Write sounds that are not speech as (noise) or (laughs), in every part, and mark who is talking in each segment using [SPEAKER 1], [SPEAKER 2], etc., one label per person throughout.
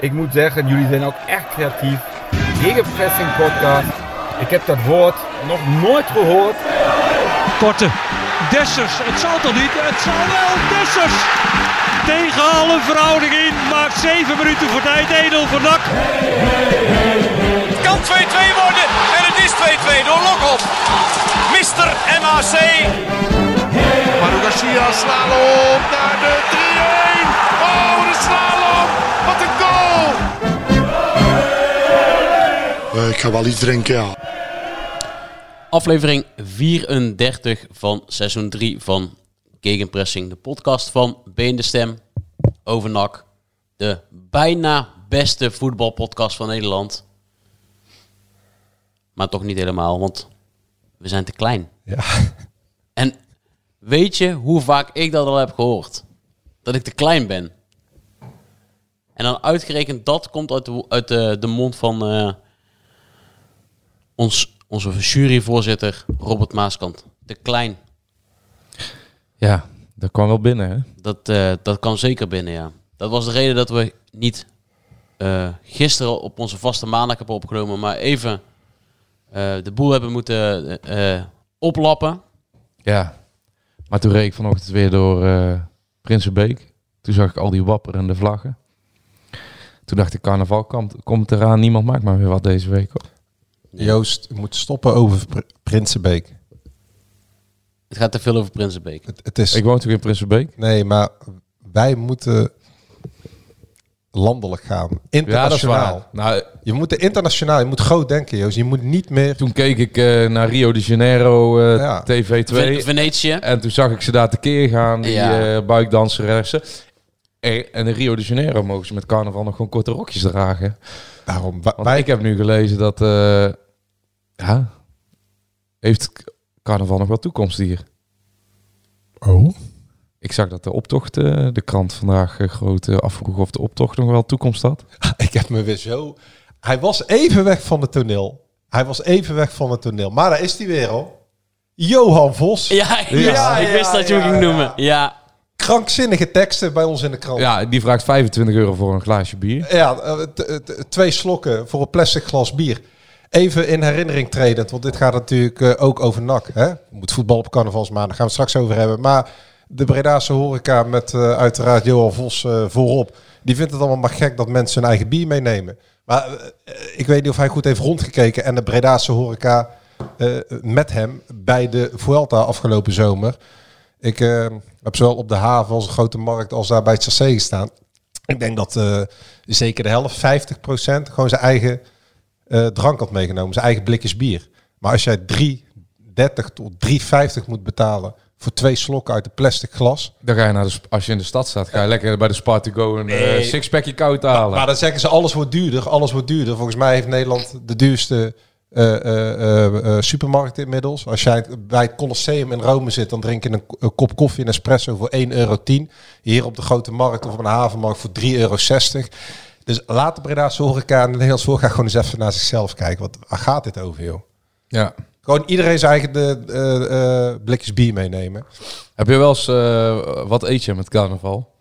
[SPEAKER 1] Ik moet zeggen, jullie zijn ook echt creatief. Gegenpressing podcast. Ik heb dat woord nog nooit gehoord.
[SPEAKER 2] Korte. Dessers. Het zal toch niet? Het zal wel. Dessers. Tegen alle verhouding in. Maakt 7 minuten voor tijd. Edel voor Dak.
[SPEAKER 3] Het kan 2-2 worden en het is 2-2 door Lokop. Mister MAC.
[SPEAKER 4] Maru Garcia, slalom naar de 3-1. Oh, de slalom. Wat een goal.
[SPEAKER 5] Eh, ik ga wel iets drinken, ja.
[SPEAKER 6] Aflevering 34 van seizoen 3 van Gegenpressing, de podcast van Been de Stem, Overnak, de bijna beste voetbalpodcast van Nederland. Maar toch niet helemaal, want we zijn te klein.
[SPEAKER 7] Ja.
[SPEAKER 6] En weet je hoe vaak ik dat al heb gehoord? Dat ik te klein ben. En dan uitgerekend dat komt uit de, wo- uit de, de mond van eh, ons, onze juryvoorzitter Robert Maaskant. Te klein.
[SPEAKER 7] Ja, dat kwam wel binnen, hè?
[SPEAKER 6] Dat, eh, dat kan zeker binnen, ja. Dat was de reden dat we niet eh, gisteren op onze vaste maandag hebben opgenomen, maar even eh, de boel hebben moeten eh, eh, oplappen.
[SPEAKER 7] Ja. Maar toen reed ik vanochtend weer door eh Prinsenbeek. Toen zag ik al die wapperende vlaggen. Toen dacht ik, carnaval komt, komt eraan. Niemand maakt maar weer wat deze week. Hoor.
[SPEAKER 8] Joost je moet stoppen over Pr- Prinsenbeek.
[SPEAKER 6] Het gaat te veel over Prinsenbeek.
[SPEAKER 8] Het, het is.
[SPEAKER 7] Ik woon toch in Prinsenbeek?
[SPEAKER 8] Nee, maar wij moeten landelijk gaan. Internationaal.
[SPEAKER 7] Nou,
[SPEAKER 8] je moet de internationaal, je moet groot denken, Joost. Je moet niet meer.
[SPEAKER 7] toen keek ik eh, naar Rio de Janeiro eh,
[SPEAKER 8] Ja.
[SPEAKER 7] TV2.
[SPEAKER 6] Ve- Venetië.
[SPEAKER 7] En toen zag ik ze daar tekeer gaan, die
[SPEAKER 6] Ja.
[SPEAKER 7] eh buikdanseressen. Eh, En in Rio de Janeiro mogen ze met carnaval nog gewoon korte rokjes dragen.
[SPEAKER 8] Daarom. Wa-
[SPEAKER 7] Want
[SPEAKER 8] Wij,
[SPEAKER 7] ik heb nu gelezen dat... eh, ja, heeft k- carnaval nog wel toekomst hier?
[SPEAKER 8] oh. (laughs)
[SPEAKER 7] Ik zag dat de optocht, eh, de krant vandaag eh, groot eh, afvroeg of de optocht nog wel toekomst had.
[SPEAKER 8] Ik heb me weer zo. Hij was even weg van het toneel. Hij was even weg van het toneel. Maar daar is hij weer al. Johan Vos.
[SPEAKER 6] Ja, ik wist,
[SPEAKER 8] Ja,
[SPEAKER 6] ik wist
[SPEAKER 8] ja,
[SPEAKER 6] dat je hem
[SPEAKER 8] ja,
[SPEAKER 6] ging
[SPEAKER 8] ja.
[SPEAKER 6] noemen. Ja.
[SPEAKER 8] Krankzinnige teksten bij ons in de krant.
[SPEAKER 7] Ja, die vraagt 25 euro voor een glaasje bier.
[SPEAKER 8] Ja, eh, t- t- twee slokken voor een plastic glas bier. Even in herinnering tredend, want dit gaat natuurlijk eh, ook over NAC. Hè? Moet voetbal op carnavalsmaand, daar gaan we het straks over hebben. Maar de Bredaanse horeca met eh, uiteraard Johan Vos eh, voorop. Die vindt het allemaal maar gek dat mensen hun eigen bier meenemen. Maar eh, eh, ik weet niet of hij goed heeft rondgekeken. En de Bredaanse horeca eh, met hem bij de Vuelta afgelopen zomer. Ik eh, heb zowel op de haven als de grote markt als daar bij het chassé gestaan. Ik denk dat eh, zeker de helft, 50 gewoon zijn eigen eh, drank had meegenomen. Zijn eigen blikjes bier. Maar als jij 3,30 tot 3,50 moet betalen voor twee slokken uit een plastic glas.
[SPEAKER 7] Dan ga je naar de, sp- als je in de stad staat, ga je lekker bij de Spar to go een eh, sixpackje koud halen.
[SPEAKER 8] Maar dan zeggen ze alles wordt duurder, alles wordt duurder. Volgens mij heeft Nederland de duurste eh, eh, eh, eh, supermarkt inmiddels. Als jij bij het Colosseum in Rome zit, dan drink je een, k- een kop koffie en espresso voor 1,10 euro. Hier op de Grote Markt of op een havenmarkt voor 3,60 euro. Dus laat de Bredaanse horeca en de Nederlandse horeca gewoon eens even naar zichzelf kijken. Wat, waar gaat dit over, joh?
[SPEAKER 7] ja.
[SPEAKER 8] Gewoon iedereen zijn eigen de, eh, eh, blikjes bier meenemen.
[SPEAKER 7] Heb je wel eens, eh, wat eet je met carnaval?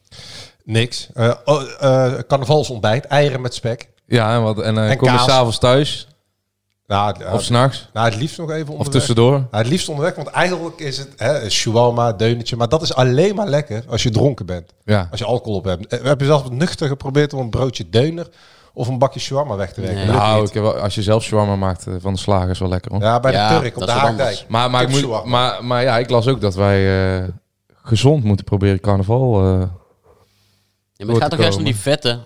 [SPEAKER 8] Niks. Eh oh, eh, carnavalsontbijt, eieren met spek.
[SPEAKER 7] Ja, en, wat, en, eh,
[SPEAKER 8] En
[SPEAKER 7] kom je
[SPEAKER 8] kaas.
[SPEAKER 7] s'avonds thuis
[SPEAKER 8] Nou, eh,
[SPEAKER 7] of s'nachts
[SPEAKER 8] nou, het liefst nog even
[SPEAKER 7] of
[SPEAKER 8] onderweg.
[SPEAKER 7] tussendoor?
[SPEAKER 8] Nou, het liefst onderweg, want eigenlijk is het hè, een shawarma, deuntje. Maar dat is alleen maar lekker als je dronken bent.
[SPEAKER 7] Ja.
[SPEAKER 8] Als je alcohol op hebt. Eh, We hebben zelfs nuchter geprobeerd om een broodje deuner of een bakje shawarma weg te werken.
[SPEAKER 6] Nee.
[SPEAKER 8] Dat lukt
[SPEAKER 7] Nou,
[SPEAKER 8] niet.
[SPEAKER 7] ik heb wel- als je zelf shawarma maakt eh, van de slager is wel lekker hoor.
[SPEAKER 8] Ja, bij
[SPEAKER 6] Ja,
[SPEAKER 8] de Turk op
[SPEAKER 6] dat
[SPEAKER 8] de
[SPEAKER 6] is wat
[SPEAKER 8] Haagdijk.
[SPEAKER 6] anders.
[SPEAKER 7] Maar, maar, ik moet-
[SPEAKER 8] Kipshawarma.
[SPEAKER 7] maar, maar ja, ik las ook dat wij eh, gezond moeten proberen carnaval. eh.
[SPEAKER 6] Ja, maar het gaat
[SPEAKER 7] te
[SPEAKER 6] toch juist om
[SPEAKER 7] komen.
[SPEAKER 6] die vetten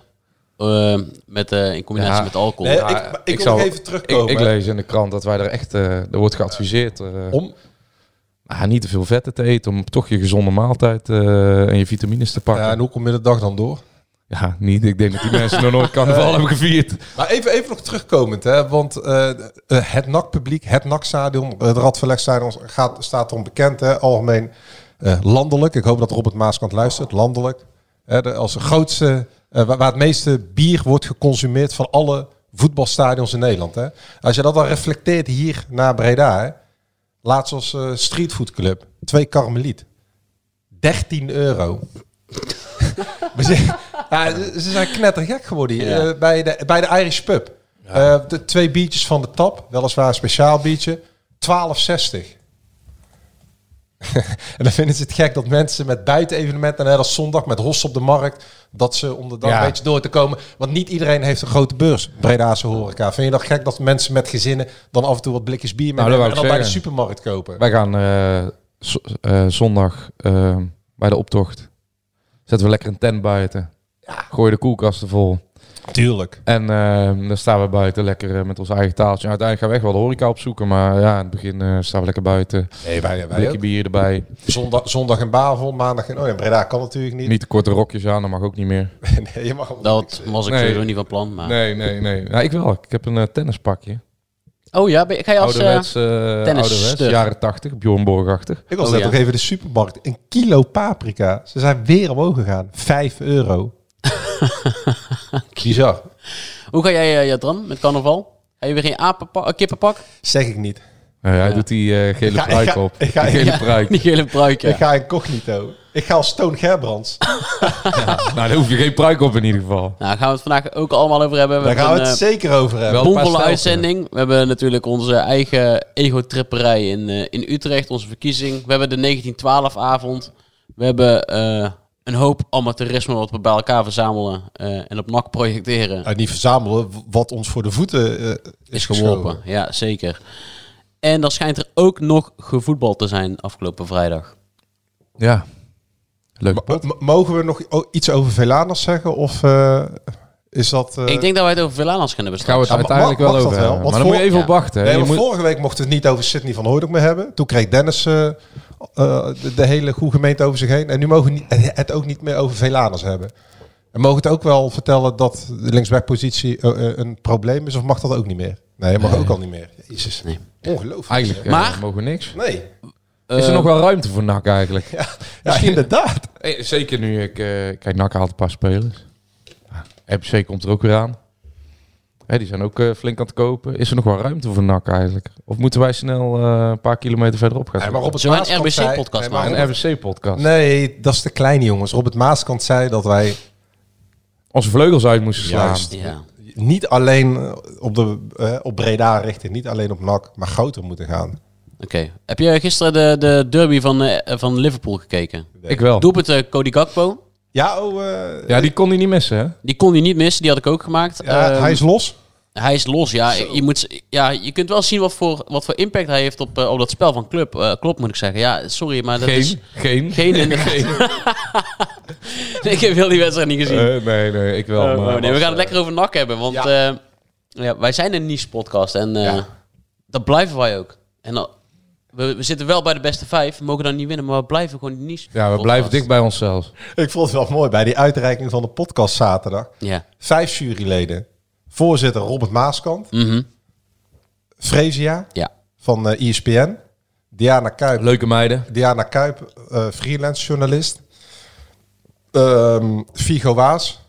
[SPEAKER 6] eh, met, eh, in combinatie
[SPEAKER 7] Ja.
[SPEAKER 6] met alcohol.
[SPEAKER 8] Nee,
[SPEAKER 6] Ja,
[SPEAKER 8] ik,
[SPEAKER 7] Ja,
[SPEAKER 8] maar ik wil nog even terugkomen.
[SPEAKER 7] Ik, ik lees in de krant dat wij er echt, eh er wordt geadviseerd eh,
[SPEAKER 8] Om,
[SPEAKER 7] ah, niet te veel vetten te eten, om toch je gezonde maaltijd eh, en je vitamines te pakken.
[SPEAKER 8] ja,
[SPEAKER 7] Ja,
[SPEAKER 8] en hoe kom je de dag dan door?
[SPEAKER 7] niet. Ik denk dat die mensen nog nooit
[SPEAKER 1] Eh,
[SPEAKER 7] carnaval hebben gevierd.
[SPEAKER 8] Maar even, even nog terugkomend, hè, want eh, eh, het NAC-publiek, het NAC-stadion, het Radverlegstadion gaat, staat erom bekend, hè, algemeen eh, landelijk. Ik hoop dat Robert Maaskant luistert, landelijk. Hè, de, als de grootste, eh, waar, waar het meeste bier wordt geconsumeerd van alle voetbalstadions in Nederland. Hè. Als je dat dan reflecteert hier naar Breda, hè, laatst als eh streetfoodclub, (laughs) twee karmeliet, 13 euro. We zitten- Ja, ze ze zijn knettergek geworden hier.
[SPEAKER 6] Ja.
[SPEAKER 8] Eh, bij, de, bij de Irish Pub. Eh, de twee biertjes van de tap, weliswaar een speciaal biertje, 12,60. (laughs) en dan vinden ze het gek dat mensen met buitenevenementen, en net als zondag met Hos op de markt, dat ze om de dag
[SPEAKER 7] Ja.
[SPEAKER 8] een beetje door te komen. Want niet iedereen heeft een grote beurs, Bredaanse horeca. Vind je dat gek dat mensen met gezinnen dan af en toe wat blikjes bier
[SPEAKER 7] Nou,
[SPEAKER 8] meenemen
[SPEAKER 7] wou
[SPEAKER 8] en
[SPEAKER 7] ik
[SPEAKER 8] dan bij de
[SPEAKER 7] zeggen.
[SPEAKER 8] supermarkt kopen?
[SPEAKER 7] Wij gaan eh, z- eh, zondag eh, bij de optocht. Zetten we lekker een tent buiten. Gooi de koelkasten vol.
[SPEAKER 8] Tuurlijk.
[SPEAKER 7] En eh, dan staan we buiten lekker eh, met ons eigen taaltje. Nou, uiteindelijk gaan we echt wel de horeca opzoeken. Maar ja, in het begin eh, staan we lekker buiten.
[SPEAKER 8] Nee, wij, wij
[SPEAKER 7] Blikje
[SPEAKER 8] ook.
[SPEAKER 7] bier erbij.
[SPEAKER 8] Zondag, zondag in Bavel, maandag in... Oh ja, Breda kan natuurlijk niet.
[SPEAKER 7] Niet te korte rokjes aan, dat mag ook niet meer.
[SPEAKER 8] (laughs) nee, je mag eh. wel
[SPEAKER 6] Dat Oh was ik
[SPEAKER 7] Nee.
[SPEAKER 6] sowieso niet van plan.
[SPEAKER 8] Ah.
[SPEAKER 6] Maar...
[SPEAKER 7] Nee, nee, nee. Nou, ik wel. Ik heb een eh, tennispakje.
[SPEAKER 6] Oh ja, ben- ga je als... eh,
[SPEAKER 7] Ouderwets, eh, ouderwets,
[SPEAKER 6] tennisster.
[SPEAKER 7] jaren 80, Bjorn Borgachtig.
[SPEAKER 8] Ik was
[SPEAKER 6] Oh,
[SPEAKER 8] net
[SPEAKER 6] ja.
[SPEAKER 8] nog even de supermarkt. Een kilo paprika. Ze zijn weer omhoog gegaan. Vijf
[SPEAKER 6] (laughs)
[SPEAKER 8] euro. Bizar.
[SPEAKER 6] Hoe ga jij eh, Jatran met carnaval? Ga je weer geen apenpa- eh, kippenpak?
[SPEAKER 8] Zeg ik niet.
[SPEAKER 7] Nou, hij doet die eh, gele
[SPEAKER 8] Ik ga- ik
[SPEAKER 7] pruik
[SPEAKER 8] ga-
[SPEAKER 7] op.
[SPEAKER 8] ik ga-
[SPEAKER 7] Die gele
[SPEAKER 6] Ja,
[SPEAKER 7] pruik.
[SPEAKER 6] Die gele pruik, ja.
[SPEAKER 8] Ik ga incognito. Ik ga als Toon Gerbrands.
[SPEAKER 7] Nou, daar hoef je geen pruik op in ieder geval.
[SPEAKER 6] Nou, daar gaan we het vandaag ook allemaal over hebben. We
[SPEAKER 8] Daar gaan we
[SPEAKER 6] hebben
[SPEAKER 8] het
[SPEAKER 6] een
[SPEAKER 8] zeker over hebben.
[SPEAKER 7] wel-
[SPEAKER 6] eh,
[SPEAKER 7] een paar
[SPEAKER 6] bomvolle
[SPEAKER 7] stelten.
[SPEAKER 6] uitzending. We hebben natuurlijk onze eigen ego-tripperij in, eh, in Utrecht, onze verkiezing. We hebben de 1912-avond. We hebben eh, een hoop amateurisme wat we bij elkaar verzamelen eh, en op NAC projecteren.
[SPEAKER 8] Nou, niet verzamelen wat ons voor de voeten eh,
[SPEAKER 6] is geworpen. Ja, zeker. En dan schijnt er ook nog gevoetbal te zijn afgelopen vrijdag.
[SPEAKER 7] Ja. Leuk.
[SPEAKER 8] geschoven. M- m- mogen we nog o- iets over Velanas zeggen? Of eh, is dat... eh,
[SPEAKER 6] ik denk dat wij het over Villanas gaan hebben
[SPEAKER 7] Gaan we
[SPEAKER 6] straks.
[SPEAKER 7] het
[SPEAKER 8] Ja, maar
[SPEAKER 7] uiteindelijk
[SPEAKER 8] mag-
[SPEAKER 7] wel
[SPEAKER 8] mag
[SPEAKER 7] over
[SPEAKER 8] dat wel?
[SPEAKER 7] hebben. Maar
[SPEAKER 8] Want
[SPEAKER 7] dan moet je even
[SPEAKER 6] voor-
[SPEAKER 7] op wachten. hè.
[SPEAKER 8] nee,
[SPEAKER 7] Je
[SPEAKER 8] want
[SPEAKER 7] moet-
[SPEAKER 8] Vorige week mochten we het niet over Sidney van Hooydonk meer hebben. Toen kreeg Dennis eh, eh, de, de hele goede gemeente over zich heen. En nu mogen we niet- het ook niet meer over Velaners hebben. En mogen we het ook wel vertellen dat de linksbackpositie eh, eh, een probleem is? Of mag dat ook niet meer? Nee, mag ook al niet meer. Jezus.
[SPEAKER 6] Nee.
[SPEAKER 8] Ongelooflijk.
[SPEAKER 7] Eigenlijk eh,
[SPEAKER 6] Maar-
[SPEAKER 7] mogen we niks.
[SPEAKER 8] Nee.
[SPEAKER 7] Is er
[SPEAKER 6] Eh,
[SPEAKER 7] nog wel ruimte voor NAC eigenlijk?
[SPEAKER 8] Ja, inderdaad.
[SPEAKER 7] Eh, Zeker nu ik... eh, kijk, NAC haalt een paar spelers. Ja, RPC komt er ook weer aan. Hè, die zijn ook eh, flink aan het kopen. Is er nog wel ruimte voor NAC eigenlijk? Of moeten wij snel eh, een paar kilometer verderop gaan?
[SPEAKER 8] Nee, maar Robert
[SPEAKER 6] Zullen we een
[SPEAKER 8] Maaskant zei-
[SPEAKER 6] RBC-podcast
[SPEAKER 8] Nee, maar
[SPEAKER 6] maken?
[SPEAKER 7] Een RWC-podcast.
[SPEAKER 8] Nee, dat is de kleine jongens. Robert Maaskant zei dat wij
[SPEAKER 7] Onze vleugels uit moesten slaan.
[SPEAKER 8] Juist.
[SPEAKER 6] ja.
[SPEAKER 8] niet alleen eh, op, de, eh, op Breda richten, niet alleen op NAC, maar groter moeten gaan.
[SPEAKER 6] Oké. Heb je gisteren de, de derby van, eh, van Liverpool gekeken?
[SPEAKER 7] Ik wel.
[SPEAKER 6] Doe het Cody Gakpo.
[SPEAKER 8] Ja, oh, eh,
[SPEAKER 7] Ja, die kon hij niet missen, hè?
[SPEAKER 6] Die kon hij niet missen, die had ik ook gemaakt.
[SPEAKER 8] ja,
[SPEAKER 6] Ehm,
[SPEAKER 8] hij is los.
[SPEAKER 6] hij is los, ja. Je, moet, z- ja. je kunt wel zien wat voor, wat voor impact hij heeft op, eh, op dat spel van club. Eh, klopt, moet ik zeggen. Ja, sorry, maar dat
[SPEAKER 7] Geen,
[SPEAKER 6] is...
[SPEAKER 7] geen.
[SPEAKER 6] Geen in de Nee, (laughs) ik heb heel die wedstrijd niet gezien.
[SPEAKER 7] Eh, nee, nee, ik wel.
[SPEAKER 6] Oh,
[SPEAKER 7] maar-
[SPEAKER 6] oh, nee, we gaan het lekker over NAC hebben, want eh, ja, wij zijn een niche-podcast en eh, dat blijven wij ook. En dan- we, we zitten wel bij de beste vijf, we mogen dan niet winnen, maar we blijven gewoon een niche
[SPEAKER 7] Ja, we blijven dicht bij onszelf.
[SPEAKER 8] Ik vond het wel mooi bij die uitreiking van de podcast zaterdag.
[SPEAKER 6] Ja.
[SPEAKER 8] Vijf juryleden. Voorzitter Robert Maaskant.
[SPEAKER 6] Mhm.
[SPEAKER 8] Frezia
[SPEAKER 6] ja.
[SPEAKER 8] van eh, ESPN. Diana Kuip,
[SPEAKER 7] Leuke meiden.
[SPEAKER 8] Diana Kuip eh, freelance journalist. Ehm Figo Waas,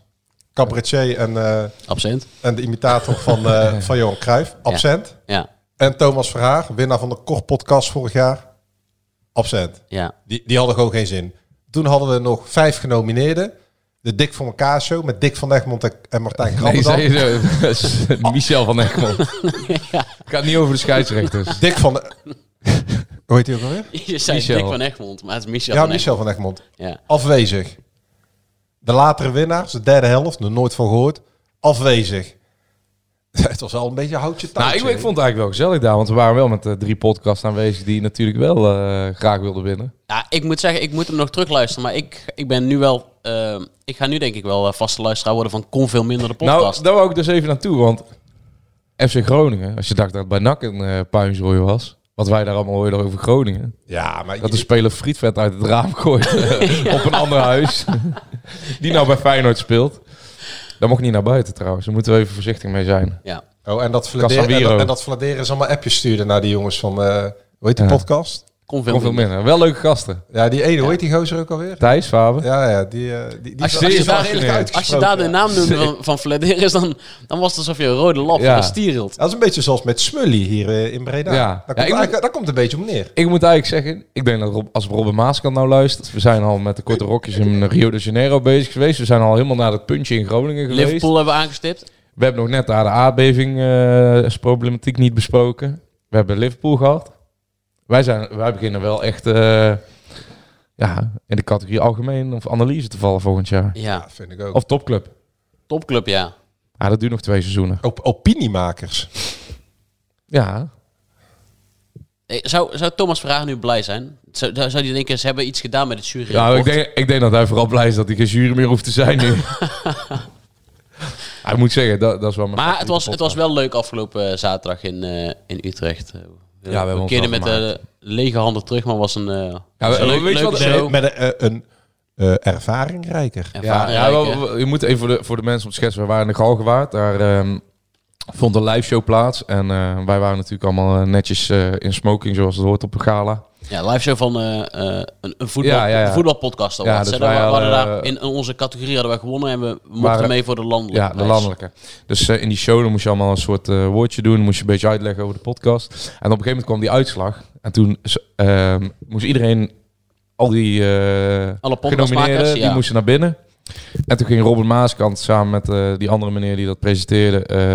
[SPEAKER 8] cabaretier en, eh,
[SPEAKER 6] Absent.
[SPEAKER 8] en de imitator van,
[SPEAKER 6] (laughs)
[SPEAKER 8] eh, van Johan Cruijff. Absent.
[SPEAKER 6] Ja.
[SPEAKER 8] En Thomas Verhaag, winnaar van de Kort podcast vorig jaar. Absent.
[SPEAKER 6] Ja.
[SPEAKER 8] Die, die hadden gewoon geen zin. Toen hadden we nog vijf genomineerden. De Dick van elkaar show met Dick van Egmond en- en Martijn
[SPEAKER 7] Nee,
[SPEAKER 8] Grabbendam.
[SPEAKER 7] zei (laughs) je zo. Michel van Egmond. Het gaat niet over de scheidsrechters.
[SPEAKER 8] Dick
[SPEAKER 7] (laughs)
[SPEAKER 8] van... Hoe heet die ook alweer?
[SPEAKER 6] (laughs) Je zei
[SPEAKER 7] Michel.
[SPEAKER 6] Dick van Egmond, maar het is Michel
[SPEAKER 8] ja,
[SPEAKER 6] van
[SPEAKER 8] Michel van Egmond.
[SPEAKER 6] Egmond. Ja.
[SPEAKER 8] Afwezig. De latere winnaars, de derde helft, nog nooit van gehoord. Afwezig. (laughs) Het was al een beetje houtje
[SPEAKER 7] Nou,
[SPEAKER 8] touwtje.
[SPEAKER 7] ik, ik vond het eigenlijk wel gezellig daar, want we waren wel met de drie podcasts aanwezig die natuurlijk wel eh, graag wilden winnen.
[SPEAKER 6] ja, ik moet zeggen, ik moet hem nog terugluisteren, maar ik, ik ben nu wel... eh, ik ga nu denk ik wel eh, vaste luisteraar worden van Kon Veel Minder de podcast.
[SPEAKER 7] Nou, daar wou ik dus even naartoe, want FC Groningen, als je dacht dat het bij NAC een eh puinzooi was, wat wij daar allemaal hoorden over Groningen,
[SPEAKER 8] Ja, maar
[SPEAKER 7] dat de speler frietvet uit het raam gooit eh, op een ander huis, (laughs) die nou bij Feyenoord speelt. Daar mocht niet naar buiten trouwens, daar moeten we even voorzichtig mee zijn.
[SPEAKER 6] ja.
[SPEAKER 8] oh, en, dat fladeren, en,
[SPEAKER 7] Casemiro.
[SPEAKER 8] dat, en dat fladeren is allemaal appjes sturen naar die jongens van... eh hoe heet die
[SPEAKER 7] Ja.
[SPEAKER 8] podcast?
[SPEAKER 6] Kon veel
[SPEAKER 7] Kom veel
[SPEAKER 6] minder.
[SPEAKER 7] minder. Wel leuke gasten.
[SPEAKER 8] Ja, die ene, hoe heet die gozer ook alweer?
[SPEAKER 7] Thijs, Faber.
[SPEAKER 8] Ja, ja, die... eh, die, die
[SPEAKER 6] Als je,
[SPEAKER 8] die-
[SPEAKER 6] als je
[SPEAKER 7] Zeer
[SPEAKER 6] daar,
[SPEAKER 7] fascinerend.
[SPEAKER 6] als je daar de
[SPEAKER 8] ja.
[SPEAKER 6] naam noemde van, van Flederis, dan, dan was het alsof je een rode lap
[SPEAKER 7] Ja.
[SPEAKER 6] van een stier hield.
[SPEAKER 8] Dat is een beetje zoals met Smully hier eh, in Breda.
[SPEAKER 7] Ja. Ja,
[SPEAKER 8] Daar, komt
[SPEAKER 7] ik moet-
[SPEAKER 8] eigenlijk- daar komt het een beetje om neer.
[SPEAKER 7] Ik moet eigenlijk zeggen, ik denk dat Rob, als Robin Maaskant nou luistert, we zijn al met de korte rokjes in Rio de Janeiro bezig geweest. We zijn al helemaal naar dat puntje in Groningen geweest.
[SPEAKER 6] Liverpool hebben we aangestipt.
[SPEAKER 7] We hebben nog net daar de aardbeving eh, problematiek niet besproken. We hebben Liverpool gehad. Wij, zijn, wij beginnen wel echt eh, ja, in de categorie algemeen of analyse te vallen volgend jaar.
[SPEAKER 6] Ja,
[SPEAKER 8] Ja, vind ik ook.
[SPEAKER 7] Of topclub.
[SPEAKER 6] topclub, ja.
[SPEAKER 7] Ah, dat duurt nog twee seizoenen.
[SPEAKER 8] Op, opiniemakers.
[SPEAKER 7] Ja,
[SPEAKER 6] Hey, Eh, Zou, zou Thomas Vraag nu blij zijn? Zou, zou die denken, ze hebben iets gedaan met het jury?
[SPEAKER 7] ja Nou, ik, denk, ik denk dat hij vooral blij is dat hij geen jury meer hoeft te zijn
[SPEAKER 6] (laughs)
[SPEAKER 7] nu. hij moet zeggen, dat, dat is wel mijn
[SPEAKER 6] Maar het
[SPEAKER 7] favoriete
[SPEAKER 6] was, het was
[SPEAKER 7] podcast.
[SPEAKER 6] wel leuk afgelopen zaterdag in, eh, in Utrecht. Eh, We,
[SPEAKER 7] hebben
[SPEAKER 6] we
[SPEAKER 7] ons
[SPEAKER 6] keerden
[SPEAKER 7] wel
[SPEAKER 6] met de lege handen terug, maar was een, eh
[SPEAKER 7] Ja,
[SPEAKER 6] was
[SPEAKER 7] we-
[SPEAKER 6] een
[SPEAKER 7] weet je
[SPEAKER 6] leuk, leuke
[SPEAKER 7] wat-
[SPEAKER 6] show.
[SPEAKER 8] Met een, eh, een eh, ervaringrijker.
[SPEAKER 7] Ja, ja
[SPEAKER 6] Ervaringrijke.
[SPEAKER 7] wel- wel- je moet even voor de, voor de mensen ontschetsen. We waren in de Galgenwaard. Daar ehm, vond een live show plaats. En eh, wij waren natuurlijk allemaal eh, netjes eh, in smoking, zoals het hoort op een gala.
[SPEAKER 6] Ja, live show van eh, eh, een, een, voetbal,
[SPEAKER 7] Ja, ja, ja.
[SPEAKER 6] een voetbalpodcast. al
[SPEAKER 7] Ja,
[SPEAKER 6] was,
[SPEAKER 7] dus
[SPEAKER 6] hè. Daar
[SPEAKER 7] wij
[SPEAKER 6] wa-
[SPEAKER 7] hadden,
[SPEAKER 6] waren daar,
[SPEAKER 7] eh,
[SPEAKER 6] in onze categorie hadden wij gewonnen en we mochten
[SPEAKER 7] waren-
[SPEAKER 6] mee voor de landelijke
[SPEAKER 7] Ja, de
[SPEAKER 6] prijs. (laughs)
[SPEAKER 7] landelijke. Dus eh, in die show dan moest je allemaal een soort eh, woordje doen. Moest je een beetje uitleggen over de podcast. En op een gegeven moment kwam die uitslag. En toen z- ehm, moest iedereen, al die eh
[SPEAKER 6] Alle podcastmakers,
[SPEAKER 7] genomineerden, die
[SPEAKER 6] ja.
[SPEAKER 7] moesten naar binnen. En toen ging Robert Maaskant samen met eh, die andere meneer die dat presenteerde... eh,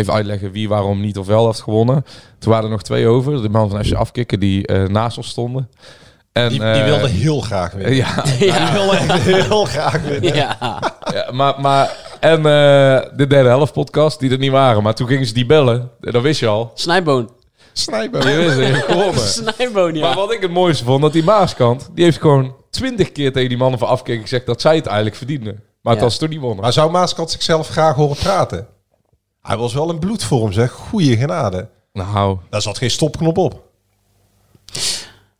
[SPEAKER 7] even uitleggen wie waarom niet of wel heeft gewonnen. Toen waren er nog twee over. De man van FC Afkikken die eh, naast ons stonden. En,
[SPEAKER 8] Die, die
[SPEAKER 7] eh,
[SPEAKER 8] wilde heel graag winnen.
[SPEAKER 7] (laughs) ja,
[SPEAKER 8] Die wilde echt (laughs) heel graag winnen.
[SPEAKER 6] Ja,
[SPEAKER 7] (laughs) Ja, maar, maar, en eh, de derde helft podcast, die er niet waren. Maar toen gingen ze die bellen. En dat wist je al.
[SPEAKER 6] snijboon.
[SPEAKER 8] Snijboom.
[SPEAKER 7] Je wist het, je hebt gewonnen.
[SPEAKER 6] Snijboon, ja.
[SPEAKER 7] Maar wat ik het mooiste vond, dat die Maaskant... die heeft gewoon twintig keer tegen die mannen van afkeer gezegd... dat zij het eigenlijk verdienden. Maar het
[SPEAKER 6] Ja.
[SPEAKER 7] was toen niet wonnen.
[SPEAKER 8] Maar zou Maaskant zichzelf graag horen praten? Hij was wel een bloedvorm, zeg. Goeie genade.
[SPEAKER 7] Nou,
[SPEAKER 8] Daar zat geen stopknop op.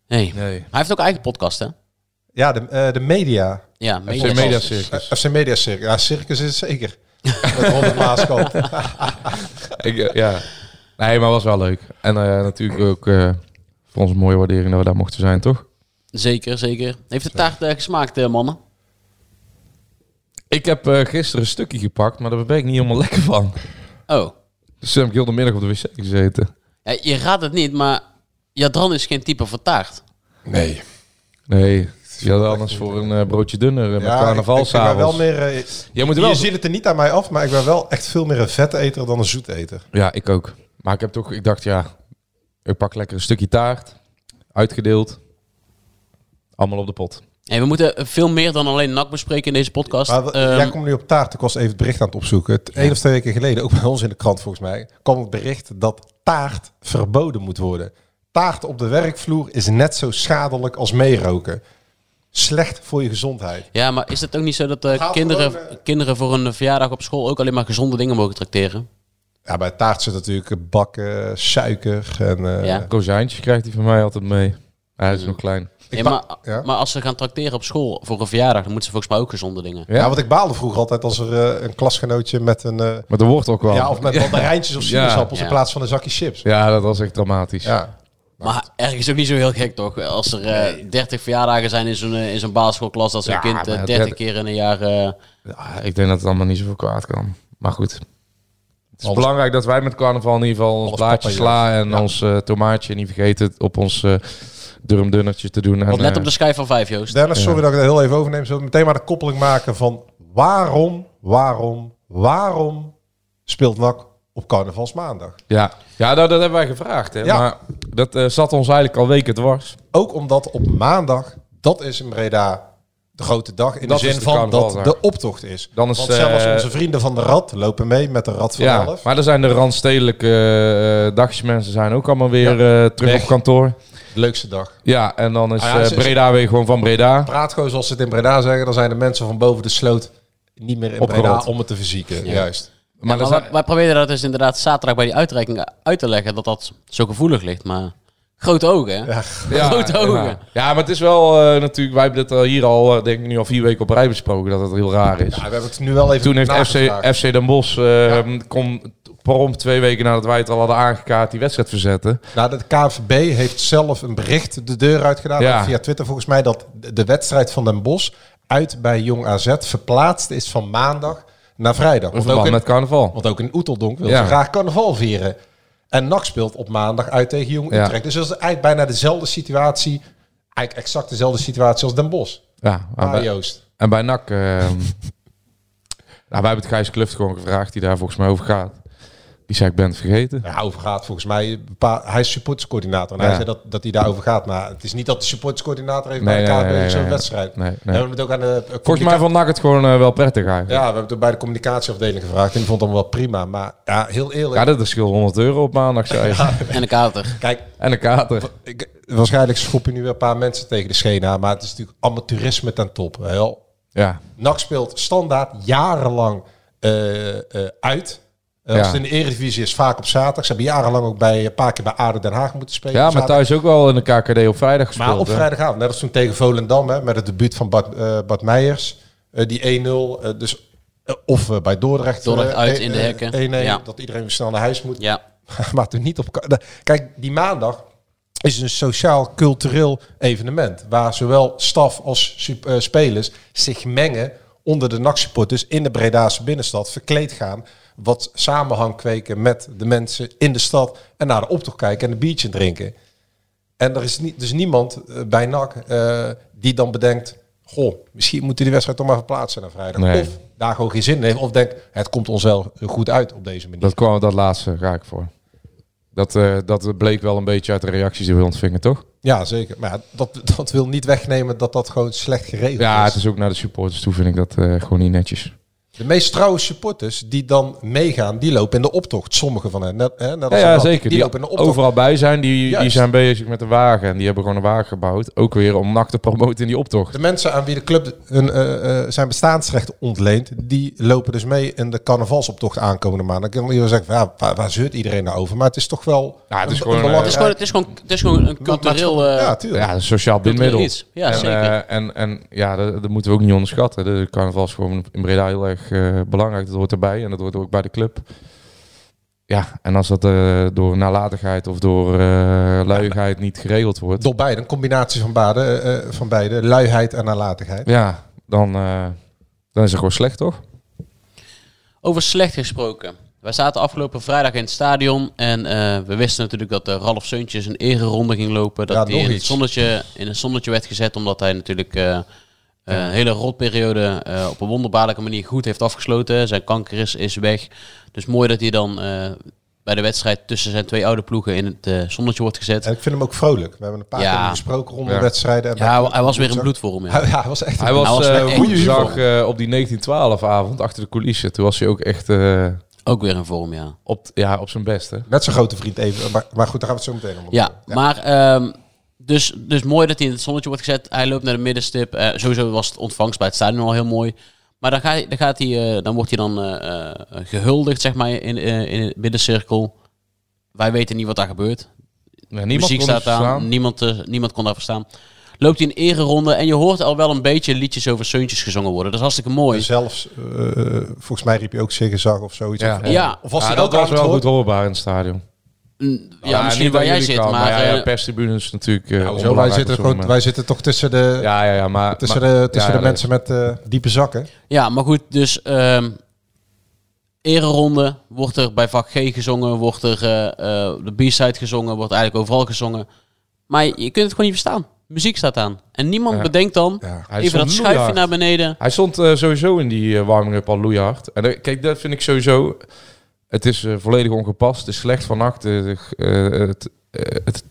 [SPEAKER 6] Nee.
[SPEAKER 7] nee.
[SPEAKER 6] Hij heeft ook eigen podcast, hè?
[SPEAKER 8] Ja, de, eh, de media.
[SPEAKER 6] Ja,
[SPEAKER 7] FC Media Circus.
[SPEAKER 8] Eh, FC Media Circus. Ja, Circus is
[SPEAKER 7] (laughs)
[SPEAKER 8] het zeker. Met Robert Maaskant.
[SPEAKER 7] Ik, eh, ja. Nee, maar was wel leuk. En eh, natuurlijk ook eh, voor ons een mooie waardering dat we daar mochten zijn, toch?
[SPEAKER 6] Zeker, zeker. Heeft de taart eh, gesmaakt, eh, mannen?
[SPEAKER 7] Ik heb eh, gisteren een stukje gepakt, maar daar ben ik niet helemaal lekker van.
[SPEAKER 6] Oh.
[SPEAKER 7] Dus toen heb ik heel de middag op de wc gezeten.
[SPEAKER 6] Ja, je raadt het niet, maar Jadran is geen type van taart.
[SPEAKER 8] Nee.
[SPEAKER 7] Nee, je had anders voor een eh, broodje dunner eh, met
[SPEAKER 8] Ja, ik- ik, ben wel
[SPEAKER 7] carnavalsavonds.
[SPEAKER 8] meer... eh,
[SPEAKER 7] Jij moet er wel...
[SPEAKER 8] je ziet het er niet aan mij af, maar ik ben wel echt veel meer een veteter dan een zoeteter.
[SPEAKER 7] Ja, ik ook. Maar ik heb toch, ik dacht ja, ik pak lekker een stukje taart, uitgedeeld, allemaal op de pot.
[SPEAKER 6] Hey, we moeten veel meer dan alleen NAC bespreken in deze podcast.
[SPEAKER 8] Maar w-
[SPEAKER 6] Ehm,
[SPEAKER 8] jij komt nu op taart. Ik was even het bericht aan het opzoeken. Het één of twee weken geleden, ook bij ons in de krant volgens mij, kwam het bericht dat taart verboden moet worden. Taart op de werkvloer is net zo schadelijk als meeroken. Slecht voor je gezondheid.
[SPEAKER 6] Ja, maar is het ook niet zo dat eh,
[SPEAKER 8] Gaat
[SPEAKER 6] kinderen,
[SPEAKER 8] gewoon, eh,
[SPEAKER 6] kinderen voor een verjaardag op school ook alleen maar gezonde dingen mogen tracteren?
[SPEAKER 8] Ja, bij taart zit natuurlijk bakken, suiker en... eh,
[SPEAKER 6] Ja.
[SPEAKER 7] Kozijntje krijgt hij van mij altijd mee. Hij is nog klein.
[SPEAKER 6] Nee, maar,
[SPEAKER 8] ja.
[SPEAKER 6] maar als ze gaan tracteren op school voor een verjaardag, dan moeten ze volgens mij ook gezonde dingen.
[SPEAKER 8] Ja, want ik baalde vroeger altijd als er eh, een klasgenootje met een... eh,
[SPEAKER 7] Maar er wordt ook wel.
[SPEAKER 8] ja, of met mandarijntjes of
[SPEAKER 7] Ja.
[SPEAKER 8] sinaasappels
[SPEAKER 6] Ja.
[SPEAKER 8] in plaats van een zakje chips.
[SPEAKER 7] Ja, dat was echt dramatisch.
[SPEAKER 8] Ja.
[SPEAKER 6] Maar ergens ook niet zo heel gek toch? Als er eh 30 verjaardagen zijn in zo'n, eh, in zo'n basisschoolklas, dat zo'n
[SPEAKER 7] Ja,
[SPEAKER 6] kind
[SPEAKER 7] maar
[SPEAKER 6] eh, 30
[SPEAKER 7] dertig-
[SPEAKER 6] keer in een jaar. eh,
[SPEAKER 7] Ja, ik denk dat het allemaal niet zoveel kwaad kan. Maar goed. Het is
[SPEAKER 8] Alles-
[SPEAKER 7] belangrijk dat wij met carnaval in ieder geval ons
[SPEAKER 8] Alles
[SPEAKER 7] blaadje
[SPEAKER 8] papa
[SPEAKER 7] sla en ons eh, tomaatje niet vergeten op ons eh durmdunnertje te doen.
[SPEAKER 6] wat
[SPEAKER 7] en,
[SPEAKER 6] net
[SPEAKER 7] eh,
[SPEAKER 6] op de schijf van vijf, Joost.
[SPEAKER 8] Dennis, sorry dat ik dat heel even overneem. Zullen we meteen maar de koppeling maken van waarom, waarom, waarom speelt NAC op carnavalsmaandag?
[SPEAKER 7] Ja, ja dat, dat hebben wij gevraagd. Hè?
[SPEAKER 8] Ja.
[SPEAKER 7] Maar dat eh, zat ons eigenlijk al weken dwars.
[SPEAKER 8] Ook omdat op maandag, dat is in Breda de grote dag. In
[SPEAKER 7] Dat
[SPEAKER 8] de
[SPEAKER 7] is
[SPEAKER 8] zin
[SPEAKER 7] de
[SPEAKER 8] van dat
[SPEAKER 7] carnavalsdag.
[SPEAKER 8] de optocht is.
[SPEAKER 7] Dan is,
[SPEAKER 8] Want zelfs
[SPEAKER 7] eh,
[SPEAKER 8] onze vrienden van de Rad lopen mee met de Rad van
[SPEAKER 7] Ja,
[SPEAKER 8] 11.
[SPEAKER 7] maar er zijn de randstedelijke eh, dagjesmensen zijn ook allemaal weer eh, terug
[SPEAKER 8] Weg.
[SPEAKER 7] op kantoor.
[SPEAKER 8] De leukste dag.
[SPEAKER 7] Ja, en dan is
[SPEAKER 8] Ah ja,
[SPEAKER 7] eh,
[SPEAKER 8] ze-
[SPEAKER 7] Breda weer gewoon van Breda.
[SPEAKER 8] Praat gewoon zoals ze het in Breda zeggen. Dan zijn de mensen van boven de sloot niet meer in
[SPEAKER 7] Opgerold.
[SPEAKER 8] Breda om het te verzieken. Juist.
[SPEAKER 7] Maar,
[SPEAKER 6] Maar
[SPEAKER 7] er
[SPEAKER 6] wij,
[SPEAKER 7] zijn-
[SPEAKER 6] wij proberen dat dus inderdaad zaterdag bij die uitreiking eh, uit te leggen dat dat zo gevoelig ligt. Maar grote ogen, hè?
[SPEAKER 7] ja,
[SPEAKER 6] grote ogen.
[SPEAKER 7] Ja. Ja, maar het is wel eh, natuurlijk, wij hebben dit al hier al, eh, denk ik nu al vier weken op rij besproken, dat het heel raar is.
[SPEAKER 8] Ja, we hebben het nu wel even
[SPEAKER 7] Toen heeft FC,
[SPEAKER 8] nagevraagd.
[SPEAKER 7] FC Den Bosch, eh, kon- prompt twee weken nadat wij het al hadden aangekaart, die wedstrijd verzetten.
[SPEAKER 8] Nou, de KNVB heeft zelf een bericht de deur uitgedaan
[SPEAKER 7] Ja.
[SPEAKER 8] via Twitter volgens mij dat de wedstrijd van Den Bosch uit bij Jong AZ verplaatst is van maandag naar vrijdag.
[SPEAKER 7] In
[SPEAKER 8] Want ook
[SPEAKER 7] verband
[SPEAKER 8] in,
[SPEAKER 7] met carnaval.
[SPEAKER 8] want ook in Oeteldonk wil
[SPEAKER 7] Ja.
[SPEAKER 8] ze graag carnaval vieren. En NAC speelt op maandag uit tegen Jong
[SPEAKER 7] Ja.
[SPEAKER 8] Utrecht. Dus dat is eigenlijk bijna dezelfde situatie, eigenlijk exact dezelfde situatie als Den Bosch.
[SPEAKER 7] Ja, maar
[SPEAKER 8] Ah,
[SPEAKER 7] bij-
[SPEAKER 8] Joost.
[SPEAKER 7] en bij NAC... ehm, (laughs) nou, wij hebben het Gijs Kluft gewoon gevraagd, die daar volgens mij over gaat. Die zei, ik ben het vergeten.
[SPEAKER 8] Ja, over gaat volgens mij. bepaal- Hij is supporterscoördinator. En
[SPEAKER 7] Ja.
[SPEAKER 8] hij zei dat, dat hij daarover gaat. Maar het is niet dat de supporterscoördinator heeft
[SPEAKER 7] Nee,
[SPEAKER 8] bij
[SPEAKER 7] nee,
[SPEAKER 8] elkaar
[SPEAKER 7] nee, nee,
[SPEAKER 8] zo'n
[SPEAKER 7] nee.
[SPEAKER 8] wedstrijd.
[SPEAKER 7] Nee, nee.
[SPEAKER 8] We hebben het ook aan de eh,
[SPEAKER 7] Volgens mij
[SPEAKER 8] communica-
[SPEAKER 7] vond NAC het gewoon eh, wel prettig eigenlijk.
[SPEAKER 8] Ja, we hebben het ook bij de communicatieafdeling gevraagd. En die vond het allemaal wel prima. Maar ja, heel eerlijk.
[SPEAKER 7] Ja, dat is schil 100 euro op maandag, zei je.
[SPEAKER 6] En een kater.
[SPEAKER 8] Kijk,
[SPEAKER 7] En een kater.
[SPEAKER 8] ik, waarschijnlijk schop je nu weer een paar mensen tegen de scheen aan. Maar het is natuurlijk amateurisme ten top. Wel,
[SPEAKER 7] Ja,
[SPEAKER 8] NAC speelt standaard jarenlang eh, eh, uit. Eh,
[SPEAKER 7] Ja.
[SPEAKER 8] Als het in de Eredivisie is, vaak op zaterdag. Ze hebben jarenlang ook bij, eh, een paar keer bij ADO Den Haag moeten spelen.
[SPEAKER 7] ja
[SPEAKER 8] op
[SPEAKER 7] maar
[SPEAKER 8] zaterdag.
[SPEAKER 7] thuis ook wel in de KKD op vrijdag gespeeld.
[SPEAKER 8] Maar op
[SPEAKER 7] hè?
[SPEAKER 8] vrijdagavond, net als toen tegen Volendam, hè, met het debuut van Bart, eh, Bart Meijers, eh, die 1-0. eh, dus, eh, of eh, bij Dordrecht.
[SPEAKER 6] Dordrecht
[SPEAKER 8] eh,
[SPEAKER 6] uit
[SPEAKER 8] eh,
[SPEAKER 6] in de
[SPEAKER 8] eh,
[SPEAKER 6] hekken.
[SPEAKER 8] 1-1,
[SPEAKER 6] Ja.
[SPEAKER 8] dat iedereen weer snel naar huis moet.
[SPEAKER 6] Ja.
[SPEAKER 8] (laughs) maar toen niet op... ka- Kijk, die maandag is een sociaal-cultureel evenement, waar zowel staf als sup- eh, spelers zich mengen onder de nachtsupport, dus in de Bredaanse binnenstad, verkleed gaan, wat samenhang kweken met de mensen in de stad en naar de optocht kijken en een biertje drinken. En er is niet, dus niemand eh, bij NAC eh, die dan bedenkt... Goh, misschien moeten die wedstrijd toch maar verplaatsen naar vrijdag.
[SPEAKER 7] Nee.
[SPEAKER 8] Of daar gewoon geen zin in heeft. Of denkt, het komt ons wel goed uit op deze manier.
[SPEAKER 7] Dat kwam dat laatste ga ik voor. Dat, eh, dat bleek wel een beetje uit de reacties die we ontvingen, toch?
[SPEAKER 8] Ja, zeker. Maar ja, dat, (laughs) dat wil niet wegnemen dat dat gewoon slecht geregeld
[SPEAKER 7] Ja,
[SPEAKER 8] is.
[SPEAKER 7] het is ook naar de supporters toe vind ik dat eh, gewoon niet netjes.
[SPEAKER 8] De meest trouwe supporters die dan meegaan, die lopen in de optocht. Sommige van hen. Net, hè, net als
[SPEAKER 7] Ja, ja
[SPEAKER 8] dat.
[SPEAKER 7] zeker.
[SPEAKER 8] Die
[SPEAKER 7] Die,
[SPEAKER 8] lopen in de optocht.
[SPEAKER 7] overal bij zijn, die, die
[SPEAKER 8] Juist.
[SPEAKER 7] zijn bezig met de wagen. En die hebben gewoon een wagen gebouwd. Ook weer om NAC te promoten in die optocht.
[SPEAKER 8] De mensen aan wie de club hun, eh, eh, zijn bestaansrecht ontleent, die lopen dus mee in de carnavalsoptocht aankomende maand. Dan kan je wel zeggen, van, ja, waar, waar zeurt iedereen nou over? Maar het is toch wel
[SPEAKER 7] Ja, het is
[SPEAKER 8] een-
[SPEAKER 7] gewoon,
[SPEAKER 8] een
[SPEAKER 7] eh,
[SPEAKER 6] Het is, gewoon, het, is gewoon, het is gewoon een cultureel... eh,
[SPEAKER 8] ja, tuurlijk.
[SPEAKER 7] Ja, een sociaal bindmiddel.
[SPEAKER 6] iets. Ja,
[SPEAKER 7] en,
[SPEAKER 6] zeker.
[SPEAKER 7] eh, en, en ja, dat, dat moeten we ook niet onderschatten. De carnaval is gewoon in Breda heel erg eh, belangrijk. Dat hoort erbij en dat hoort ook bij de club. Ja, en als dat eh, door nalatigheid of door eh luiigheid niet geregeld wordt,
[SPEAKER 8] Door beide, een combinatie van, beide, eh, van beide, luiheid en nalatigheid.
[SPEAKER 7] ja, dan, eh, dan is het gewoon slecht, toch?
[SPEAKER 6] Over slecht gesproken. Wij zaten afgelopen vrijdag in het stadion en eh, we wisten natuurlijk dat eh, Ralf Seuntjes een ereronde ging lopen.
[SPEAKER 8] Ja,
[SPEAKER 6] Dat hij
[SPEAKER 8] nog
[SPEAKER 6] in het,
[SPEAKER 8] iets.
[SPEAKER 6] zonnetje, in het zonnetje werd gezet omdat hij natuurlijk eh, eh, een hele rotperiode eh, op een wonderbaarlijke manier goed heeft afgesloten. Zijn kanker is, is weg. Dus mooi dat hij dan eh, bij de wedstrijd tussen zijn twee oude ploegen in het eh, zonnetje wordt gezet.
[SPEAKER 8] En ik vind hem ook vrolijk. We hebben een paar
[SPEAKER 6] Ja.
[SPEAKER 8] keer gesproken rond de
[SPEAKER 7] Ja.
[SPEAKER 8] wedstrijden. En
[SPEAKER 6] Ja, hij- hij was weer in bloedvorm. Ja.
[SPEAKER 8] Hij, (laughs) ja, hij was echt...
[SPEAKER 7] Hij was,
[SPEAKER 6] was
[SPEAKER 7] eh,
[SPEAKER 6] echt goed
[SPEAKER 7] woensdag
[SPEAKER 6] gevoel.
[SPEAKER 7] eh, op die 1912-avond achter de coulissen. Toen was hij ook echt eh,
[SPEAKER 6] Ook weer in vorm, ja.
[SPEAKER 7] op, ja, op zijn beste.
[SPEAKER 8] Net zo'n grote vriend even. Maar, maar goed, daar gaan we het zo meteen om.
[SPEAKER 6] Ja, maar ehm, dus, dus mooi dat hij in het zonnetje wordt gezet. Hij loopt naar de middenstip. Eh, sowieso was het ontvangst bij het stadion al heel mooi. Maar dan, ga, je- dan, gaat hij, eh, dan wordt hij dan eh, eh, gehuldigd, zeg maar, in, eh, in het middencirkel. Wij weten niet wat daar gebeurt.
[SPEAKER 7] Ja, niemand
[SPEAKER 6] Muziek
[SPEAKER 7] kon hem
[SPEAKER 6] staat aan,
[SPEAKER 7] verslaan.
[SPEAKER 6] niemand, eh, niemand kon daar verstaan. Loopt hij een ereronde en je hoort al wel een beetje liedjes over zeuntjes gezongen worden. Dat is hartstikke
[SPEAKER 7] Dus,
[SPEAKER 6] mooi.
[SPEAKER 8] Zelfs, eh, eh, volgens mij riep je ook ziggezag of zoiets.
[SPEAKER 7] Ja.
[SPEAKER 8] Of,
[SPEAKER 6] Ja,
[SPEAKER 8] of was
[SPEAKER 7] Ja,
[SPEAKER 8] hij
[SPEAKER 7] dat
[SPEAKER 8] ook
[SPEAKER 7] was
[SPEAKER 8] aan het
[SPEAKER 7] wel goed
[SPEAKER 8] horen?
[SPEAKER 7] hoorbaar in het stadion.
[SPEAKER 6] Mm, Ja,
[SPEAKER 7] Ja,
[SPEAKER 6] misschien
[SPEAKER 7] Ah, niet
[SPEAKER 6] waar
[SPEAKER 7] aan
[SPEAKER 6] jij
[SPEAKER 7] jullie
[SPEAKER 6] zit,
[SPEAKER 7] kant,
[SPEAKER 6] maar...
[SPEAKER 7] ja, ja,
[SPEAKER 6] eh,
[SPEAKER 7] perstribune is natuurlijk. eh,
[SPEAKER 8] Hoezo? wij,
[SPEAKER 7] onbelangrijk
[SPEAKER 8] zitten
[SPEAKER 7] op zo'n
[SPEAKER 8] gewoon,
[SPEAKER 7] moment.
[SPEAKER 8] wij zitten toch tussen de,
[SPEAKER 7] Ja, ja, ja, maar
[SPEAKER 8] tussen
[SPEAKER 7] maar-
[SPEAKER 8] de, tussen
[SPEAKER 7] ja,
[SPEAKER 8] de
[SPEAKER 7] dat
[SPEAKER 8] mensen met eh, diepe zakken.
[SPEAKER 6] Ja, maar goed, dus ehm ereronde wordt er bij vak G gezongen, wordt er eh, eh, de B-side gezongen, wordt eigenlijk overal gezongen. Maar je, je kunt het gewoon niet verstaan. Muziek staat aan. En niemand
[SPEAKER 7] Ja.
[SPEAKER 6] bedenkt dan,
[SPEAKER 7] is- Hij
[SPEAKER 6] even
[SPEAKER 7] stond
[SPEAKER 6] dat schuifje
[SPEAKER 7] loeihard.
[SPEAKER 6] naar beneden.
[SPEAKER 7] Hij stond eh, sowieso in die eh, warming-up al loeihard. En eh, kijk, dat vind ik sowieso... Het is eh, volledig ongepast. Het is slecht vannacht. eh, eh, het, eh, het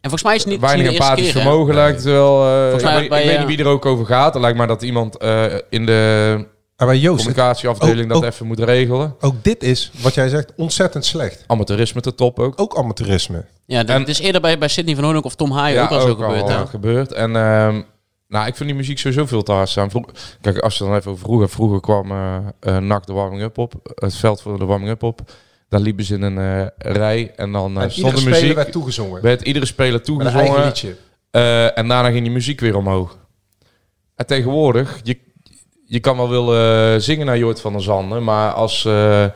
[SPEAKER 6] En volgens mij is het niet
[SPEAKER 7] weinig
[SPEAKER 6] niet de eerste
[SPEAKER 7] empathisch
[SPEAKER 6] keer. hè?
[SPEAKER 7] vermogen lijkt het wel... eh,
[SPEAKER 6] Volgens mij
[SPEAKER 7] ik weet-
[SPEAKER 6] bij,
[SPEAKER 7] ik weet
[SPEAKER 6] eh,
[SPEAKER 7] niet wie er ook over gaat. Het lijkt maar dat iemand eh, in de
[SPEAKER 8] En bij Joost, het-
[SPEAKER 7] communicatieafdeling
[SPEAKER 8] ook-
[SPEAKER 7] dat
[SPEAKER 8] ook-
[SPEAKER 7] even moet regelen.
[SPEAKER 8] ook dit is, wat jij zegt, ontzettend slecht.
[SPEAKER 7] Amateurisme te top ook.
[SPEAKER 8] Ook amateurisme.
[SPEAKER 6] Ja, dat
[SPEAKER 7] En-
[SPEAKER 6] het is eerder bij, bij Sidney van Hoornhoek of Tom Haaien ook al zo gebeurd.
[SPEAKER 7] al
[SPEAKER 6] hè?
[SPEAKER 7] gebeurd. En ehm, nou, ik vind die muziek sowieso veel te hard staan. Vro- Kijk, als je dan even over vroeger... Vroeger kwam eh eh, NAC de warming-up op. Het veld voor de warming-up op. Daar liepen ze in een eh, rij. En dan eh,
[SPEAKER 8] en
[SPEAKER 7] stond
[SPEAKER 8] iedere
[SPEAKER 7] de
[SPEAKER 8] speler
[SPEAKER 7] muziek...
[SPEAKER 8] werd toegezongen.
[SPEAKER 7] werd iedere speler
[SPEAKER 8] Met een eigen
[SPEAKER 7] toegezongen.
[SPEAKER 8] liedje.
[SPEAKER 7] eh, en daarna ging die muziek weer omhoog. En tegenwoordig... Je, je kan wel willen zingen naar Jort van der Zanden. Maar als... eh, eh,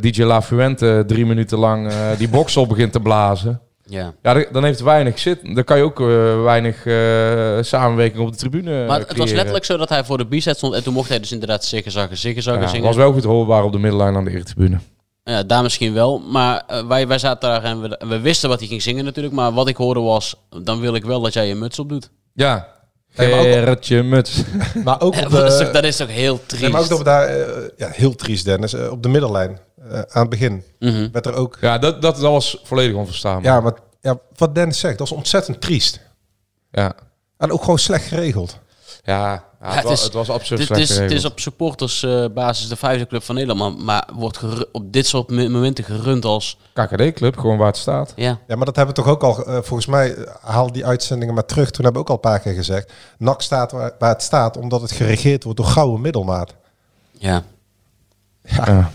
[SPEAKER 7] DJ Lafuente drie minuten lang eh, die box op begint te blazen.
[SPEAKER 6] Ja.
[SPEAKER 7] Ja, dan- dan heeft weinig zit. Dan kan je ook eh, weinig eh, samenwerking op de tribune
[SPEAKER 6] Maar het was
[SPEAKER 7] creëren.
[SPEAKER 6] letterlijk zo dat hij voor de b-set stond en toen mocht hij dus inderdaad ziggezaggen, ziggezaggen
[SPEAKER 7] Ja,
[SPEAKER 6] zingen.
[SPEAKER 7] was wel goed hoorbaar op de middenlijn aan de eretribune.
[SPEAKER 6] Ja, daar misschien wel. Maar eh, wij, wij zaten daar en we, en we wisten wat hij ging zingen natuurlijk. Maar wat ik hoorde was, dan wil ik wel dat jij je muts opdoet.
[SPEAKER 7] Ja,
[SPEAKER 8] Nee, maar ook-
[SPEAKER 7] Gerritje Muts.
[SPEAKER 8] Maar
[SPEAKER 7] (laughs)
[SPEAKER 8] ook
[SPEAKER 6] (laughs)
[SPEAKER 8] op
[SPEAKER 6] dat, is toch,
[SPEAKER 8] de,
[SPEAKER 6] dat is toch heel
[SPEAKER 8] nee,
[SPEAKER 6] triest.
[SPEAKER 8] maar eh, ook op daar, eh, ja, heel triest Dennis, eh, op de middenlijn eh, aan het begin
[SPEAKER 6] Mhm.
[SPEAKER 8] werd er ook...
[SPEAKER 7] Ja, dat, dat, dat was volledig onverstaanbaar.
[SPEAKER 8] Ja, maar ja, wat Dennis zegt, dat is ontzettend triest.
[SPEAKER 7] Ja.
[SPEAKER 8] En ook gewoon slecht geregeld.
[SPEAKER 7] Ja, ja, het,
[SPEAKER 6] het
[SPEAKER 7] was,
[SPEAKER 6] is-
[SPEAKER 7] het was absurd
[SPEAKER 6] Dit
[SPEAKER 7] slecht
[SPEAKER 6] is, het is
[SPEAKER 7] geregeld.
[SPEAKER 6] op supportersbasis de vijfde club van Nederland. Maar, maar wordt geru- op dit soort mo- momenten gerund als...
[SPEAKER 7] KKD-club, gewoon waar het staat.
[SPEAKER 6] Ja,
[SPEAKER 8] Ja, maar dat hebben we toch ook al, eh, volgens mij, eh, haal die uitzendingen maar terug. Toen hebben we ook al een paar keer gezegd, NAC staat waar, waar het staat, omdat het geregeerd wordt door gouden middelmaat.
[SPEAKER 6] ja.
[SPEAKER 7] Ja.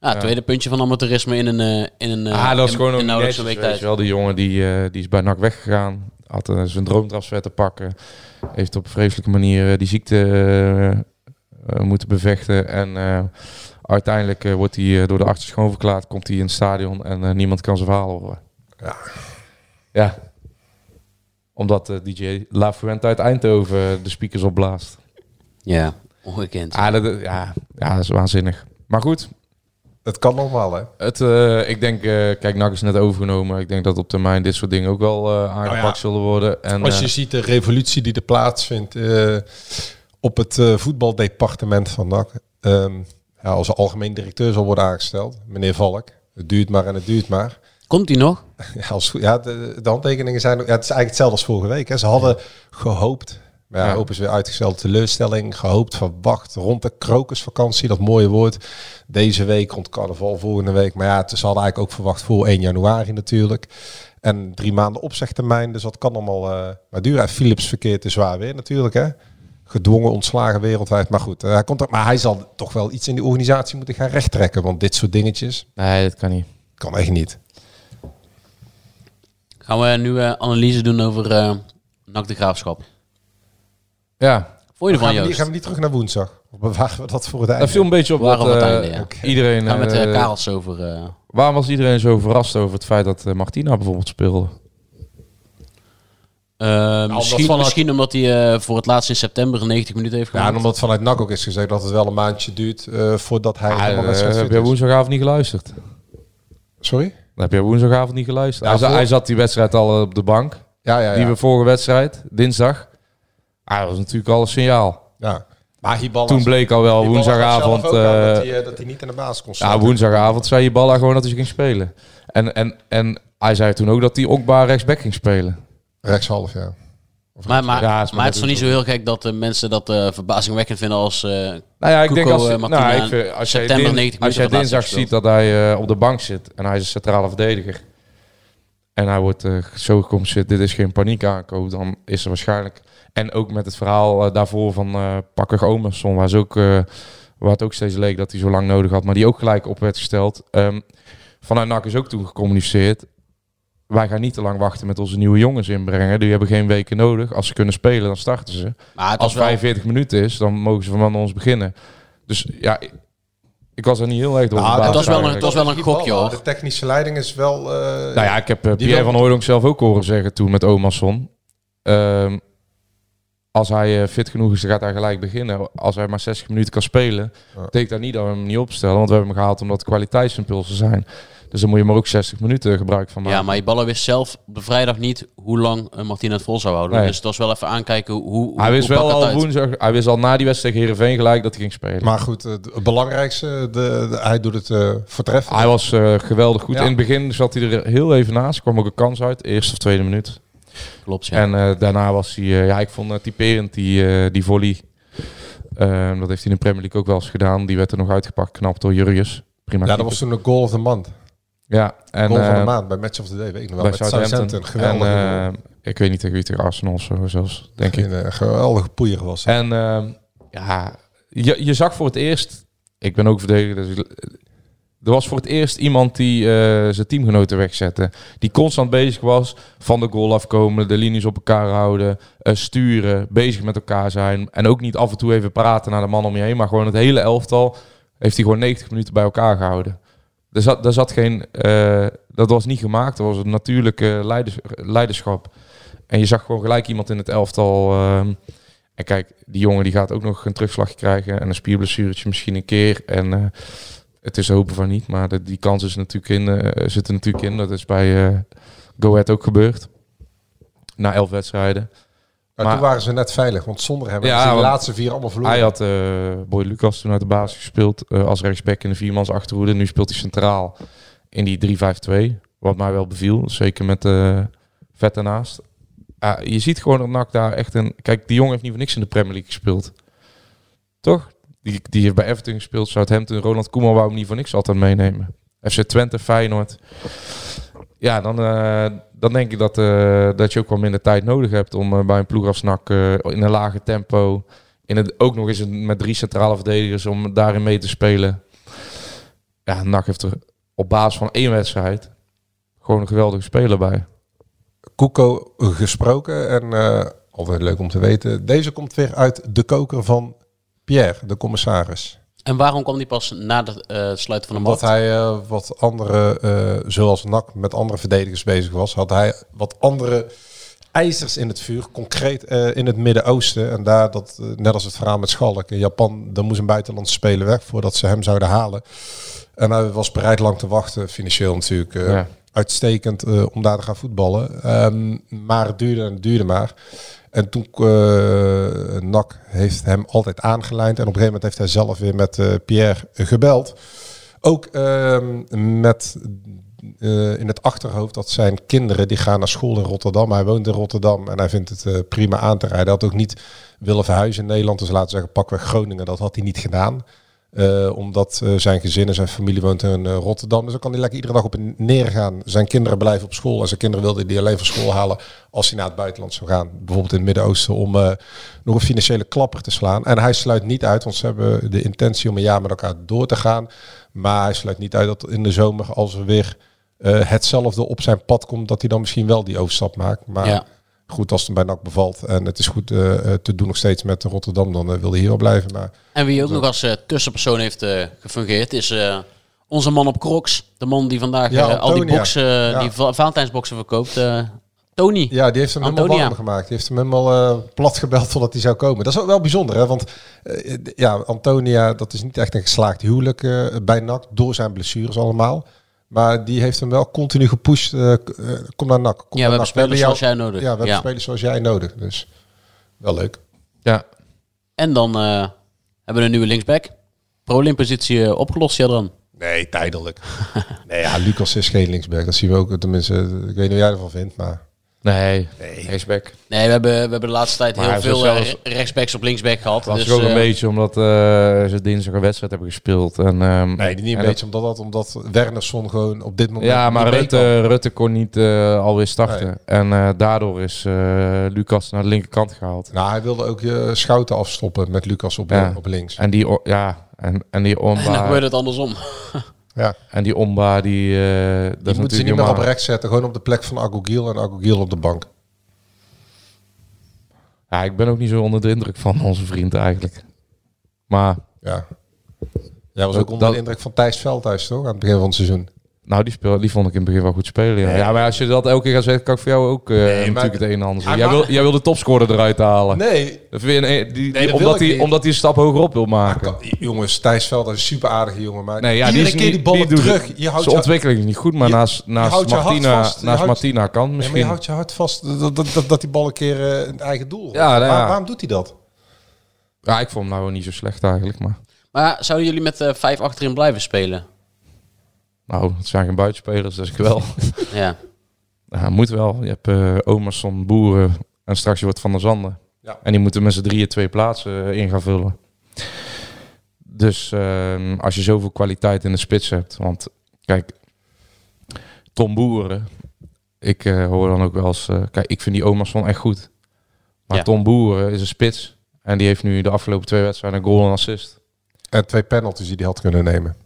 [SPEAKER 6] Ja, tweede puntje van amateurisme in een... eh, In een eh,
[SPEAKER 7] ah, dat is
[SPEAKER 6] in-
[SPEAKER 7] gewoon ook
[SPEAKER 6] in
[SPEAKER 7] niet
[SPEAKER 6] nauwelijks
[SPEAKER 7] netjes,
[SPEAKER 6] een week
[SPEAKER 7] weet
[SPEAKER 6] tijd.
[SPEAKER 7] je wel. Die jongen die, eh, die is bij NAC weggegaan. Had eh, zijn droomtransfer te pakken. Heeft op vreselijke manier eh, die ziekte eh, eh, moeten bevechten. En eh, uiteindelijk eh, wordt hij eh, door de artsen schoonverklaard. Komt hij in het stadion en eh, niemand kan zijn verhaal horen. Ja. Omdat eh, DJ La Fuente uit Eindhoven eh, de speakers opblaast.
[SPEAKER 6] Ja, ongekend.
[SPEAKER 7] Ah, dat, ja, ja, dat is waanzinnig. Maar goed,
[SPEAKER 8] Dat kan normaal, hè?
[SPEAKER 7] het, eh, ik denk, eh, kijk, NAC is net overgenomen. Ik denk dat op termijn dit soort dingen ook wel eh, aangepakt
[SPEAKER 8] Nou ja.
[SPEAKER 7] zullen worden. En,
[SPEAKER 8] Als je
[SPEAKER 7] eh,
[SPEAKER 8] ziet de revolutie die er plaatsvindt eh, op het eh, voetbaldepartement van NAC. Ehm, ja, als er algemeen directeur zal worden aangesteld, meneer Valk. Het duurt maar en het duurt maar.
[SPEAKER 6] Komt hij nog?
[SPEAKER 8] Ja, als, goed- ja de, de handtekeningen zijn... ook- Ja, het is eigenlijk hetzelfde als vorige week. Hè. Ze hadden gehoopt, maar ja,
[SPEAKER 7] Ja.
[SPEAKER 8] hoop is weer uitgesteld, teleurstelling. Gehoopt, verwacht, rond de krokusvakantie, dat mooie woord. Deze week, rond carnaval, volgende week. Maar ja, het- ze hadden eigenlijk ook verwacht voor 1 januari natuurlijk. En drie maanden opzegtermijn, dus dat kan allemaal eh, maar duren. En Philips verkeert te zwaar weer natuurlijk, hè. Gedwongen, ontslagen wereldwijd. Maar goed, eh, hij komt er, maar hij zal toch wel iets in die organisatie moeten gaan rechttrekken. Want dit soort dingetjes
[SPEAKER 7] Nee, dat kan niet.
[SPEAKER 8] kan echt niet.
[SPEAKER 6] Gaan we nu eh, analyse doen over eh NAC de Graafschap.
[SPEAKER 7] Ja,
[SPEAKER 6] Vond je
[SPEAKER 8] Gaan
[SPEAKER 6] ervan,
[SPEAKER 8] we, niet,
[SPEAKER 6] Joost?
[SPEAKER 8] gaan we niet terug naar woensdag? Of bewaren we dat voor het einde?
[SPEAKER 7] dat viel een beetje op dat
[SPEAKER 6] Waarom het
[SPEAKER 7] eh,
[SPEAKER 6] einde, ja.
[SPEAKER 7] oké. iedereen...
[SPEAKER 6] Gaan we met
[SPEAKER 7] eh,
[SPEAKER 6] eh, Karels over... eh,
[SPEAKER 7] waarom was iedereen zo verrast over het feit dat eh, Martina bijvoorbeeld speelde?
[SPEAKER 6] Eh,
[SPEAKER 7] Nou,
[SPEAKER 6] misschien,
[SPEAKER 8] vanuit-
[SPEAKER 6] misschien omdat hij eh, voor het laatst in september 90 minuten heeft
[SPEAKER 8] Ja,
[SPEAKER 6] gemaakt.
[SPEAKER 8] en omdat vanuit NAC ook is gezegd dat het wel een maandje duurt eh, voordat hij
[SPEAKER 7] Ah,
[SPEAKER 8] helemaal
[SPEAKER 7] eh, heb
[SPEAKER 8] wedstrijd
[SPEAKER 7] jij
[SPEAKER 8] fit is.
[SPEAKER 7] woensdagavond niet geluisterd?
[SPEAKER 8] Sorry?
[SPEAKER 7] Heb jij woensdagavond niet geluisterd?
[SPEAKER 8] Ja,
[SPEAKER 7] hij, za-
[SPEAKER 8] voor-
[SPEAKER 7] hij zat die wedstrijd al eh, op de bank.
[SPEAKER 8] Ja, ja, ja.
[SPEAKER 7] Die we vorige wedstrijd, dinsdag. Ah, dat was natuurlijk al een signaal.
[SPEAKER 8] ja. Maar Hiballa...
[SPEAKER 7] Toen bleek al wel
[SPEAKER 8] Hiballa gaf
[SPEAKER 7] woensdagavond.
[SPEAKER 8] zelf ook aan
[SPEAKER 7] eh,
[SPEAKER 8] dat, hij, eh, dat hij niet in de baas kon
[SPEAKER 7] ja,
[SPEAKER 8] staan.
[SPEAKER 7] woensdagavond zei je Balla gewoon dat hij ging spelen. En, en, en hij zei toen ook dat hij Okba rechtsback ging spelen.
[SPEAKER 8] Rechtshalf, ja.
[SPEAKER 6] maar, maar,
[SPEAKER 7] Ja, is maar
[SPEAKER 6] maar het is toch
[SPEAKER 7] natuurlijk
[SPEAKER 6] niet zo heel gek dat de mensen dat eh, verbazingwekkend vinden als... eh,
[SPEAKER 7] Nou ja, ik
[SPEAKER 6] Cuco,
[SPEAKER 7] denk als,
[SPEAKER 6] eh,
[SPEAKER 7] nou,
[SPEAKER 6] Martina,
[SPEAKER 7] ik vind- als jij,
[SPEAKER 6] september
[SPEAKER 7] din-
[SPEAKER 6] 90
[SPEAKER 7] als jij
[SPEAKER 6] minuten
[SPEAKER 7] dinsdag
[SPEAKER 6] laatst
[SPEAKER 7] ziet dat hij eh, op de bank zit en hij is een centrale verdediger. En hij wordt eh, zo gecompenseerd, dit is geen paniek aankoop, dan is er waarschijnlijk... En ook met het verhaal eh, daarvoor van eh Pakker Omerson, waar, ze ook, eh, waar het ook steeds leek dat hij zo lang nodig had, maar die ook gelijk op werd gesteld. Ehm, vanuit NAC is ook toen gecommuniceerd, wij gaan niet te lang wachten met onze nieuwe jongens inbrengen. Die hebben geen weken nodig. Als ze kunnen spelen, dan starten ze.
[SPEAKER 6] maar het
[SPEAKER 7] Als
[SPEAKER 6] was wel-
[SPEAKER 7] 45 minuten is, dan mogen ze van ons beginnen. Dus ja, ik, ik was er niet heel erg door.
[SPEAKER 8] Nou,
[SPEAKER 7] verbaasd
[SPEAKER 6] het was wel een-
[SPEAKER 7] eigenlijk.
[SPEAKER 6] het was wel een
[SPEAKER 8] Hiballa,
[SPEAKER 6] gokje, hoor.
[SPEAKER 8] De technische leiding is wel... eh,
[SPEAKER 7] Nou ja, ik heb eh,
[SPEAKER 8] Die
[SPEAKER 7] Pierre
[SPEAKER 8] wil-
[SPEAKER 7] van Hooydonk zelf ook horen zeggen toen met Omerson. Ehm als hij eh, fit genoeg is, dan gaat hij gelijk beginnen. Als hij maar 60 minuten kan spelen,
[SPEAKER 8] Ja.
[SPEAKER 7] betekent dat niet dat we hem niet opstellen. Want we hebben hem gehaald omdat het kwaliteitsimpulsen zijn. Dus dan moet je maar ook 60 minuten gebruik van maken.
[SPEAKER 6] Ja, maar Iballa wist zelf op de vrijdag niet hoe lang eh, Martina het vol zou houden.
[SPEAKER 7] Nee.
[SPEAKER 6] Dus het was wel even aankijken hoe... hoe
[SPEAKER 7] hij wist
[SPEAKER 6] hoe
[SPEAKER 7] wel
[SPEAKER 6] pakt het
[SPEAKER 7] al
[SPEAKER 6] uit.
[SPEAKER 7] woensdag, hij wist al na die wedstrijd tegen Heerenveen gelijk dat hij ging spelen.
[SPEAKER 8] Maar goed, eh, het belangrijkste, de, de- hij doet het eh voortreffelijk.
[SPEAKER 7] Hij was eh, geweldig goed.
[SPEAKER 8] Ja.
[SPEAKER 7] In het begin zat hij er heel even naast. kwam ook een kans uit. Eerste of tweede minuut.
[SPEAKER 6] Klopt, ja.
[SPEAKER 7] En eh, daarna was hij... eh, ja, ik vond eh, typerend die, eh, die volley. Eh, dat heeft hij in de Premier League ook wel eens gedaan. Die werd er nog uitgepakt. Knap door Jurrius. Prima.
[SPEAKER 8] Ja, dat
[SPEAKER 7] keeper.
[SPEAKER 8] was toen de goal of the month.
[SPEAKER 7] Ja, en...
[SPEAKER 8] Goal van de
[SPEAKER 7] eh,
[SPEAKER 8] maand bij Match of the Day, weet ik nog wel.
[SPEAKER 7] bij
[SPEAKER 8] Met Southampton,
[SPEAKER 7] En,
[SPEAKER 8] geweldig.
[SPEAKER 7] eh, ik weet niet tegen wie tegen Arsenal of zo zelfs,
[SPEAKER 8] (laughs)
[SPEAKER 7] denk ik.
[SPEAKER 8] eh, geweldige poeier was dat.
[SPEAKER 7] En ehm, ja, je, je zag voor het eerst... Ik ben ook verdediger, dus ik- er was voor het eerst iemand die eh, zijn teamgenoten wegzette. Die constant bezig was van de goal afkomen, de linies op elkaar houden, eh, sturen, bezig met elkaar zijn. En ook niet af en toe even praten naar de man om je heen, maar gewoon het hele elftal heeft hij gewoon 90 minuten bij elkaar gehouden. Er zat, daar zat geen, eh, dat was niet gemaakt. Dat was een natuurlijke leiders, leiderschap. En je zag gewoon gelijk iemand in het elftal. ehm, en kijk, die jongen die gaat ook nog een terugslag krijgen. En een spierblessuretje misschien een keer. En eh, het is hopen van niet. Maar de- die kans is natuurlijk in, eh, zit er natuurlijk in. Dat is bij eh Go Ahead ook gebeurd. Na elf wedstrijden.
[SPEAKER 8] Maar,
[SPEAKER 7] Maar-
[SPEAKER 8] toen waren ze net veilig, want zonder hebben
[SPEAKER 7] Ja,
[SPEAKER 8] ze de
[SPEAKER 7] want
[SPEAKER 8] laatste vier allemaal verloren.
[SPEAKER 7] Hij had eh, Boy Lucas toen uit de basis gespeeld eh, als rechtsback in de viermans achterhoede. Nu speelt hij centraal in die 3-5-2. Wat mij wel beviel, zeker met eh vet daarnaast. Ah, je ziet gewoon dat NAC daar echt een... Kijk, die jongen heeft niet voor niks in de Premier League gespeeld. Toch? Die, die heeft bij Everton gespeeld, Southampton. Ronald Koeman wou hem niet voor niks altijd meenemen. FC Twente, Feyenoord. Ja, dan, eh, dan denk ik dat, eh, dat je ook wel minder tijd nodig hebt om eh, bij een ploeg als NAC eh, in een lager tempo in het, ook nog eens een- met drie centrale verdedigers om daarin mee te spelen. Ja, NAC heeft er op basis van één wedstrijd gewoon een geweldige speler bij.
[SPEAKER 8] Koeko eh, gesproken en eh, altijd leuk om te weten. Deze komt weer uit de koker van Pierre, de commissaris.
[SPEAKER 6] En waarom kwam die pas na het sluiten van de
[SPEAKER 8] Omdat
[SPEAKER 6] markt?
[SPEAKER 8] hij eh, wat andere, eh, zoals NAC met andere verdedigers bezig was, had hij wat andere ijzers in het vuur, concreet eh, in het Midden-Oosten. En daar, dat, eh, net als het verhaal met Schalk in Japan, dan moest een buitenlandse speler weg voordat ze hem zouden halen. En hij was bereid lang te wachten, financieel natuurlijk. eh,
[SPEAKER 7] Ja.
[SPEAKER 8] Uitstekend eh, om daar te gaan voetballen. Ehm, maar het duurde en het duurde maar. En toen eh NAC heeft hem altijd aangelijnd. En op een gegeven moment heeft hij zelf weer met eh, Pierre gebeld. Ook ehm, met eh, in het achterhoofd dat zijn kinderen die gaan naar school in Rotterdam. Hij woont in Rotterdam en hij vindt het eh, prima aan te rijden. Hij had ook niet willen verhuizen in Nederland. Dus laten we zeggen, pakweg Groningen. Dat had hij niet gedaan. Eh, omdat eh, zijn gezin en zijn familie woont in eh, Rotterdam. Dus dan kan hij lekker iedere dag op en neer gaan. Zijn kinderen blijven op school. En zijn kinderen wilden die alleen van school halen als hij naar het buitenland zou gaan. Bijvoorbeeld in het Midden-Oosten om eh, nog een financiële klapper te slaan. En hij sluit niet uit, want ze hebben de intentie om een jaar met elkaar door te gaan. Maar hij sluit niet uit dat in de zomer, als er weer eh, hetzelfde op zijn pad komt, dat hij dan misschien wel die overstap maakt. Maar
[SPEAKER 6] Ja.
[SPEAKER 8] goed, als het hem bij NAC bevalt en het is goed eh, eh, te doen nog steeds met Rotterdam, dan eh, wil hij hier wel blijven. Maar
[SPEAKER 6] En wie ook nog als eh, tussenpersoon heeft eh, gefungeerd is eh, onze man op Crocs. De man die vandaag
[SPEAKER 8] Ja,
[SPEAKER 6] eh, al die
[SPEAKER 8] Antonia.
[SPEAKER 6] boxen,
[SPEAKER 8] Ja.
[SPEAKER 6] die va- Valentijnsboxen verkoopt. eh, Tony.
[SPEAKER 8] Ja, die heeft hem helemaal
[SPEAKER 6] Antonia.
[SPEAKER 8] warm gemaakt. Die heeft hem helemaal eh, plat gebeld totdat hij zou komen. Dat is ook wel bijzonder, hè? Want eh, d- ja, Antonia, dat is niet echt een geslaagd huwelijk eh, bij NAC. Door zijn blessures allemaal. Maar die heeft hem wel continu gepusht. eh, k- eh, kom naar NAC. Kom
[SPEAKER 6] Ja, we
[SPEAKER 7] nou,
[SPEAKER 6] hebben
[SPEAKER 8] naar NAC. We
[SPEAKER 6] spelers
[SPEAKER 8] jou-
[SPEAKER 6] zoals jij nodig.
[SPEAKER 8] Ja, we hebben
[SPEAKER 6] Ja.
[SPEAKER 8] spelers zoals jij nodig. Dus wel leuk.
[SPEAKER 7] Ja,
[SPEAKER 6] En dan eh, hebben we een nieuwe linksback. Pro-link-positie eh, opgelost, ja dan.
[SPEAKER 8] Nee, tijdelijk. nee, ja, Lucas is geen linksback. Dat zien we ook. Tenminste, eh, ik weet niet wat jij ervan vindt, maar...
[SPEAKER 7] nee, nee. rechtsback.
[SPEAKER 6] Nee, we hebben, we hebben de laatste tijd
[SPEAKER 7] Maar
[SPEAKER 6] heel
[SPEAKER 7] hij is dus
[SPEAKER 6] veel
[SPEAKER 7] wel
[SPEAKER 6] eh,
[SPEAKER 7] zelfs-
[SPEAKER 6] re- rechtsbacks op linksback gehad.
[SPEAKER 7] Dat was
[SPEAKER 6] Dus,
[SPEAKER 7] ook een
[SPEAKER 6] eh,
[SPEAKER 7] beetje omdat eh, ze dinsdag een wedstrijd hebben gespeeld. En, ehm,
[SPEAKER 8] Nee, niet een
[SPEAKER 7] en
[SPEAKER 8] beetje omdat dat... Omdat Wernersson gewoon op dit
[SPEAKER 7] dat-
[SPEAKER 8] moment
[SPEAKER 7] ja,
[SPEAKER 8] niet
[SPEAKER 7] maar
[SPEAKER 8] mee kan.
[SPEAKER 7] Rutte, Rutte kon niet eh, alweer starten.
[SPEAKER 8] Nee.
[SPEAKER 7] En eh, daardoor is eh, Lucas naar de linkerkant gehaald.
[SPEAKER 8] Nou, hij wilde ook je schouten afstoppen met Lucas op,
[SPEAKER 7] Ja.
[SPEAKER 8] op links.
[SPEAKER 7] En die, o- ja, en, en die
[SPEAKER 6] En (laughs) dan
[SPEAKER 7] Omba,
[SPEAKER 6] gebeurde het andersom. (laughs)
[SPEAKER 8] Ja.
[SPEAKER 7] en die Omba die, eh, dat
[SPEAKER 8] Die
[SPEAKER 7] is
[SPEAKER 8] moeten ze
[SPEAKER 7] natuurlijk
[SPEAKER 8] niet meer op
[SPEAKER 7] normaal.
[SPEAKER 8] rechts zetten. Gewoon op de plek van Agogiel en Agogiel op de bank.
[SPEAKER 7] Ja, ik ben ook niet zo onder de indruk van onze vriend eigenlijk. Maar,
[SPEAKER 8] Ja. Jij was
[SPEAKER 7] Dat-
[SPEAKER 8] ook onder
[SPEAKER 7] dat-
[SPEAKER 8] de indruk van Thijs Veldhuis, toch? Aan het begin van het seizoen.
[SPEAKER 7] nou, die, speel, die vond ik in het begin wel goed spelen. Ja, ja maar als je dat elke keer gaat zeggen, kan ik voor jou ook eh, natuurlijk het een en ander zeggen. Jij wil, jij wil de topscorer eruit halen.
[SPEAKER 8] Nee.
[SPEAKER 7] Dat vind je een- eh, die,
[SPEAKER 8] dat wil
[SPEAKER 7] omdat,
[SPEAKER 8] ik
[SPEAKER 7] hij,
[SPEAKER 8] niet.
[SPEAKER 7] omdat hij een stap hogerop wil maken.
[SPEAKER 8] Jongens, Thijs Veldhuis is een super aardige jongen. Maar
[SPEAKER 7] Nee, ja,
[SPEAKER 8] iedere
[SPEAKER 7] die is
[SPEAKER 8] keer
[SPEAKER 7] niet,
[SPEAKER 8] die ballen
[SPEAKER 7] doet het.
[SPEAKER 8] terug. Je houdt
[SPEAKER 7] Zijn
[SPEAKER 8] je,
[SPEAKER 7] ontwikkeling is niet goed, maar
[SPEAKER 8] je-
[SPEAKER 7] naast, naast,
[SPEAKER 8] houdt je hart
[SPEAKER 7] Martina,
[SPEAKER 8] vast. Je
[SPEAKER 7] naast
[SPEAKER 8] houdt-
[SPEAKER 7] Martina kan
[SPEAKER 8] Nee, maar je
[SPEAKER 7] misschien.
[SPEAKER 8] houdt je hart vast dat, dat, dat, dat die bal een keer eh, een eigen doel
[SPEAKER 7] Ja, nou ja.
[SPEAKER 8] Waar- Waarom doet hij dat?
[SPEAKER 7] Ja, ik vond hem nou wel niet zo slecht eigenlijk. Maar
[SPEAKER 6] Maar zouden jullie met eh, vijf achterin blijven spelen?
[SPEAKER 7] nou, het zijn geen buitenspelers, dus ik wel.
[SPEAKER 6] Ja.
[SPEAKER 7] Ja, moet wel. Je hebt eh Omerson, Boeren en straks je wordt Van der Zanden.
[SPEAKER 8] Ja.
[SPEAKER 7] En die moeten met z'n drieën twee plaatsen eh, in gaan vullen. Dus ehm, als je zoveel kwaliteit in de spits hebt. Want kijk, Tom Boeren. Ik eh, hoor dan ook wel eens... eh, kijk, ik vind die Omerson echt goed. Maar
[SPEAKER 6] Ja.
[SPEAKER 7] Tom Boeren is een spits. En die heeft nu de afgelopen twee wedstrijden een goal en assist.
[SPEAKER 8] En twee penalties die hij had kunnen nemen.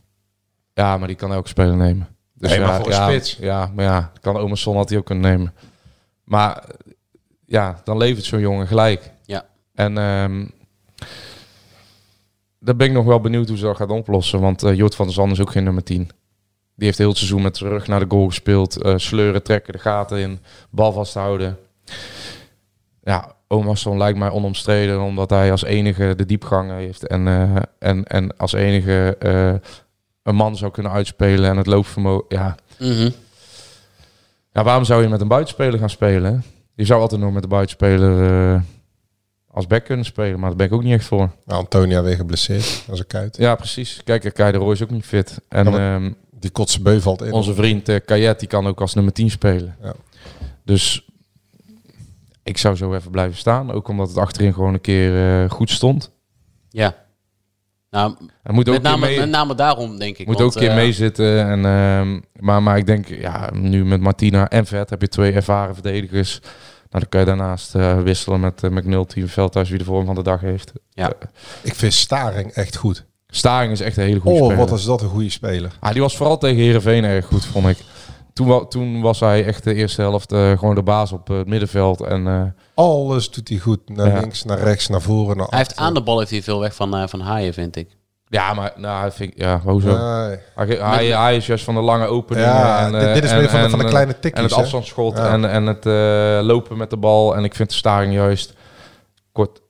[SPEAKER 7] Ja, maar die kan elke speler nemen. Dus
[SPEAKER 8] Nee, maar
[SPEAKER 7] ja,
[SPEAKER 8] voor een
[SPEAKER 7] ja,
[SPEAKER 8] spits.
[SPEAKER 7] Ja, maar ja, kan Omerson had hij ook kunnen nemen. Maar eh, ja, dan levert zo'n jongen gelijk.
[SPEAKER 6] Ja.
[SPEAKER 7] En ehm daar ben ik nog wel benieuwd hoe ze dat gaat oplossen. Want eh Jort van der Zand is ook geen nummer 10. Die heeft heel het seizoen met zijn rug naar de goal gespeeld. eh, sleuren, trekken, de gaten in. Bal vasthouden. Ja, Omarsson lijkt mij onomstreden. Omdat hij als enige de diepgang heeft. En, eh, en, en als enige eh, een man zou kunnen uitspelen. En het loopvermogen... Ja.
[SPEAKER 6] Mhm.
[SPEAKER 7] ja, waarom zou je met een buitenspeler gaan spelen? hè? Je zou altijd nog met een buitenspeler... eh, als back kunnen spelen, maar daar ben ik ook niet echt voor.
[SPEAKER 8] Nou, Antonia weer geblesseerd. Dat is een kuit.
[SPEAKER 7] Ja, precies. Kijk, Kai de Roy is ook niet fit. En
[SPEAKER 8] Ja, maar-
[SPEAKER 7] ehm,
[SPEAKER 8] Die kotse beu valt in.
[SPEAKER 7] onze vriend eh Kayet, die kan ook als nummer 10 spelen.
[SPEAKER 8] Ja.
[SPEAKER 7] Dus ik zou zo even blijven staan. Ook omdat het achterin gewoon een keer eh, goed stond.
[SPEAKER 6] Ja. Nou,
[SPEAKER 7] Hij moet ook
[SPEAKER 6] met
[SPEAKER 7] een keer
[SPEAKER 6] name,
[SPEAKER 7] mee,
[SPEAKER 6] met name daarom, denk ik.
[SPEAKER 7] moet
[SPEAKER 6] want,
[SPEAKER 7] ook een keer
[SPEAKER 6] eh,
[SPEAKER 7] meezitten. En, ehm, maar, maar ik denk, ja, nu met Martina en Vet heb je twee ervaren verdedigers. Nou, dan kan je daarnaast eh, wisselen met eh, McNulty en Veldhuis, wie de vorm van de dag heeft.
[SPEAKER 6] Ja.
[SPEAKER 8] Ik vind Staring echt goed.
[SPEAKER 7] Staring is echt een hele goede
[SPEAKER 8] Oh,
[SPEAKER 7] speler.
[SPEAKER 8] wat is dat een goede speler.
[SPEAKER 7] Ah, die was vooral tegen Herenveen erg goed, vond ik. Toen, wa- toen was hij echt de eerste helft eh, gewoon de baas op eh, het middenveld. En eh,
[SPEAKER 8] Alles doet hij goed. Naar
[SPEAKER 7] Ja.
[SPEAKER 8] links, naar rechts, naar voren, naar
[SPEAKER 6] Hij heeft
[SPEAKER 8] achteren.
[SPEAKER 6] aan de bal heeft hij veel weg van, eh, van Haaien, vind ik.
[SPEAKER 7] ja, maar nou, vind ik, ja, maar hoezo?
[SPEAKER 8] Nee.
[SPEAKER 7] hij, hij, hij is juist van de lange opening.
[SPEAKER 8] Ja,
[SPEAKER 7] en, eh,
[SPEAKER 8] dit- dit is
[SPEAKER 7] en-
[SPEAKER 8] meer van de- van de
[SPEAKER 7] en- eh,
[SPEAKER 8] kleine tikjes,
[SPEAKER 7] En het
[SPEAKER 8] hè?
[SPEAKER 7] afstandsschot
[SPEAKER 8] Ja.
[SPEAKER 7] en, en het eh, lopen met de bal. En ik vind de staring juist kort,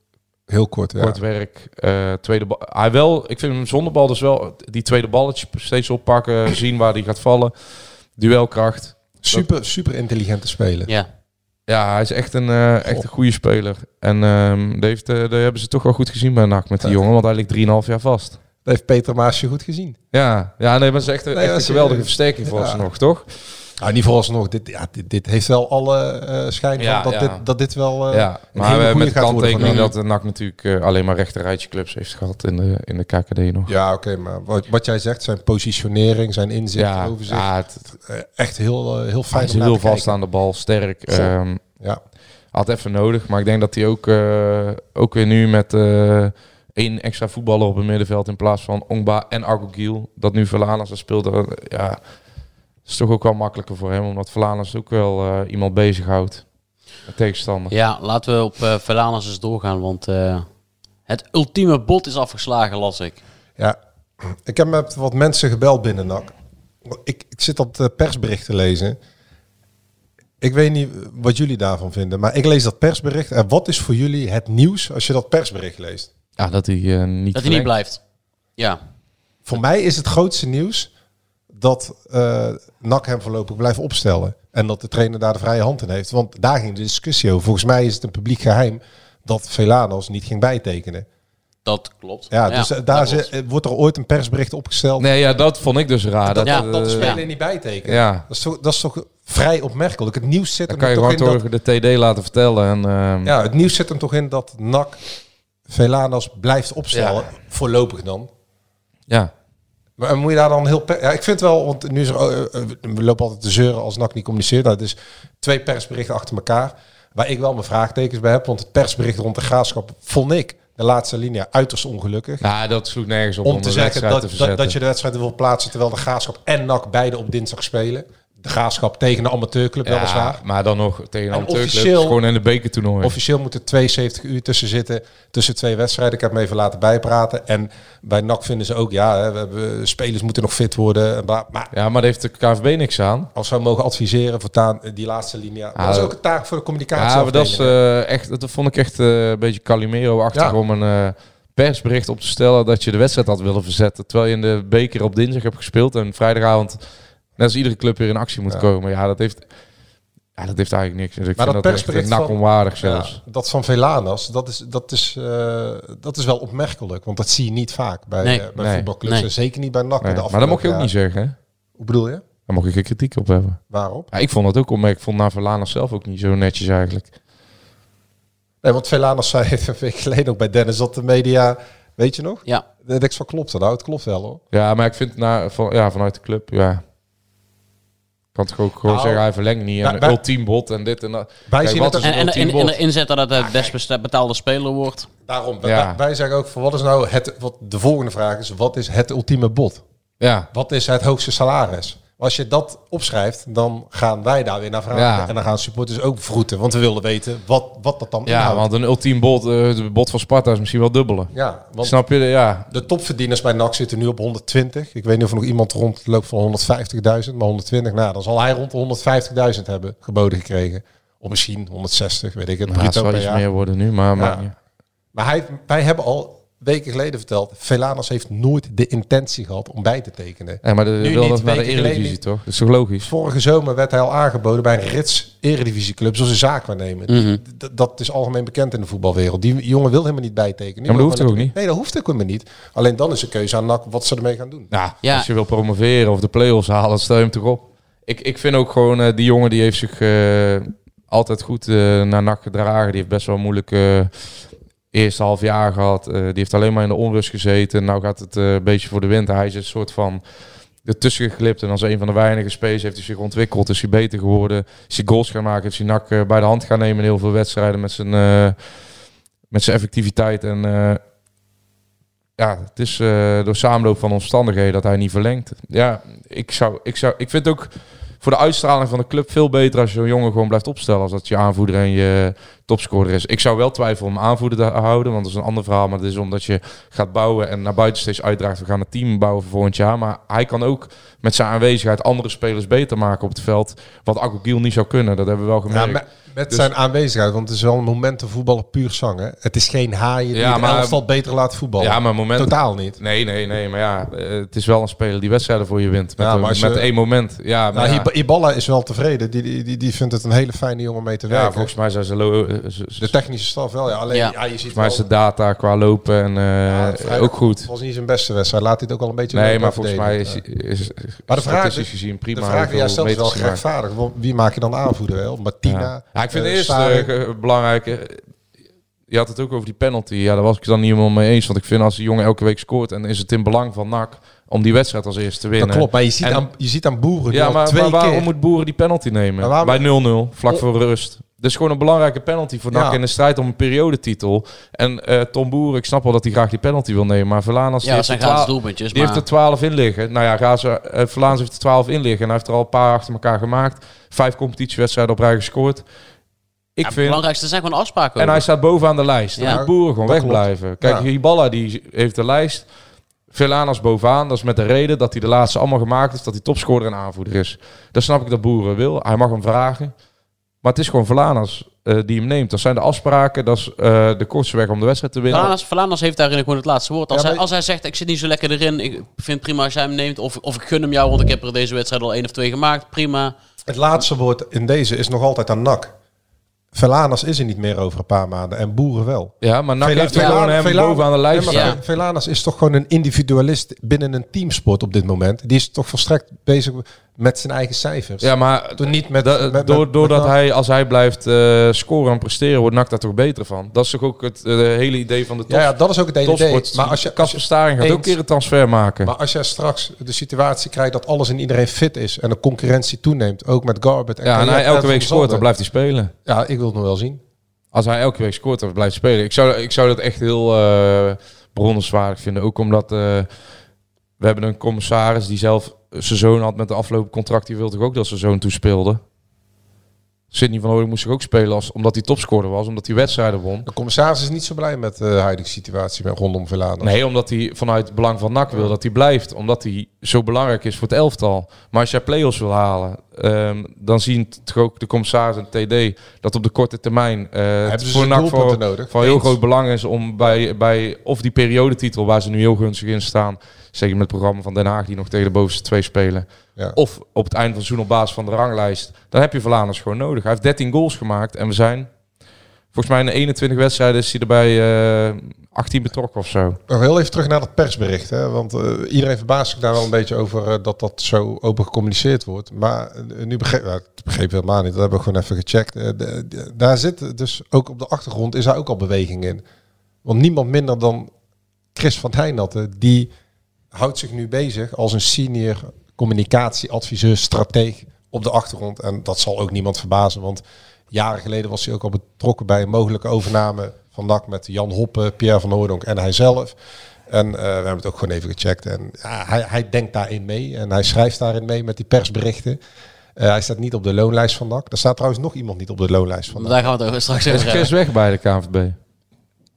[SPEAKER 8] Heel kort, ja.
[SPEAKER 7] kort werk. eh, tweede bal. Hij wel, ik vind hem zonder bal dus wel die tweede balletje steeds oppakken. (clears throat) zien waar die gaat vallen. Duelkracht.
[SPEAKER 8] Super, super intelligente speler.
[SPEAKER 6] Ja.
[SPEAKER 7] Ja, hij is echt een, eh, echt een goede speler. En ehm dat, heeft, eh, dat hebben ze toch wel goed gezien bij NAC met die
[SPEAKER 8] Ja.
[SPEAKER 7] jongen. Want hij ligt 3,5 jaar vast.
[SPEAKER 8] Dat heeft Peter Maasje goed gezien.
[SPEAKER 7] Ja, ja nee, maar het is echt, een-
[SPEAKER 8] Nee,
[SPEAKER 7] echt een
[SPEAKER 8] als je-
[SPEAKER 7] geweldige versterking voor
[SPEAKER 8] Ja.
[SPEAKER 7] ons nog, toch?
[SPEAKER 8] Nou, niet vooralsnog. Dit, ja, dit, dit heeft wel alle eh schijn van
[SPEAKER 7] Ja,
[SPEAKER 8] dat,
[SPEAKER 7] ja.
[SPEAKER 8] dit, dat dit wel eh,
[SPEAKER 7] ja,
[SPEAKER 8] een
[SPEAKER 7] maar
[SPEAKER 8] hele
[SPEAKER 7] we
[SPEAKER 8] goede
[SPEAKER 7] met de
[SPEAKER 8] gaat worden
[SPEAKER 7] kanttekening
[SPEAKER 8] vandaag.
[SPEAKER 7] dat de NAC natuurlijk eh, alleen maar rechterrijtje clubs heeft gehad in de, in de KKD nog. Ja,
[SPEAKER 8] Ja, oké, maar wat, wat jij zegt, zijn positionering, zijn inzicht,
[SPEAKER 7] ja,
[SPEAKER 8] overzicht.
[SPEAKER 7] het, het-
[SPEAKER 8] eh, echt heel, eh, heel
[SPEAKER 7] hij
[SPEAKER 8] fijn
[SPEAKER 7] is
[SPEAKER 8] om naar
[SPEAKER 7] heel
[SPEAKER 8] te kijken.
[SPEAKER 7] vast aan de bal, sterk.
[SPEAKER 8] Goh.
[SPEAKER 7] ehm,
[SPEAKER 8] Ja.
[SPEAKER 7] had even nodig, maar ik denk dat hij ook, eh, ook weer nu met eh één extra voetballer op het middenveld in plaats van Ongba en Argogiel, dat nu Verlanas er speelt, eh, ja, is toch ook wel makkelijker voor hem, omdat Verlanas ook wel eh, iemand bezighoudt, een tegenstander.
[SPEAKER 6] ja, laten we op eh Verlaners eens doorgaan, want eh, het ultieme bot is afgeslagen, las ik.
[SPEAKER 8] ja, ik heb met wat mensen gebeld binnen NAC. Ik, ik zit dat eh, persbericht te lezen. Ik weet niet wat jullie daarvan vinden, maar ik lees dat persbericht. En wat is voor jullie het nieuws als je dat persbericht leest?
[SPEAKER 7] Ja, dat hij eh, niet
[SPEAKER 6] Dat hij niet
[SPEAKER 7] verlengt.
[SPEAKER 6] blijft. Ja.
[SPEAKER 8] Voor mij is het grootste nieuws dat eh NAC hem voorlopig blijft opstellen. En dat de trainer daar de vrije hand in heeft. Want daar ging de discussie over. Volgens mij is het een publiek geheim dat Velanos niet ging bijtekenen.
[SPEAKER 6] Dat klopt.
[SPEAKER 8] Ja, dus eh, daar
[SPEAKER 6] dat klopt.
[SPEAKER 8] ze, wordt er ooit een persbericht opgesteld.
[SPEAKER 7] Nee, ja, dat vond ik dus raar. Dat,
[SPEAKER 6] ja,
[SPEAKER 7] eh,
[SPEAKER 6] dat is
[SPEAKER 8] spelen
[SPEAKER 6] Ja.
[SPEAKER 8] niet bijtekenen.
[SPEAKER 7] ja,
[SPEAKER 8] Dat, is toch, dat is toch vrij opmerkelijk. Het nieuws zit
[SPEAKER 7] dan
[SPEAKER 8] hem
[SPEAKER 7] kan je
[SPEAKER 8] toch
[SPEAKER 7] gewoon
[SPEAKER 8] in dat,
[SPEAKER 7] toch de TD laten vertellen. En, ehm,
[SPEAKER 8] ja, het nieuws zit hem toch in dat NAC Velanos blijft opstellen. Voorlopig dan.
[SPEAKER 7] ja.
[SPEAKER 8] Maar en moet je daar dan heel... per- Ja, ik vind wel, want nu is er, eh, eh, we lopen altijd te zeuren als NAC niet communiceert. Nou, het is twee persberichten achter elkaar. Waar ik wel mijn vraagtekens bij heb. Want het persbericht rond de graafschap vond ik de laatste linia uiterst ongelukkig.
[SPEAKER 7] Nou, dat sloeg nergens op om,
[SPEAKER 8] om te
[SPEAKER 7] de
[SPEAKER 8] zeggen
[SPEAKER 7] wedstrijd
[SPEAKER 8] dat,
[SPEAKER 7] te
[SPEAKER 8] dat,
[SPEAKER 7] verzetten.
[SPEAKER 8] dat je de wedstrijd wil plaatsen terwijl de Graafschap en NAC beide op dinsdag spelen. De Graafschap tegen een amateurclub
[SPEAKER 7] ja,
[SPEAKER 8] weliswaar.
[SPEAKER 7] maar dan nog tegen een amateurclub,
[SPEAKER 8] officieel-
[SPEAKER 7] gewoon in de bekertoernooi.
[SPEAKER 8] Officieel moeten 72 uur tussen zitten tussen twee wedstrijden. Ik heb me even laten bijpraten. En bij NAC vinden ze ook, ja, hè, we hebben, spelers moeten nog fit worden. en bla- Maar
[SPEAKER 7] Ja, maar daar heeft de KVB niks aan.
[SPEAKER 8] als wij mogen adviseren, voortaan eh, die laatste linia. Dat is
[SPEAKER 7] Ah,
[SPEAKER 8] ook een taak voor de communicatie.
[SPEAKER 7] Ja, maar dat, is, eh, echt, dat vond ik echt eh, een beetje Calimero-achtig
[SPEAKER 8] Ja.
[SPEAKER 7] om een eh, persbericht op te stellen dat je de wedstrijd had willen verzetten. Terwijl je in de beker op dinsdag hebt gespeeld en vrijdagavond net als iedere club weer in actie moet
[SPEAKER 8] Ja.
[SPEAKER 7] komen. Ja, dat heeft, ja, dat heeft eigenlijk niks. Dus ik
[SPEAKER 8] Maar
[SPEAKER 7] vind
[SPEAKER 8] dat
[SPEAKER 7] dat echt eh,
[SPEAKER 8] persbericht
[SPEAKER 7] nak
[SPEAKER 8] van-
[SPEAKER 7] onwaardig
[SPEAKER 8] ja,
[SPEAKER 7] zelfs.
[SPEAKER 8] dat van Velanas, dat is, dat, is, eh, dat is wel opmerkelijk. Want dat zie je niet vaak bij,
[SPEAKER 6] Nee.
[SPEAKER 8] eh, bij
[SPEAKER 7] Nee.
[SPEAKER 8] voetbalclubs.
[SPEAKER 6] Nee.
[SPEAKER 8] En zeker niet bij NAC.
[SPEAKER 7] Nee,
[SPEAKER 8] de
[SPEAKER 7] Maar dat mocht je ook
[SPEAKER 8] afgelopen
[SPEAKER 7] niet
[SPEAKER 8] jaren.
[SPEAKER 7] zeggen. hè?
[SPEAKER 8] Hoe bedoel je?
[SPEAKER 7] Daar mocht je geen kritiek op hebben.
[SPEAKER 8] Waarop?
[SPEAKER 7] Ja, ik vond dat ook opmerkelijk. Ik vond Navalana zelf ook niet zo netjes eigenlijk.
[SPEAKER 8] Nee, want Velanas zei (laughs) een week geleden ook bij Dennis dat de media, weet je nog?
[SPEAKER 6] Ja.
[SPEAKER 8] De Dex van klopt dat nou? Het klopt wel hoor.
[SPEAKER 7] Ja, maar ik vind na, van, ja, vanuit de club, ja. Ik kan toch ook gewoon
[SPEAKER 8] Nou,
[SPEAKER 7] zeggen, hij verlengt niet. En
[SPEAKER 8] wij- wij-
[SPEAKER 7] ultiem bot en dit en dat.
[SPEAKER 8] Wij zien
[SPEAKER 7] wat
[SPEAKER 8] het
[SPEAKER 7] is
[SPEAKER 6] En,
[SPEAKER 7] een
[SPEAKER 6] en, en,
[SPEAKER 7] ultiem
[SPEAKER 6] en
[SPEAKER 7] bot? Ah,
[SPEAKER 6] de inzet dat het het best besta- betaalde speler wordt.
[SPEAKER 8] Daarom,
[SPEAKER 7] Ja.
[SPEAKER 8] wij, wij zeggen ook van wat is nou het, wat de volgende vraag is, wat is het ultieme bod?
[SPEAKER 7] Ja,
[SPEAKER 8] Wat is het hoogste salaris? Maar als je dat opschrijft, dan gaan wij daar weer naar vragen.
[SPEAKER 7] Ja.
[SPEAKER 8] En dan gaan supporters ook vroeten. Want we wilden weten wat, wat dat dan
[SPEAKER 7] Ja,
[SPEAKER 8] inhoudt.
[SPEAKER 7] want een ultiem bot, eh, de bot van Sparta is misschien wel dubbele.
[SPEAKER 8] Nou. ja, want
[SPEAKER 7] Snap je? Ja.
[SPEAKER 8] de topverdieners bij NAC zitten nu op 120. Ik weet niet of er nog iemand rondloopt van 150.000, maar 120. Nou, dan zal hij rond de 150.000 hebben geboden gekregen. Of misschien 160, weet ik het.
[SPEAKER 7] Nou, het
[SPEAKER 8] bruto
[SPEAKER 7] zal
[SPEAKER 8] per
[SPEAKER 7] iets
[SPEAKER 8] jaar.
[SPEAKER 7] meer worden nu, maar... maar-
[SPEAKER 8] Ja. Maar hij, wij hebben al weken geleden verteld, Velanus heeft nooit de intentie gehad om bij te tekenen.
[SPEAKER 7] Ja, maar de,
[SPEAKER 8] Nu
[SPEAKER 7] wel
[SPEAKER 8] niet,
[SPEAKER 7] dat naar de
[SPEAKER 8] weken geleden
[SPEAKER 7] Eredivisie,
[SPEAKER 8] niet.
[SPEAKER 7] toch? Dat is toch logisch?
[SPEAKER 8] Vorige zomer werd hij al aangeboden bij een rits eredivisieclub, zoals een zaakwaarnemer. D- Dat is algemeen bekend in de voetbalwereld. Die jongen wil helemaal niet bijtekenen.
[SPEAKER 7] Ja, maar dat hoeft
[SPEAKER 8] Die wil
[SPEAKER 7] ook niet.
[SPEAKER 8] Nee, dat hoeft ook helemaal niet. Alleen dan is de keuze aan NAC wat ze ermee gaan doen.
[SPEAKER 7] Nou,
[SPEAKER 6] Ja.
[SPEAKER 7] als je wil promoveren of de play-offs halen, stel je hem toch op. Ik, ik vind ook gewoon, eh, die jongen die heeft zich eh, altijd goed eh, naar NAC gedragen. Die heeft best wel een moeilijk eh, eerste half jaar gehad. Eh, die heeft alleen maar in de onrust gezeten. Nou gaat het eh, een beetje voor de wind. Hij is een soort van ertussen geglipt. En als een van de weinige space heeft hij zich ontwikkeld. Is hij beter geworden. Is hij goals gaan maken. Is hij NAC eh, bij de hand gaan nemen in heel veel wedstrijden met zijn... eh, met zijn effectiviteit. En eh, ja, het is eh, door samenloop van omstandigheden dat hij niet verlengt. Ja, ik, zou, ik, zou, ik vind het ook voor de uitstraling van de club veel beter als je zo'n jongen gewoon blijft opstellen. Als dat je aanvoerder en je topscorer is. Ik zou wel twijfel om aanvoerder te houden, want dat is een ander verhaal. Maar dat is omdat je gaat bouwen en naar buiten steeds uitdraagt. We gaan het team bouwen voor volgend jaar. Maar hij kan ook met zijn aanwezigheid andere spelers beter maken op het veld. Wat Akkogiel niet zou kunnen, dat hebben we wel
[SPEAKER 8] Ja,
[SPEAKER 7] gemerkt.
[SPEAKER 8] met, met
[SPEAKER 7] Dus-
[SPEAKER 8] zijn aanwezigheid, want het is wel een momenten voetballen puur zangen. Het is geen haaien die
[SPEAKER 7] Ja,
[SPEAKER 8] het
[SPEAKER 7] maar-
[SPEAKER 8] elftal beter laat voetballen.
[SPEAKER 7] Ja, maar moment,
[SPEAKER 8] Totaal niet.
[SPEAKER 7] Nee, nee, nee. Maar ja, eh, het is wel een speler die wedstrijden voor je wint. Met,
[SPEAKER 8] Ja,
[SPEAKER 7] een-
[SPEAKER 8] maar als
[SPEAKER 7] met
[SPEAKER 8] je-
[SPEAKER 7] één moment. Ja, maar
[SPEAKER 8] Nou,
[SPEAKER 7] ja,
[SPEAKER 8] Ib- Iballa is wel tevreden. Die, die, die, die vindt het een hele fijne jongen om mee te
[SPEAKER 7] ja,
[SPEAKER 8] werken.
[SPEAKER 7] volgens mij zijn ze... Lo- eh, ze- ze-
[SPEAKER 8] de technische staf wel, ja. Alleen, ja.
[SPEAKER 6] Ja.
[SPEAKER 8] je ziet
[SPEAKER 7] volgens mij is
[SPEAKER 8] wel-
[SPEAKER 7] de data qua lopen en eh,
[SPEAKER 8] Ja, vrijdag
[SPEAKER 7] ook goed.
[SPEAKER 8] Het was niet zijn beste wedstrijd. Laat dit ook al een beetje
[SPEAKER 7] Nee,
[SPEAKER 8] leuk
[SPEAKER 7] maar volgens mij
[SPEAKER 8] afdelen.
[SPEAKER 7] is,
[SPEAKER 8] Ja.
[SPEAKER 7] is, is
[SPEAKER 8] Maar de vraag-
[SPEAKER 7] statistisch gezien prima.
[SPEAKER 8] de vraag die jij
[SPEAKER 7] hoeveel
[SPEAKER 8] stelt is wel
[SPEAKER 7] meters gemaakt.
[SPEAKER 8] gerechtvaardigd. Want Wie maak je dan aanvoerder wel? Martina?
[SPEAKER 7] Ja. Ja, ik vind
[SPEAKER 8] eh,
[SPEAKER 7] eerst
[SPEAKER 8] Staring.
[SPEAKER 7] eh, ge- belangrijk. eh, Je had het ook over die penalty. Ja, daar was ik het dan niet helemaal mee eens. Want ik vind als die jongen elke week scoort, en is het in belang van NAC om die wedstrijd als eerste te winnen.
[SPEAKER 8] dat klopt, maar je ziet,
[SPEAKER 7] En-
[SPEAKER 8] aan, je ziet aan boeren die
[SPEAKER 7] Ja,
[SPEAKER 8] al
[SPEAKER 7] maar,
[SPEAKER 8] twee
[SPEAKER 7] maar waarom
[SPEAKER 8] keer...
[SPEAKER 7] moet Boeren die penalty nemen?
[SPEAKER 8] Maar waarom-
[SPEAKER 7] Bij 0-0, vlak
[SPEAKER 8] Oh.
[SPEAKER 7] voor rust. Dit is gewoon een belangrijke penalty voor NAC
[SPEAKER 8] Ja.
[SPEAKER 7] in de strijd om een periodetitel. En eh, Tom Boer, ik snap wel dat hij graag die penalty wil nemen. Maar Verlanas
[SPEAKER 6] Ja, dat zijn gratis doelpuntjes.
[SPEAKER 7] die heeft er
[SPEAKER 6] maar
[SPEAKER 7] 12 in liggen. Nou ja, Gaza, eh, Vlaams heeft er 12 in liggen. En hij heeft er al een paar achter elkaar gemaakt. Vijf competitiewedstrijden op rij gescoord. Ik
[SPEAKER 6] ja, het
[SPEAKER 7] vind...
[SPEAKER 6] belangrijkste zijn gewoon afspraken.
[SPEAKER 7] En hij staat bovenaan de lijst. Dan
[SPEAKER 6] Ja.
[SPEAKER 7] moet Boeren gewoon
[SPEAKER 8] Dat
[SPEAKER 7] wegblijven.
[SPEAKER 8] klopt.
[SPEAKER 7] Kijk,
[SPEAKER 8] Ja.
[SPEAKER 7] Hiballa die heeft de lijst. Velanas bovenaan. Dat is met de reden dat hij de laatste allemaal gemaakt heeft. Dat hij topscorer en aanvoerder is. Dan snap ik dat Boeren wil. Hij mag hem vragen. Maar het is gewoon Velanas eh, die hem neemt. Dat zijn de afspraken. Dat is eh, de kortste weg om de wedstrijd te winnen.
[SPEAKER 6] Vlaanders, Vlaanders heeft daarin gewoon het laatste woord. Als,
[SPEAKER 8] Ja, maar-
[SPEAKER 6] hij, als hij zegt, ik zit niet zo lekker erin, ik vind het prima als jij hem neemt. Of, of ik gun hem jou, want ik heb er deze wedstrijd al één of twee gemaakt. Prima.
[SPEAKER 8] Het laatste woord in deze is nog altijd aan NAC. Velanas is er niet meer over een paar maanden en boeren wel.
[SPEAKER 7] Ja, maar NAC
[SPEAKER 8] Vela-
[SPEAKER 7] heeft gewoon
[SPEAKER 8] Vela-
[SPEAKER 7] hem
[SPEAKER 8] Vela-
[SPEAKER 7] bovenaan de lijst
[SPEAKER 8] Nee, maar
[SPEAKER 7] staan.
[SPEAKER 6] Ja.
[SPEAKER 8] Velanas is toch gewoon een individualist binnen een teamsport op dit moment. Die is toch volstrekt bezig met zijn eigen cijfers.
[SPEAKER 7] Ja, maar
[SPEAKER 8] Toen niet met-
[SPEAKER 7] da-
[SPEAKER 8] met- met-
[SPEAKER 7] door, doordat
[SPEAKER 8] met-
[SPEAKER 7] hij, als hij blijft eh, scoren en presteren, wordt NAC daar toch beter van. Dat is toch ook het eh, hele idee van de top,
[SPEAKER 8] ja, ja, dat is ook het hele idee.
[SPEAKER 7] topsport.
[SPEAKER 8] Maar als je, als je-
[SPEAKER 7] Kasper Staring gaat ook een
[SPEAKER 8] eens-
[SPEAKER 7] keer een transfer maken.
[SPEAKER 8] Maar als jij straks de situatie krijgt dat alles en iedereen fit is en de concurrentie toeneemt, ook met Garbett en
[SPEAKER 7] ja, en
[SPEAKER 8] Kayet
[SPEAKER 7] hij elke
[SPEAKER 8] van
[SPEAKER 7] week
[SPEAKER 8] der
[SPEAKER 7] scoort, dan
[SPEAKER 8] Zanden.
[SPEAKER 7] blijft hij spelen.
[SPEAKER 8] Ja, ik wil het nog wel zien.
[SPEAKER 7] Als hij elke week scoort, dan blijft hij spelen. Ik zou, ik zou dat echt heel eh bewonderenswaardig vinden. Ook omdat eh, we hebben een commissaris die zelf zijn zoon had met de afgelopen contract. Die wilde toch ook dat zijn zoon toespeelde. Sidney van Hooydonk moest zich ook spelen als, omdat hij topscorer was, omdat hij wedstrijden won.
[SPEAKER 8] De commissaris is niet zo blij met de huidige situatie met rondom Velanas.
[SPEAKER 7] Nee, omdat hij vanuit het belang van NAC wil dat hij blijft. Omdat hij zo belangrijk is voor het elftal. Maar als jij play-offs wil halen, ehm, dan zien toch ook de commissaris en TD dat op de korte termijn eh, het
[SPEAKER 8] ze
[SPEAKER 7] voor
[SPEAKER 8] zijn
[SPEAKER 7] NAC
[SPEAKER 8] doelpunten
[SPEAKER 7] voor,
[SPEAKER 8] nodig?
[SPEAKER 7] van heel
[SPEAKER 8] Eens.
[SPEAKER 7] groot belang is om bij, bij of die periodetitel waar ze nu heel gunstig in staan, zeker met het programma van Den Haag die nog tegen de bovenste twee spelen,
[SPEAKER 8] Ja.
[SPEAKER 7] of op het eind van het seizoen op basis van de ranglijst, dan heb je Verlaners gewoon nodig. Hij heeft 13 goals gemaakt en we zijn volgens mij in de 21 wedstrijden is hij erbij eh 18 betrokken of zo.
[SPEAKER 8] Nog heel even terug naar dat persbericht. Hè? Want eh, iedereen verbaast zich daar wel een beetje over eh, dat dat zo open gecommuniceerd wordt. Maar eh, nu begreep nou, ik begreep helemaal niet. Dat hebben we gewoon even gecheckt. Eh, de- de- daar zit dus ook op de achtergrond is daar ook al beweging in. Want niemand minder dan Chris van Heijnatten, die houdt zich nu bezig als een senior communicatieadviseur, strateeg op de achtergrond. En dat zal ook niemand verbazen, want jaren geleden was hij ook al betrokken bij een mogelijke overname van NAC met Jan Hoppe, Pierre van Hooydonk en hijzelf. En eh, we hebben het ook gewoon even gecheckt. En ja, hij, hij denkt daarin mee en hij schrijft daarin mee met die persberichten. Eh, hij staat niet op de loonlijst van NAC. Er staat trouwens nog iemand niet op de loonlijst van NAC.
[SPEAKER 6] Daar gaan we het
[SPEAKER 7] (laughs)
[SPEAKER 6] over straks
[SPEAKER 7] Is
[SPEAKER 6] over
[SPEAKER 7] Chris weg
[SPEAKER 6] hebben.
[SPEAKER 7] bij de KNVB?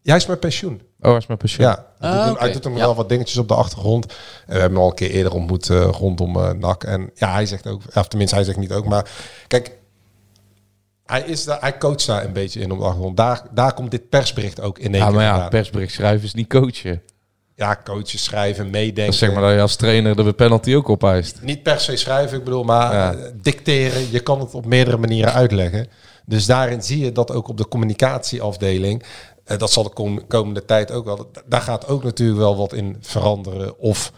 [SPEAKER 8] Ja, hij is met pensioen.
[SPEAKER 7] Oh, hij is mijn pensioen.
[SPEAKER 8] Ja, hij
[SPEAKER 6] Ah,
[SPEAKER 8] doet, hem-
[SPEAKER 6] oké.
[SPEAKER 8] hij doet hem
[SPEAKER 6] Ja.
[SPEAKER 8] wel wat dingetjes op de achtergrond. En we hebben hem al een keer eerder ontmoet eh, rondom eh, NAC. En ja, hij zegt ook, of tenminste hij zegt niet ook, maar kijk, hij, is daar, hij coacht daar een beetje in op de achtergrond. Daar, daar komt dit persbericht ook in één
[SPEAKER 7] Ja,
[SPEAKER 8] keer
[SPEAKER 7] maar ja,
[SPEAKER 8] vandaan.
[SPEAKER 7] persbericht schrijven is niet coachen.
[SPEAKER 8] ja, coaches schrijven, meedenken.
[SPEAKER 7] Dat is zeg maar dat je als trainer de penalty ook opeist.
[SPEAKER 8] Niet per se schrijven, ik bedoel, maar
[SPEAKER 7] Ja.
[SPEAKER 8] eh, dicteren. Je kan het op meerdere manieren uitleggen. Dus daarin zie je dat ook op de communicatieafdeling. eh, dat zal de kom- komende tijd ook wel. d- Daar gaat ook natuurlijk wel wat in veranderen. Of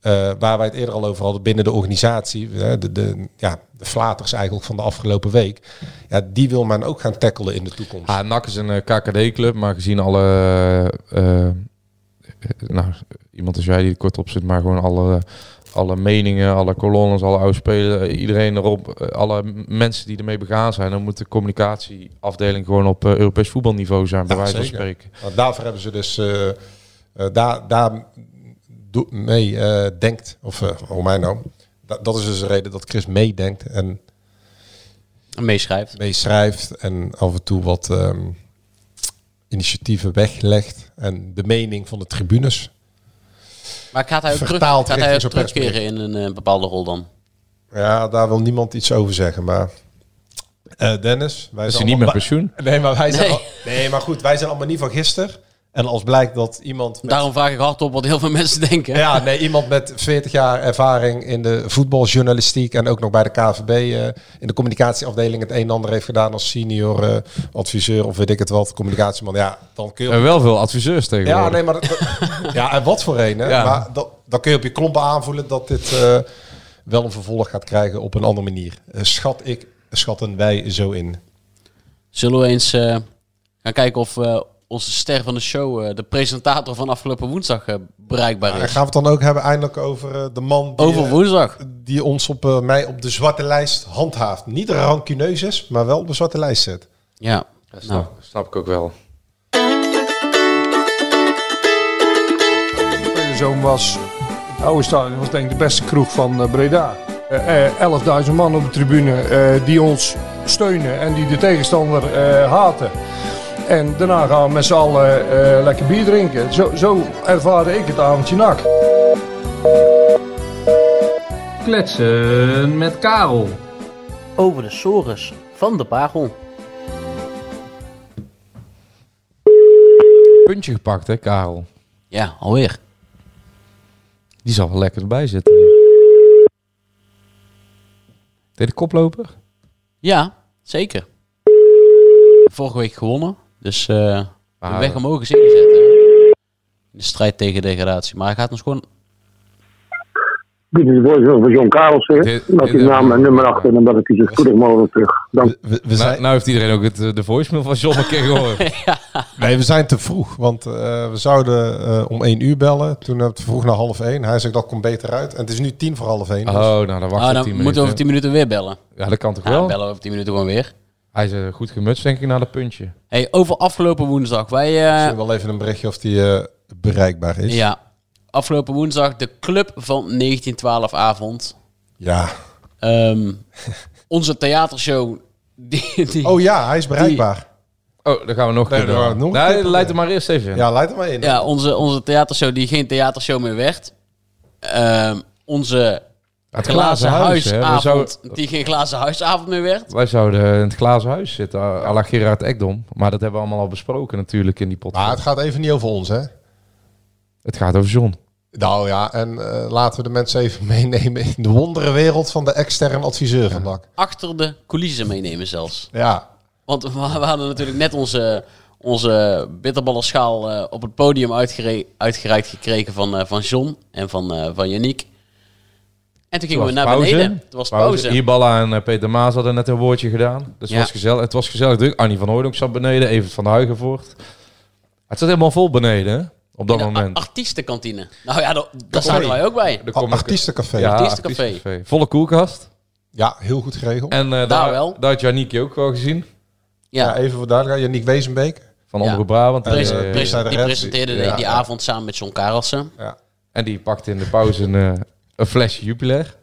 [SPEAKER 8] eh, waar wij het eerder al over hadden binnen de organisatie. eh, de, de, ja, de flaters eigenlijk van de afgelopen week. Ja, die wil men ook gaan tackelen in de toekomst.
[SPEAKER 7] Ah, NAC is een KKD-club, maar gezien alle... eh, eh, nou, iemand als jij die er kort op zit, maar gewoon alle, alle meningen, alle kolonnes, alle oudspelers, eh, iedereen erop, eh, alle m- mensen die ermee begaan zijn, dan moet de communicatieafdeling gewoon op eh, Europees voetbalniveau zijn, bij
[SPEAKER 8] Ja,
[SPEAKER 7] wijze van
[SPEAKER 8] zeker.
[SPEAKER 7] spreken.
[SPEAKER 8] Want daarvoor hebben ze dus eh, eh, daar, daar do- mee eh, denkt. Of eh hoe mij nou. Da- dat is dus de reden dat Chris meedenkt en
[SPEAKER 6] Meeschrijft.
[SPEAKER 8] meeschrijft en af en toe wat ehm, initiatieven weglegt. En de mening van de tribunes.
[SPEAKER 6] Maar gaat hij ook terug,
[SPEAKER 8] Vertaald
[SPEAKER 6] gaat hij ook
[SPEAKER 8] richting zo'n
[SPEAKER 6] terugkeren in een eh, bepaalde rol dan?
[SPEAKER 8] Ja, daar wil niemand iets over zeggen, maar. eh, Dennis, wij
[SPEAKER 7] Is hij niet
[SPEAKER 8] zijn
[SPEAKER 7] met
[SPEAKER 8] allemaal-
[SPEAKER 7] pensioen?
[SPEAKER 8] Nee, maar wij zijn.
[SPEAKER 6] Nee.
[SPEAKER 8] al- nee, maar goed, wij zijn allemaal niet van gisteren. En als blijkt dat iemand met
[SPEAKER 6] Daarom vraag ik hardop wat heel veel (laughs) mensen denken.
[SPEAKER 8] Ja, nee, iemand met 40 jaar ervaring in de voetbaljournalistiek en ook nog bij de KVB eh, in de communicatieafdeling het een en ander heeft gedaan als senior eh, adviseur of weet ik het wat, communicatieman. Ja, dan kun je. op-
[SPEAKER 7] En wel veel adviseurs tegenwoordig.
[SPEAKER 8] ja, nee, maar dat-
[SPEAKER 7] (laughs)
[SPEAKER 8] dat- ja, en wat voor een. Hè?
[SPEAKER 7] Ja.
[SPEAKER 8] Maar dat, dan kun je op je klompen aanvoelen dat dit eh, wel een vervolg gaat krijgen op een andere manier. Eh, Schat ik, schatten wij zo in.
[SPEAKER 6] Zullen we eens eh, gaan kijken of eh, onze ster van de show, eh, de presentator van afgelopen woensdag, eh, bereikbaar
[SPEAKER 8] En
[SPEAKER 6] is?
[SPEAKER 8] gaan we het dan ook hebben eindelijk over eh, de man die,
[SPEAKER 6] Over
[SPEAKER 8] eh,
[SPEAKER 6] woensdag.
[SPEAKER 8] die ons op eh, mij op de zwarte lijst handhaaft. Niet rancuneus is, maar wel op de zwarte lijst zet.
[SPEAKER 6] Ja. Nou,
[SPEAKER 7] Snap, snap ik ook wel.
[SPEAKER 9] De zoon was, het oude stadion was denk ik de beste kroeg van eh, Breda. Eh, eh, 11.000 man op de tribune eh, die ons steunen en die de tegenstander eh, haten. En daarna gaan we met z'n allen eh, lekker bier drinken. Zo, zo ervaarde ik het avondje nak.
[SPEAKER 10] Kletsen met Karel.
[SPEAKER 11] Over de sores van de Bagel.
[SPEAKER 7] Puntje gepakt, hè, Karel?
[SPEAKER 6] ja, alweer.
[SPEAKER 7] Die zal wel lekker erbij zitten. Deed de koploper?
[SPEAKER 6] Ja, zeker. Vorige week gewonnen, dus eh de
[SPEAKER 7] Ah,
[SPEAKER 6] weg
[SPEAKER 7] dat-
[SPEAKER 6] omhoog is ingezet. hè. In de strijd tegen degradatie. Maar hij gaat ons gewoon...
[SPEAKER 11] Dit is de voice over John Karelsen.
[SPEAKER 7] Dit-
[SPEAKER 11] Laat
[SPEAKER 7] dit-
[SPEAKER 11] die naam en nummer achter en dat het u zo spoedig mogelijk terug. Dank.
[SPEAKER 8] We, we
[SPEAKER 7] Nou,
[SPEAKER 8] zijn,
[SPEAKER 7] nou heeft iedereen ook het, eh, de voicemail van John een keer (laughs) gehoord.
[SPEAKER 8] nee, we zijn te vroeg, want eh, we zouden eh, om één uur bellen. Toen hebben we het vroeg naar half één. Hij zegt dat komt beter uit. En het is nu tien voor half één. dus-
[SPEAKER 7] Oh, nou dan wacht
[SPEAKER 6] Ah,
[SPEAKER 7] ik
[SPEAKER 6] dan
[SPEAKER 7] tien
[SPEAKER 6] moeten we
[SPEAKER 7] minuten.
[SPEAKER 6] over 10 minuten weer bellen.
[SPEAKER 7] Ja, dat kan toch
[SPEAKER 6] Ja,
[SPEAKER 7] wel?
[SPEAKER 6] bellen we over 10 minuten gewoon weer.
[SPEAKER 7] Hij is eh, goed gemutst, denk ik, naar dat puntje.
[SPEAKER 6] Hey, over afgelopen woensdag. Wij, eh,
[SPEAKER 8] Misschien wel even een berichtje of die eh, bereikbaar is.
[SPEAKER 6] ja, afgelopen woensdag de club van 1912 avond.
[SPEAKER 8] Ja.
[SPEAKER 7] (laughs)
[SPEAKER 6] Ehm, onze theatershow. Die, die,
[SPEAKER 8] Oh ja, hij is bereikbaar.
[SPEAKER 7] Oh, dan gaan we nog een
[SPEAKER 8] Nee,
[SPEAKER 7] keer
[SPEAKER 8] dan
[SPEAKER 7] door.
[SPEAKER 8] gaan we nog een
[SPEAKER 7] Nee,
[SPEAKER 8] keer proberen.
[SPEAKER 7] leid er maar eerst even in.
[SPEAKER 8] Ja, leid hem maar in.
[SPEAKER 6] Ja, onze, onze theatershow die geen theatershow meer werd. Ehm, onze
[SPEAKER 7] Het
[SPEAKER 6] glazen
[SPEAKER 7] hè.
[SPEAKER 6] huisavond
[SPEAKER 7] We zouden-
[SPEAKER 6] die geen glazen huisavond meer werd.
[SPEAKER 7] wij zouden in het glazen huis zitten, à à la Gerard Ekdom. Maar dat hebben we allemaal al besproken natuurlijk in die podcast.
[SPEAKER 8] Maar het gaat even niet over ons, hè?
[SPEAKER 7] Het gaat over John.
[SPEAKER 8] Nou ja, en eh, laten we de mensen even (laughs) meenemen in de wonderenwereld van de externe adviseur van NAC.
[SPEAKER 6] Achter de coulissen meenemen zelfs.
[SPEAKER 8] Ja.
[SPEAKER 6] Want we, (laughs) we hadden natuurlijk net onze, onze bitterballenschaal eh, op het podium uitgere- uitgereikt gekregen van, eh, van John en van, eh van Yannick. En toen gingen we naar beneden. Het was pauze.
[SPEAKER 7] Iballa en eh, Peter Maas hadden net een woordje gedaan. Dus
[SPEAKER 6] Ja.
[SPEAKER 7] het, was gezellig, het was gezellig druk. Annie van Hooydonk zat beneden, Evert van de Huigenvoort. Het zat helemaal vol beneden, hè, op dat
[SPEAKER 6] In de
[SPEAKER 7] moment.
[SPEAKER 6] a- artiestenkantine. Nou ja, da- daar zaten wij ook bij.
[SPEAKER 7] Er
[SPEAKER 8] A-
[SPEAKER 7] kom ik-
[SPEAKER 8] Artiestencafé.
[SPEAKER 7] Ja,
[SPEAKER 8] Ja.
[SPEAKER 6] Artiestencafé.
[SPEAKER 7] Volle koelkast.
[SPEAKER 8] heel goed geregeld.
[SPEAKER 7] En eh,
[SPEAKER 6] Daar
[SPEAKER 7] daar,
[SPEAKER 6] wel.
[SPEAKER 7] daar had Janiekje ook wel gezien.
[SPEAKER 8] Ja.
[SPEAKER 6] Ja,
[SPEAKER 8] even voor duidelijkheid. Janiek Wezenbeek.
[SPEAKER 7] van Omroep Brabant.
[SPEAKER 6] Pres-
[SPEAKER 7] eh,
[SPEAKER 6] pres- die presenteerde de-
[SPEAKER 7] Ja.
[SPEAKER 6] die avond samen met John Karelsen.
[SPEAKER 7] En die pakte in de pauze een, eh, een flesje Jupiler.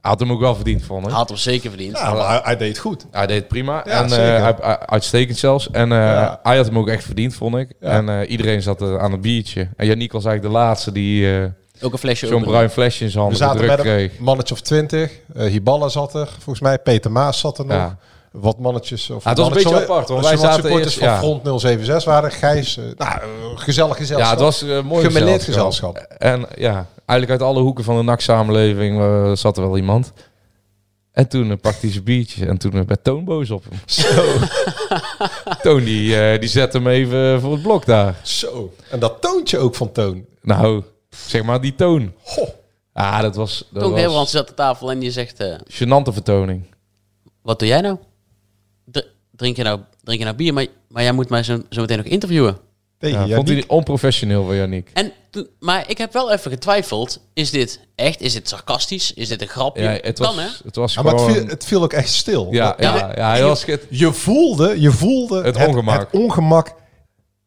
[SPEAKER 7] Had hem ook wel verdiend, vond ik.
[SPEAKER 6] Had hem zeker verdiend.
[SPEAKER 8] Ja, maar hij, hij deed het goed.
[SPEAKER 7] Hij deed het prima.
[SPEAKER 8] Ja,
[SPEAKER 7] en eh,
[SPEAKER 8] zeker.
[SPEAKER 7] hij, hij- uitstekend zelfs. En eh,
[SPEAKER 8] Ja.
[SPEAKER 7] hij had hem ook echt verdiend, vond ik.
[SPEAKER 8] Ja.
[SPEAKER 7] En eh, iedereen zat er aan het biertje. En Janiek was eigenlijk de laatste die eh
[SPEAKER 6] Ook een flesje
[SPEAKER 7] zo'n
[SPEAKER 6] openen.
[SPEAKER 7] bruin flesje in zijn handen
[SPEAKER 8] We zaten
[SPEAKER 7] gedrukt
[SPEAKER 8] met een
[SPEAKER 7] kreeg.
[SPEAKER 8] mannetje of twintig. Eh Hiballa zat er, volgens mij. Peter Maas zat er nog.
[SPEAKER 7] Ja.
[SPEAKER 8] Wat mannetjes. Of
[SPEAKER 7] Ja, het was een
[SPEAKER 8] mannetjes-
[SPEAKER 7] beetje apart, hoor.
[SPEAKER 8] Als je
[SPEAKER 7] Wij
[SPEAKER 8] wat
[SPEAKER 7] zaten
[SPEAKER 8] supporters
[SPEAKER 7] eerst- ja.
[SPEAKER 8] van Front 076 waren. Gijs, eh, nou, eh, gezellig gezelschap.
[SPEAKER 7] Ja, het was een mooi
[SPEAKER 8] Gemêleerd gezelschap.
[SPEAKER 7] En ja, eigenlijk uit alle hoeken van de NAC-samenleving eh, zat er wel iemand. En toen eh, pakte hij zijn biertje en toen eh, werd Toon boos op hem. (laughs) Toon die, eh, die zette hem even voor het blok daar.
[SPEAKER 8] Zo. En dat toontje ook van Toon.
[SPEAKER 7] Nou, zeg maar die Toon.
[SPEAKER 8] Goh.
[SPEAKER 7] Ah, dat was, dat
[SPEAKER 6] Toen Nederland
[SPEAKER 7] was
[SPEAKER 6] zat aan tafel en die zegt... eh,
[SPEAKER 7] gênante vertoning.
[SPEAKER 6] Wat doe jij nou? Dr- Drink je nou, drink je nou bier, maar, maar jij moet mij zo, zo meteen nog interviewen.
[SPEAKER 8] Tegen
[SPEAKER 7] Ja, vond
[SPEAKER 8] Yannick.
[SPEAKER 7] hij onprofessioneel van Yannick.
[SPEAKER 6] En, toen- maar ik heb wel even getwijfeld. Is dit echt? Is dit sarcastisch? Is dit een grapje?
[SPEAKER 7] Ja, het
[SPEAKER 6] kan,
[SPEAKER 7] was,
[SPEAKER 6] hè?
[SPEAKER 7] het was
[SPEAKER 8] Ja, maar
[SPEAKER 7] gewoon...
[SPEAKER 8] het viel, het viel ook echt stil.
[SPEAKER 7] ja, ja, ja, hij was... het-
[SPEAKER 8] Je voelde, je voelde
[SPEAKER 7] Het ongemak.
[SPEAKER 8] het ongemak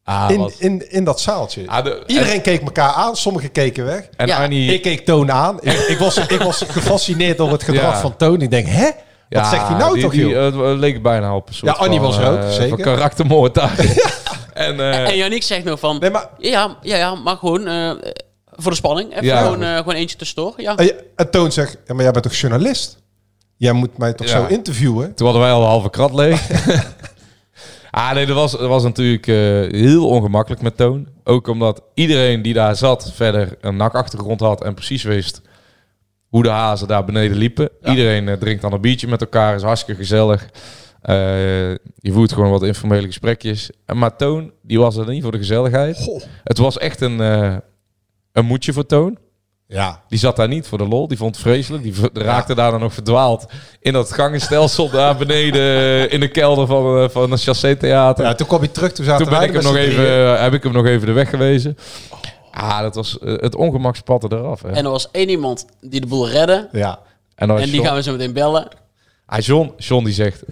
[SPEAKER 7] Ah,
[SPEAKER 8] in,
[SPEAKER 7] wat-
[SPEAKER 8] in, in dat zaaltje.
[SPEAKER 7] Ah, de-
[SPEAKER 8] Iedereen keek elkaar aan, sommigen keken weg.
[SPEAKER 7] En
[SPEAKER 6] Ja,
[SPEAKER 7] Arnie...
[SPEAKER 8] Ik keek Toon aan. Ik, ik, was, ik was gefascineerd door het gedrag
[SPEAKER 7] Ja.
[SPEAKER 8] van Toon. Ik denk, hè? Wat
[SPEAKER 7] Ja,
[SPEAKER 8] zegt hij nou
[SPEAKER 7] die-
[SPEAKER 8] toch,
[SPEAKER 7] die,
[SPEAKER 8] joh?
[SPEAKER 7] eh, Het leek bijna op een soort
[SPEAKER 8] Ja, Annie
[SPEAKER 7] van,
[SPEAKER 8] was er ook,
[SPEAKER 7] eh,
[SPEAKER 8] zeker.
[SPEAKER 7] Van karaktermoord
[SPEAKER 8] (laughs)
[SPEAKER 7] daar. en eh,
[SPEAKER 6] En Yannick zegt nog van...
[SPEAKER 8] Nee, maar-
[SPEAKER 6] ja, ja, ja, maar gewoon eh, voor de spanning. Even
[SPEAKER 7] Ja.
[SPEAKER 6] gewoon, eh, gewoon eentje tussendoor. Ja.
[SPEAKER 8] En je- En eh, Toon zegt, ja, maar jij bent toch journalist? Jij moet mij toch
[SPEAKER 7] Ja.
[SPEAKER 8] zo interviewen?
[SPEAKER 7] toen hadden wij al een halve krat leeg. ah nee, dat was, dat was natuurlijk eh, heel ongemakkelijk met Toon. Ook omdat iedereen die daar zat verder een nakachtergrond had en precies wist hoe de hazen daar beneden liepen. Iedereen eh, drinkt dan een biertje met elkaar, is hartstikke gezellig. Eh, je voert gewoon wat informele gesprekjes. En Maar Toon, die was er niet voor de gezelligheid. Het was echt een, eh, een moedje voor Toon.
[SPEAKER 8] Ja.
[SPEAKER 7] Die zat daar niet voor de lol. Die vond het vreselijk. Die v- raakte daar dan nog verdwaald in dat gangenstelsel daar beneden in de kelder van, eh, van het Chassé Theater.
[SPEAKER 8] ja. Toen kwam hij terug, toen zaten
[SPEAKER 7] Toen ben
[SPEAKER 8] wij
[SPEAKER 7] ik
[SPEAKER 8] er
[SPEAKER 7] hem
[SPEAKER 8] met
[SPEAKER 7] nog
[SPEAKER 8] z'n
[SPEAKER 7] even, eh,
[SPEAKER 8] drieën.
[SPEAKER 7] heb ik hem nog even de weg gewezen. Ah, dat was, eh, het ongemak spatte eraf. Hè.
[SPEAKER 6] En er was één iemand die de boel redde.
[SPEAKER 8] Ja.
[SPEAKER 7] En, dan was
[SPEAKER 6] En die
[SPEAKER 7] John,
[SPEAKER 6] gaan we zo meteen bellen. (laughs)
[SPEAKER 7] ah, John, John die zegt...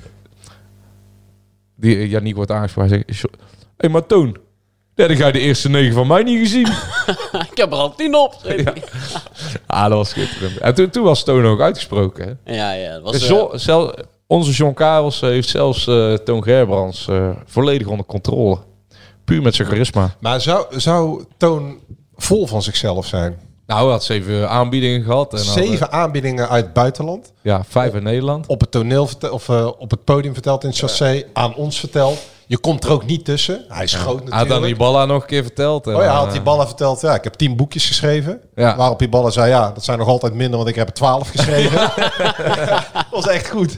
[SPEAKER 7] Die, eh, Janiek wordt aangesproken. Hij zegt, "John- hé, hey, maar Toon. Ja, dan ga je de eerste negen van mij niet gezien.
[SPEAKER 6] Ik heb er al tien op. Ja,
[SPEAKER 7] ah, dat was schitterend. En toen, toen was Toon ook uitgesproken. Hè.
[SPEAKER 6] ja, dat was...
[SPEAKER 7] Dus
[SPEAKER 6] eh,
[SPEAKER 7] John- zel- onze John Karels eh, heeft zelfs eh, Toon Gerbrands eh, volledig onder controle. Puur met zijn charisma.
[SPEAKER 8] Maar zou, zou Toon vol van zichzelf zijn?
[SPEAKER 7] Nou, hij had zeven aanbiedingen gehad. En had, eh,
[SPEAKER 8] Zeven aanbiedingen uit het buitenland.
[SPEAKER 7] ja, vijf in Nederland.
[SPEAKER 8] op het toneel vertel- of eh, op het podium verteld in het chassé, aan ons verteld. Je komt er ook niet tussen. Hij is groot
[SPEAKER 7] Hij had
[SPEAKER 8] natuurlijk.
[SPEAKER 7] dan die ballen nog een keer verteld. En,
[SPEAKER 8] Oh ja, hij
[SPEAKER 7] eh,
[SPEAKER 8] had die ballen verteld. Ja, ik heb tien boekjes geschreven.
[SPEAKER 7] Ja.
[SPEAKER 8] Waarop die ballen zei, ja, dat zijn nog altijd minder, want ik heb er twaalf geschreven. (laughs) dat was echt goed.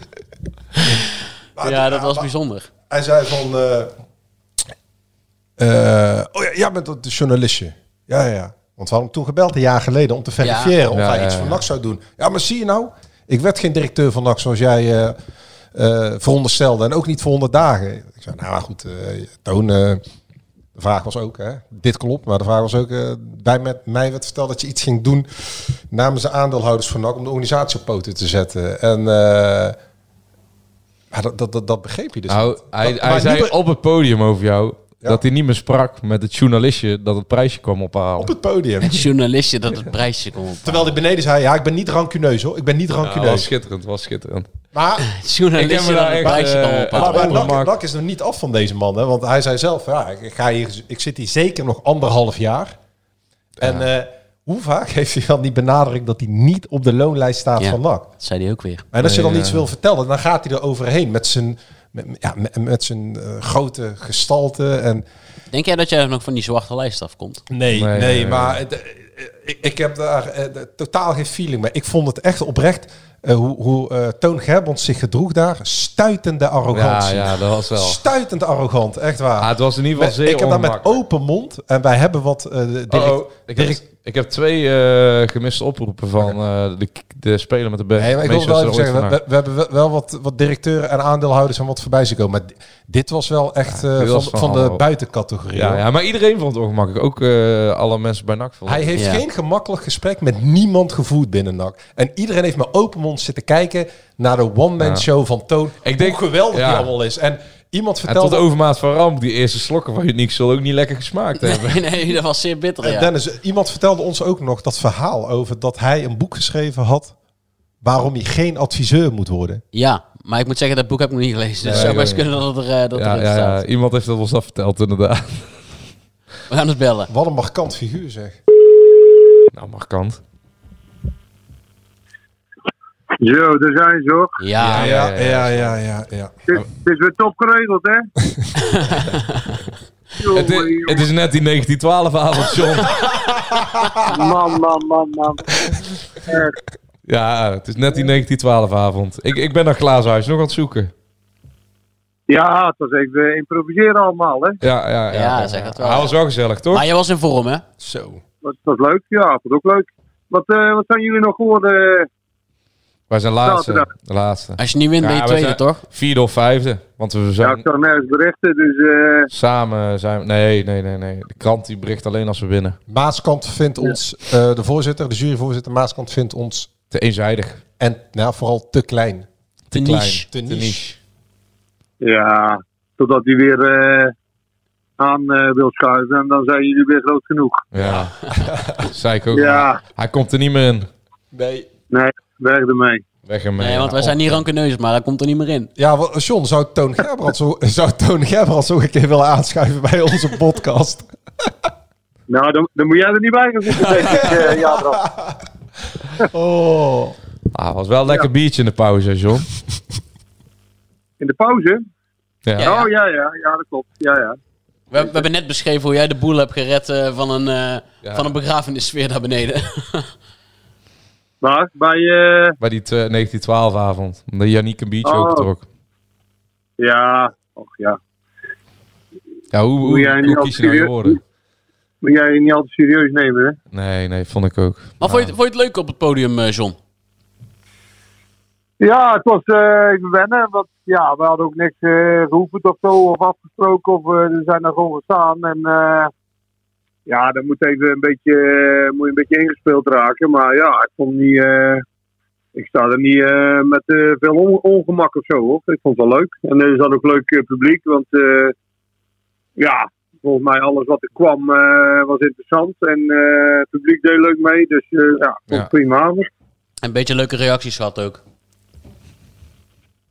[SPEAKER 8] Maar
[SPEAKER 6] ja,
[SPEAKER 8] toen-
[SPEAKER 6] dat was
[SPEAKER 8] maar
[SPEAKER 6] bijzonder.
[SPEAKER 8] Hij zei van, eh, eh, oh ja, jij bent dat de journalistje. Ja, ja, ja. Want we hadden hem toen gebeld een jaar geleden om te verifiëren of
[SPEAKER 7] Ja,
[SPEAKER 8] hij
[SPEAKER 7] ja,
[SPEAKER 8] iets
[SPEAKER 7] ja.
[SPEAKER 8] voor NAC zou doen. Ja, maar zie je nou, ik werd geen directeur van NAC zoals jij eh, eh, veronderstelde. En ook niet voor 100 dagen. Ik zei, nou maar goed, eh, Toon, eh, de vraag was ook, hè, dit klopt. Maar de vraag was ook, eh, bij met mij werd verteld dat je iets ging doen namens de aandeelhouders van NAC om de organisatie op poten te zetten. En... eh, maar dat, dat, dat, dat begreep je dus
[SPEAKER 7] nou,
[SPEAKER 8] niet.
[SPEAKER 7] hij,
[SPEAKER 8] Dat-
[SPEAKER 7] hij
[SPEAKER 8] maar
[SPEAKER 7] zei
[SPEAKER 8] nu be-
[SPEAKER 7] op het podium over jou
[SPEAKER 8] Ja.
[SPEAKER 7] dat hij niet meer sprak met het journalistje dat het prijsje kwam ophalen.
[SPEAKER 8] op het
[SPEAKER 7] (laughs)
[SPEAKER 8] podium.
[SPEAKER 6] Het journalistje dat het prijsje kon op.
[SPEAKER 8] Terwijl hij beneden zei, ja, ik ben niet rancuneus hoor. Ik ben niet
[SPEAKER 7] Ja, was
[SPEAKER 8] rancuneus.
[SPEAKER 7] schitterend, was schitterend.
[SPEAKER 8] Oh, maar
[SPEAKER 6] Het
[SPEAKER 7] Ik heb
[SPEAKER 6] journalistje
[SPEAKER 7] me
[SPEAKER 6] dat
[SPEAKER 7] daar echt,
[SPEAKER 6] het prijsje
[SPEAKER 7] eh,
[SPEAKER 6] kon op.
[SPEAKER 8] maar, maar
[SPEAKER 7] ongemak.
[SPEAKER 8] Lak, Lak is nog niet af van deze man. Hè? Want hij zei zelf, ja, ik, ga hier, ik zit hier zeker nog anderhalf jaar. En eh, hoe vaak (laughs) heeft hij dan die benadering dat hij niet op de loonlijst staat
[SPEAKER 6] Ja.
[SPEAKER 8] van NAC?
[SPEAKER 6] Dat zei hij ook weer.
[SPEAKER 8] En als je dan
[SPEAKER 7] Nee,
[SPEAKER 8] iets
[SPEAKER 7] ja.
[SPEAKER 8] wil vertellen, dan gaat hij er overheen met zijn, met, ja, met, met zijn eh, grote gestalte. En,
[SPEAKER 6] Denk jij dat jij nog van die zwarte
[SPEAKER 7] (laughs)
[SPEAKER 6] lijst afkomt?
[SPEAKER 8] Nee, nee,
[SPEAKER 7] Nee, nee,
[SPEAKER 8] maar het, eh, ik, ik heb daar eh, de- totaal geen feeling mee. Ik vond het echt oprecht eh, hoe, hoe eh, Toon Gerbrands zich gedroeg daar. Stuitende
[SPEAKER 7] Ja,
[SPEAKER 8] arrogantie.
[SPEAKER 7] ja, dat was wel.
[SPEAKER 8] Stuitend arrogant, echt waar.
[SPEAKER 7] Ah, het was in ieder geval
[SPEAKER 8] Met-
[SPEAKER 7] zeer
[SPEAKER 8] ik heb daar met
[SPEAKER 7] ongemakkelijk.
[SPEAKER 8] open mond en wij hebben wat eh, de- direct,
[SPEAKER 7] Oh, oh, ik, heb,
[SPEAKER 8] direct-
[SPEAKER 7] ik heb twee eh, gemiste oproepen van eh, de, de speler met de best.
[SPEAKER 8] Nee, maar ik wil wel even zeggen, we, we hebben wel- wel wat, wat directeuren en aandeelhouders en wat voorbij zien komen. Maar di- dit was wel echt eh,
[SPEAKER 7] dit
[SPEAKER 8] van,
[SPEAKER 7] was
[SPEAKER 8] van,
[SPEAKER 7] van
[SPEAKER 8] de
[SPEAKER 7] allemaal.
[SPEAKER 8] buitencategorie.
[SPEAKER 7] ja,
[SPEAKER 8] hoor.
[SPEAKER 7] ja, maar iedereen vond het ongemakkelijk. Ook eh, alle mensen bij NAC vonden
[SPEAKER 8] Hij heeft
[SPEAKER 6] Ja.
[SPEAKER 8] geen gemakkelijk gesprek met niemand gevoerd binnen NAC. En iedereen heeft met open mond zitten kijken naar de one-man
[SPEAKER 7] Ja.
[SPEAKER 8] show van Toon.
[SPEAKER 7] Ik denk-
[SPEAKER 8] hoe geweldig
[SPEAKER 7] ja.
[SPEAKER 8] die allemaal is. En Iemand
[SPEAKER 7] En tot
[SPEAKER 8] vertelde
[SPEAKER 7] overmaat van ramp, die eerste slokken van Uniek zullen ook niet lekker gesmaakt hebben.
[SPEAKER 6] Nee, nee, dat was zeer bitter.
[SPEAKER 8] Eh,
[SPEAKER 6] Ja.
[SPEAKER 8] Dennis, iemand vertelde ons ook nog dat verhaal over dat hij een boek geschreven had waarom hij geen adviseur moet worden.
[SPEAKER 6] ja, maar ik moet zeggen, dat boek heb ik nog niet gelezen. Dus
[SPEAKER 7] Nee,
[SPEAKER 6] het zou
[SPEAKER 7] ik
[SPEAKER 6] best
[SPEAKER 7] ook niet.
[SPEAKER 6] kunnen dat het er, eh, dat
[SPEAKER 7] Ja,
[SPEAKER 6] erin
[SPEAKER 7] ja, ja,
[SPEAKER 6] staat.
[SPEAKER 7] iemand heeft dat ons dat verteld
[SPEAKER 8] (laughs)
[SPEAKER 7] inderdaad.
[SPEAKER 6] We gaan het bellen.
[SPEAKER 8] Wat een markant figuur zeg.
[SPEAKER 7] Nou, markant.
[SPEAKER 11] Zo, daar zijn ze hoor.
[SPEAKER 6] Ja, ja.
[SPEAKER 7] ja, ja,
[SPEAKER 8] ja, ja. ja.
[SPEAKER 11] Het is, het is weer top geregeld, hè?
[SPEAKER 7] Het, is, het is net die 1912 avond,
[SPEAKER 8] (laughs)
[SPEAKER 7] John.
[SPEAKER 11] Man, man, man, man. Echt.
[SPEAKER 7] Ja, het is net die 1912 avond. Ik, ik ben naar Glazenhuis nog aan het zoeken.
[SPEAKER 11] Ja, het was even eh, improviseren allemaal, hè?
[SPEAKER 7] Ja, ja, ja.
[SPEAKER 6] Ja, zeg het wel.
[SPEAKER 7] Hij was wel gezellig, toch?
[SPEAKER 6] Maar jij was in vorm, hè?
[SPEAKER 8] Zo.
[SPEAKER 11] Dat was leuk, ja, dat was ook leuk. Wat, eh, wat zijn jullie nog geworden? eh?
[SPEAKER 7] Wij zijn laatste.
[SPEAKER 11] Zaterdag.
[SPEAKER 7] laatste.
[SPEAKER 6] Als je niet wint, ben je
[SPEAKER 7] Ja, we
[SPEAKER 6] tweede,
[SPEAKER 7] zijn-
[SPEAKER 6] toch?
[SPEAKER 7] Vierde of vijfde. Want we
[SPEAKER 11] Ja, ik
[SPEAKER 7] zijn
[SPEAKER 11] kan nergens berichten, dus eh,
[SPEAKER 7] samen... Zijn, nee, nee, nee, nee. De krant die bericht alleen als we winnen.
[SPEAKER 8] Maaskant vindt ons, eh, de voorzitter, de juryvoorzitter Maaskant vindt ons,
[SPEAKER 7] Te eenzijdig.
[SPEAKER 8] en nou, vooral te klein.
[SPEAKER 6] Te niche.
[SPEAKER 8] Te niche.
[SPEAKER 11] ja, totdat hij weer eh, aan eh, wil schuiven en dan zijn jullie weer groot genoeg.
[SPEAKER 7] Ja. (laughs) zei ik ook.
[SPEAKER 11] Ja,
[SPEAKER 7] Hij komt er niet meer in.
[SPEAKER 8] Nee.
[SPEAKER 11] nee, weg ermee.
[SPEAKER 7] Weg ermee.
[SPEAKER 6] Nee, want wij zijn niet rankeneus, maar dat komt er niet meer in.
[SPEAKER 8] Ja, wel, John, zou Toon Gerbrands zo- (laughs) zou Toon Gerbrands ook een keer willen aanschuiven bij onze (laughs) podcast?
[SPEAKER 11] Nou, dan, dan moet jij er niet bij gaan zitten, denk ik. eh, ja, Bram.
[SPEAKER 8] Oh.
[SPEAKER 7] Ah, was wel een lekker biertje in de pauze, John.
[SPEAKER 11] In de pauze?
[SPEAKER 7] Ja.
[SPEAKER 6] Ja.
[SPEAKER 11] Oh ja, ja, ja, dat klopt. Ja, ja.
[SPEAKER 6] We, we hebben net beschreven hoe jij de boel hebt gered eh, van, een, eh,
[SPEAKER 7] Ja.
[SPEAKER 6] van een begrafenissfeer daar beneden.
[SPEAKER 11] Maar bij, eh,
[SPEAKER 7] Bij die 1912-avond. Omdat Yannick een biertje
[SPEAKER 11] Oh.
[SPEAKER 7] overtrok.
[SPEAKER 11] ja, och ja.
[SPEAKER 7] Ja, hoe, hoe,
[SPEAKER 11] Moet jij
[SPEAKER 7] hoe
[SPEAKER 11] niet
[SPEAKER 7] kies je nou je
[SPEAKER 11] serieus-
[SPEAKER 7] woorden?
[SPEAKER 11] Moet jij je niet altijd serieus nemen, hè?
[SPEAKER 7] Nee, nee, vond ik ook.
[SPEAKER 6] (laughs) Maar vond je, het- vond je het leuk op het podium, eh, John?
[SPEAKER 11] Ja, het was eh, even wennen. Want ja, we hadden ook niks eh geoefend of zo, of afgesproken. Of eh, we zijn er gewoon gestaan. En eh, ja, dan moet even een beetje, eh, moet je een beetje ingespeeld raken. Maar ja, ik vond niet. eh, ik sta er niet eh, met eh, veel on- ongemak of zo hoor. Ik vond het wel leuk. En er zat ook leuk eh, publiek, want eh, ja, volgens mij alles wat er kwam eh, was interessant. En eh, het publiek deed leuk mee. Dus eh, ja, ik vond het prima avond.
[SPEAKER 6] Een beetje leuke reacties gehad ook.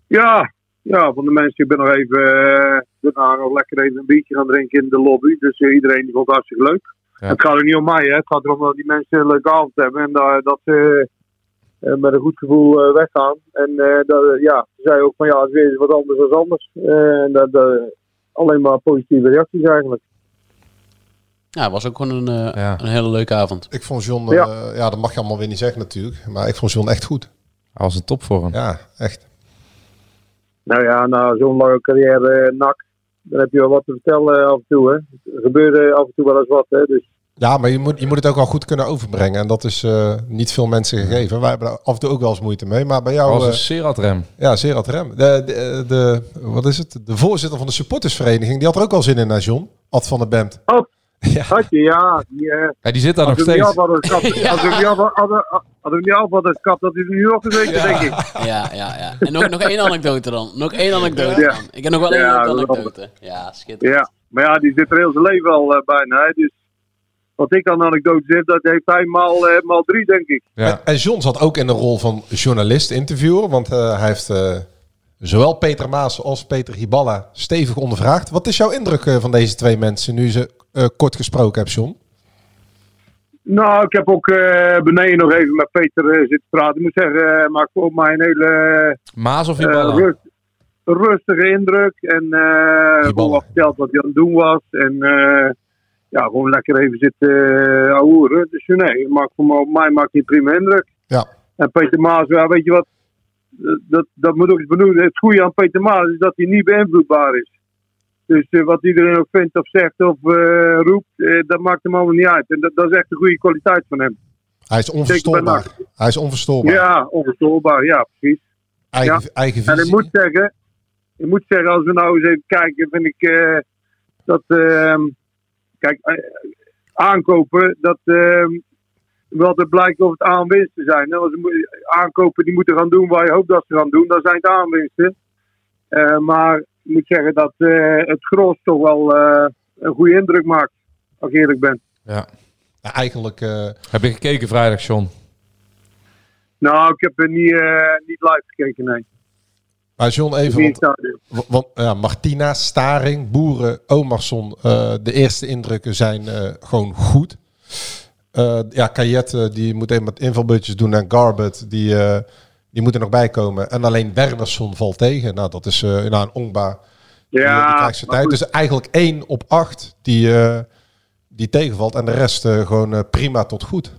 [SPEAKER 11] Ja, ja, van de mensen. Ik ben nog even eh, daarna nog lekker even een biertje gaan drinken in de lobby. Dus eh, iedereen die vond het hartstikke leuk.
[SPEAKER 7] Ja.
[SPEAKER 11] Het gaat er niet om mij, hè. Het gaat erom dat die mensen een leuke avond hebben en dat, dat ze eh, met een goed gevoel eh, weggaan. En eh, dat, ja, ze zei ook van ja, het is weer wat anders dan anders. Eh, en dat, dat- alleen maar positieve reacties eigenlijk.
[SPEAKER 6] Ja, het was ook gewoon een, eh,
[SPEAKER 7] Ja.
[SPEAKER 6] een hele leuke
[SPEAKER 7] (laughs)
[SPEAKER 6] avond.
[SPEAKER 8] Ik vond John, eh, ja. dat mag je allemaal weer niet zeggen natuurlijk, maar ik vond John echt goed.
[SPEAKER 7] Hij was een topvorm.
[SPEAKER 8] Ja, echt.
[SPEAKER 11] Nou ja, na zo'n lange carrière eh NAC, dan heb je wel wat te vertellen eh, af en toe, hè. Er gebeurde af en toe wel eens wat, hè. Dus
[SPEAKER 8] Ja, maar je moet, je moet het ook wel goed kunnen overbrengen. En dat is eh, niet veel mensen gegeven. Wij hebben daar af en toe ook wel eens moeite mee. Maar bij
[SPEAKER 7] Hij
[SPEAKER 8] jou,
[SPEAKER 7] was een
[SPEAKER 8] eh,
[SPEAKER 7] Seratrem.
[SPEAKER 8] ja, Gerard Rem. De, de, de, wat is het? De voorzitter van de supportersvereniging, die had er ook al zin in, hè, John? Ad van der Bent.
[SPEAKER 11] had je, ja, die, eh,
[SPEAKER 7] Ja, die zit daar nog
[SPEAKER 11] Als we hem
[SPEAKER 7] steeds.
[SPEAKER 11] niet af hadden gekapt- als we hem niet af hadden- hadden we hem niet af hadden gekapt, had hij er nu al gezeten, denk ik.
[SPEAKER 6] Ja, ja, ja. En nog, nog één anekdote dan. Nog één anekdote
[SPEAKER 11] Ja.
[SPEAKER 6] dan. Ik heb nog wel één
[SPEAKER 11] Ja, dat is
[SPEAKER 6] anekdote. Ja, schitterend.
[SPEAKER 11] Ja, maar ja, die zit er heel zijn leven al eh, bijna. Hè. Dus wat ik aan anekdotes heb, dat heeft hij maal, eh, maal drie, denk ik.
[SPEAKER 7] Ja.
[SPEAKER 8] En, en John zat ook in de rol van journalist, interviewer. Want eh, hij heeft eh, zowel Peter Maas als Peter Hiballa stevig ondervraagd. Wat is jouw indruk eh, van deze twee mensen nu je ze eh, kort gesproken hebt, John?
[SPEAKER 11] Nou, ik heb ook eh, beneden nog even met Peter eh, zitten praten. Ik moet zeggen, eh maakt voor mij een hele
[SPEAKER 7] Maas of
[SPEAKER 11] eh,
[SPEAKER 7] Ibala?
[SPEAKER 11] rust- rustige indruk. En eh
[SPEAKER 8] Die
[SPEAKER 11] gewoon
[SPEAKER 8] ballen.
[SPEAKER 11] wat verteld wat hij aan het doen was. En eh, ja, gewoon lekker even zitten eh ahoeren. Dus nee, maakt voor mij, op mij maakt hij een prima indruk.
[SPEAKER 8] Ja.
[SPEAKER 11] En Peter Maas, ja, weet je wat? Eh, Dat, dat moet ook eens benoemen. Het goede aan Peter Maas is dat hij niet beïnvloedbaar is. Dus eh, wat iedereen ook vindt of zegt of eh, roept, eh, dat maakt hem allemaal niet uit. En dat, dat is echt een goede kwaliteit van hem.
[SPEAKER 8] Hij is onverstoorbaar. Hij is onverstoorbaar.
[SPEAKER 11] Ja, onverstoorbaar, ja, precies.
[SPEAKER 8] Eigen, eigen
[SPEAKER 11] En
[SPEAKER 8] visie.
[SPEAKER 11] ik moet zeggen, ik moet zeggen, als we nou eens even kijken, vind ik eh, dat ehm, kijk, eh, aankopen, dat ehm, wel te blijkt of het aanwinsten zijn. hè. Als ze mo- aankopen die moeten gaan doen waar je hoopt dat ze gaan doen, dan zijn het aanwinsten. Eh, maar ik moet zeggen dat eh, het gros toch wel eh, een goede indruk maakt, als ik eerlijk ben.
[SPEAKER 7] Ja.
[SPEAKER 8] eigenlijk... eh,
[SPEAKER 7] Heb je gekeken vrijdag, John?
[SPEAKER 11] Nou, ik heb er niet, eh, niet live gekeken, nee.
[SPEAKER 8] Maar John, even...
[SPEAKER 11] Niet in het
[SPEAKER 8] Want,
[SPEAKER 11] stadion.
[SPEAKER 8] wa- want, ja, Martina, Staring, Boeren, Omarsson. eh, de eerste indrukken zijn eh, gewoon goed. Eh, ja, Kayette, eh, die moet even wat invalbudgetjes doen. En Garbett, die, eh, die moet er nog bij komen. En alleen Wernersson valt tegen. Nou, dat is eh, nou, een ongba. Die, die
[SPEAKER 11] Ja,
[SPEAKER 8] krijgt zijn
[SPEAKER 11] maar
[SPEAKER 8] tijd.
[SPEAKER 11] goed.
[SPEAKER 8] Dus eigenlijk één op acht die, eh, die tegenvalt. En de rest eh, gewoon eh, prima tot goed.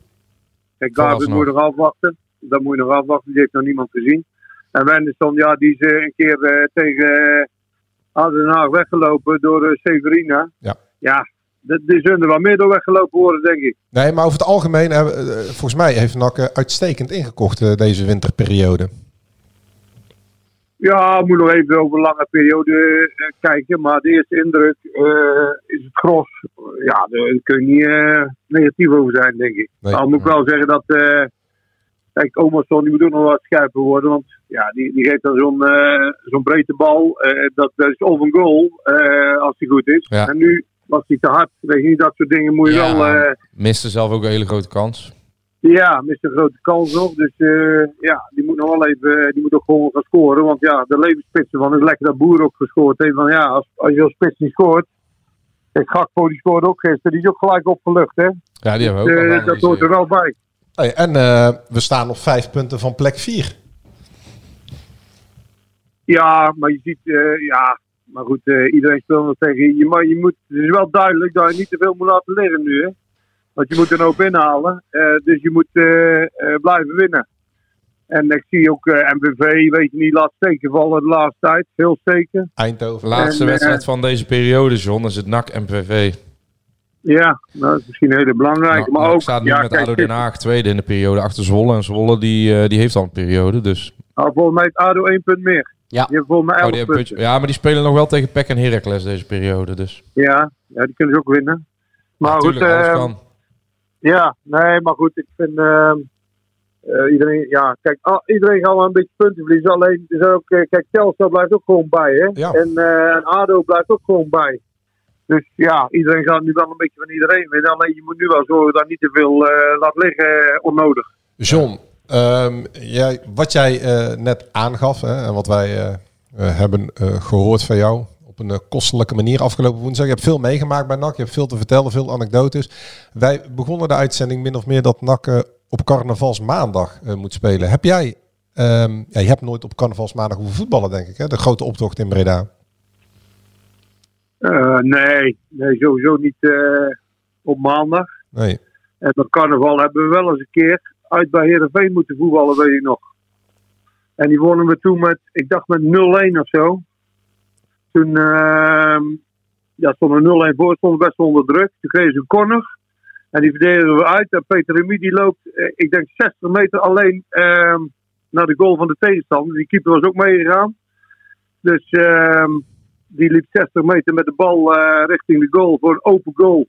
[SPEAKER 11] Kijk, David
[SPEAKER 7] Vooralsnog.
[SPEAKER 11] moet nog afwachten. Dat moet je nog afwachten. Die heeft nog niemand gezien. En Wendersson, ja, die is eh, een keer eh, tegen eh, Aden Haag weggelopen door eh, Severina.
[SPEAKER 8] Ja.
[SPEAKER 11] Ja, d- die zullen er wel meer door weggelopen worden, denk ik.
[SPEAKER 8] Nee, maar over het algemeen, hebben- eh, eh, volgens mij heeft NAC eh, uitstekend ingekocht eh, deze winterperiode.
[SPEAKER 11] Ja, moet nog even over een lange periode eh, kijken. Maar de eerste indruk eh, is het gros. Ja, daar kun je niet eh, negatief over zijn, denk ik.
[SPEAKER 8] Nee.
[SPEAKER 11] Al moet ik wel zeggen dat. eh kijk, Omerson die moet ook nog wat scherper worden. Want ja, die, die geeft dan zo'n eh, zo'n brede bal. eh, dat, dat is of een goal eh, als die goed is.
[SPEAKER 7] Ja.
[SPEAKER 11] En nu was hij te hard. Weet je niet, dat soort dingen moet je
[SPEAKER 7] Ja.
[SPEAKER 11] wel. eh,
[SPEAKER 7] Miste zelf ook een hele grote kans.
[SPEAKER 11] ja, mist een grote kans nog. Dus eh, ja, die moet nog wel even, eh, die moet ook gewoon gaan scoren. Want ja, de levensspitsen van is lekker dat Boer ook gescoord heeft. Van ja, als, als je als spits niet scoort. Kijk, Gakpo die scoorde ook gisteren. Die is ook gelijk opgelucht, hè.
[SPEAKER 7] Ja, die hebben we ook.
[SPEAKER 11] Eh,
[SPEAKER 7] al
[SPEAKER 11] dat hoort er
[SPEAKER 7] geanalyseerd.
[SPEAKER 11] wel bij.
[SPEAKER 8] Hey, en eh, we staan op vijf punten van plek vier.
[SPEAKER 11] Ja, maar je ziet, eh, ja, maar goed, eh, iedereen speelt nog tegen je. Maar je moet, het is wel duidelijk dat je niet te veel moet laten liggen nu, hè. Want je moet een hoop inhalen. Eh, dus je moet eh, eh, blijven winnen. En ik zie ook eh, MVV, weet je niet, laat steken vallen de laatste tijd. Heel zeker.
[SPEAKER 8] Eindhoven.
[SPEAKER 7] Laatste
[SPEAKER 11] En, eh,
[SPEAKER 7] wedstrijd van deze periode, John, is het NAC-MPV.
[SPEAKER 11] Ja, nou, dat is misschien heel belangrijk.
[SPEAKER 7] Nou,
[SPEAKER 11] maar
[SPEAKER 7] NAC
[SPEAKER 11] ook,
[SPEAKER 7] staat nu
[SPEAKER 11] ja,
[SPEAKER 7] met
[SPEAKER 11] kijk,
[SPEAKER 7] ADO Den Haag tweede in de periode achter Zwolle. En Zwolle die, eh, die heeft al een periode, dus...
[SPEAKER 11] nou, volgens mij heeft ADO één punt meer.
[SPEAKER 6] Ja.
[SPEAKER 11] Die hebben volgens mij
[SPEAKER 7] Oh,
[SPEAKER 11] elf
[SPEAKER 7] die hebben
[SPEAKER 11] punten.
[SPEAKER 7] puntje- ja, maar die spelen nog wel tegen PEC en Heracles deze periode, dus...
[SPEAKER 11] Ja, ja, die kunnen ze ook winnen. Maar goed,
[SPEAKER 7] Tuurlijk, alles
[SPEAKER 11] eh,
[SPEAKER 7] kan.
[SPEAKER 11] Ja, nee, maar goed, ik vind ehm, eh, iedereen, ja, kijk, al- iedereen gaat wel een beetje punten verliezen. Alleen, er zijn ook, eh, kijk, Telstra blijft ook gewoon bij, hè?
[SPEAKER 8] Ja.
[SPEAKER 11] En, eh, en Ado blijft ook gewoon bij. Dus ja, iedereen gaat nu wel een beetje van iedereen winnen. Alleen je moet nu wel zorgen dat niet te veel eh, laat liggen, eh, onnodig.
[SPEAKER 8] John, ehm, jij, wat jij eh, net aangaf hè, en wat wij eh, eh, hebben eh, gehoord van jou op een eh, kostelijke manier afgelopen woensdag. Je hebt veel meegemaakt bij NAC, je hebt veel te vertellen, veel anekdotes. Wij begonnen de uitzending min of meer dat NAC eh, op carnavalsmaandag eh, moet spelen. Heb jij, ehm, ja, je hebt nooit op carnavalsmaandag hoeven voetballen denk ik hè, de grote optocht in Breda.
[SPEAKER 11] Eh, nee, nee, sowieso niet eh, op maandag.
[SPEAKER 8] Nee,
[SPEAKER 11] En op carnaval hebben we wel eens een keer uit bij Heerenveen moeten voetballen, weet je nog. En die wonnen we toen met, ik dacht met 0-1 of zo. Toen ehm ja, stonden we 0-1 voor, stonden we best wel onder druk. Toen kregen ze een corner. En die verdedigen we uit. En Peter Remy die loopt, eh, ik denk 60 meter alleen ehm, naar de goal van de tegenstander. Die keeper was ook meegegaan. Dus ehm, die liep 60 meter met de bal eh, richting de goal voor een open goal.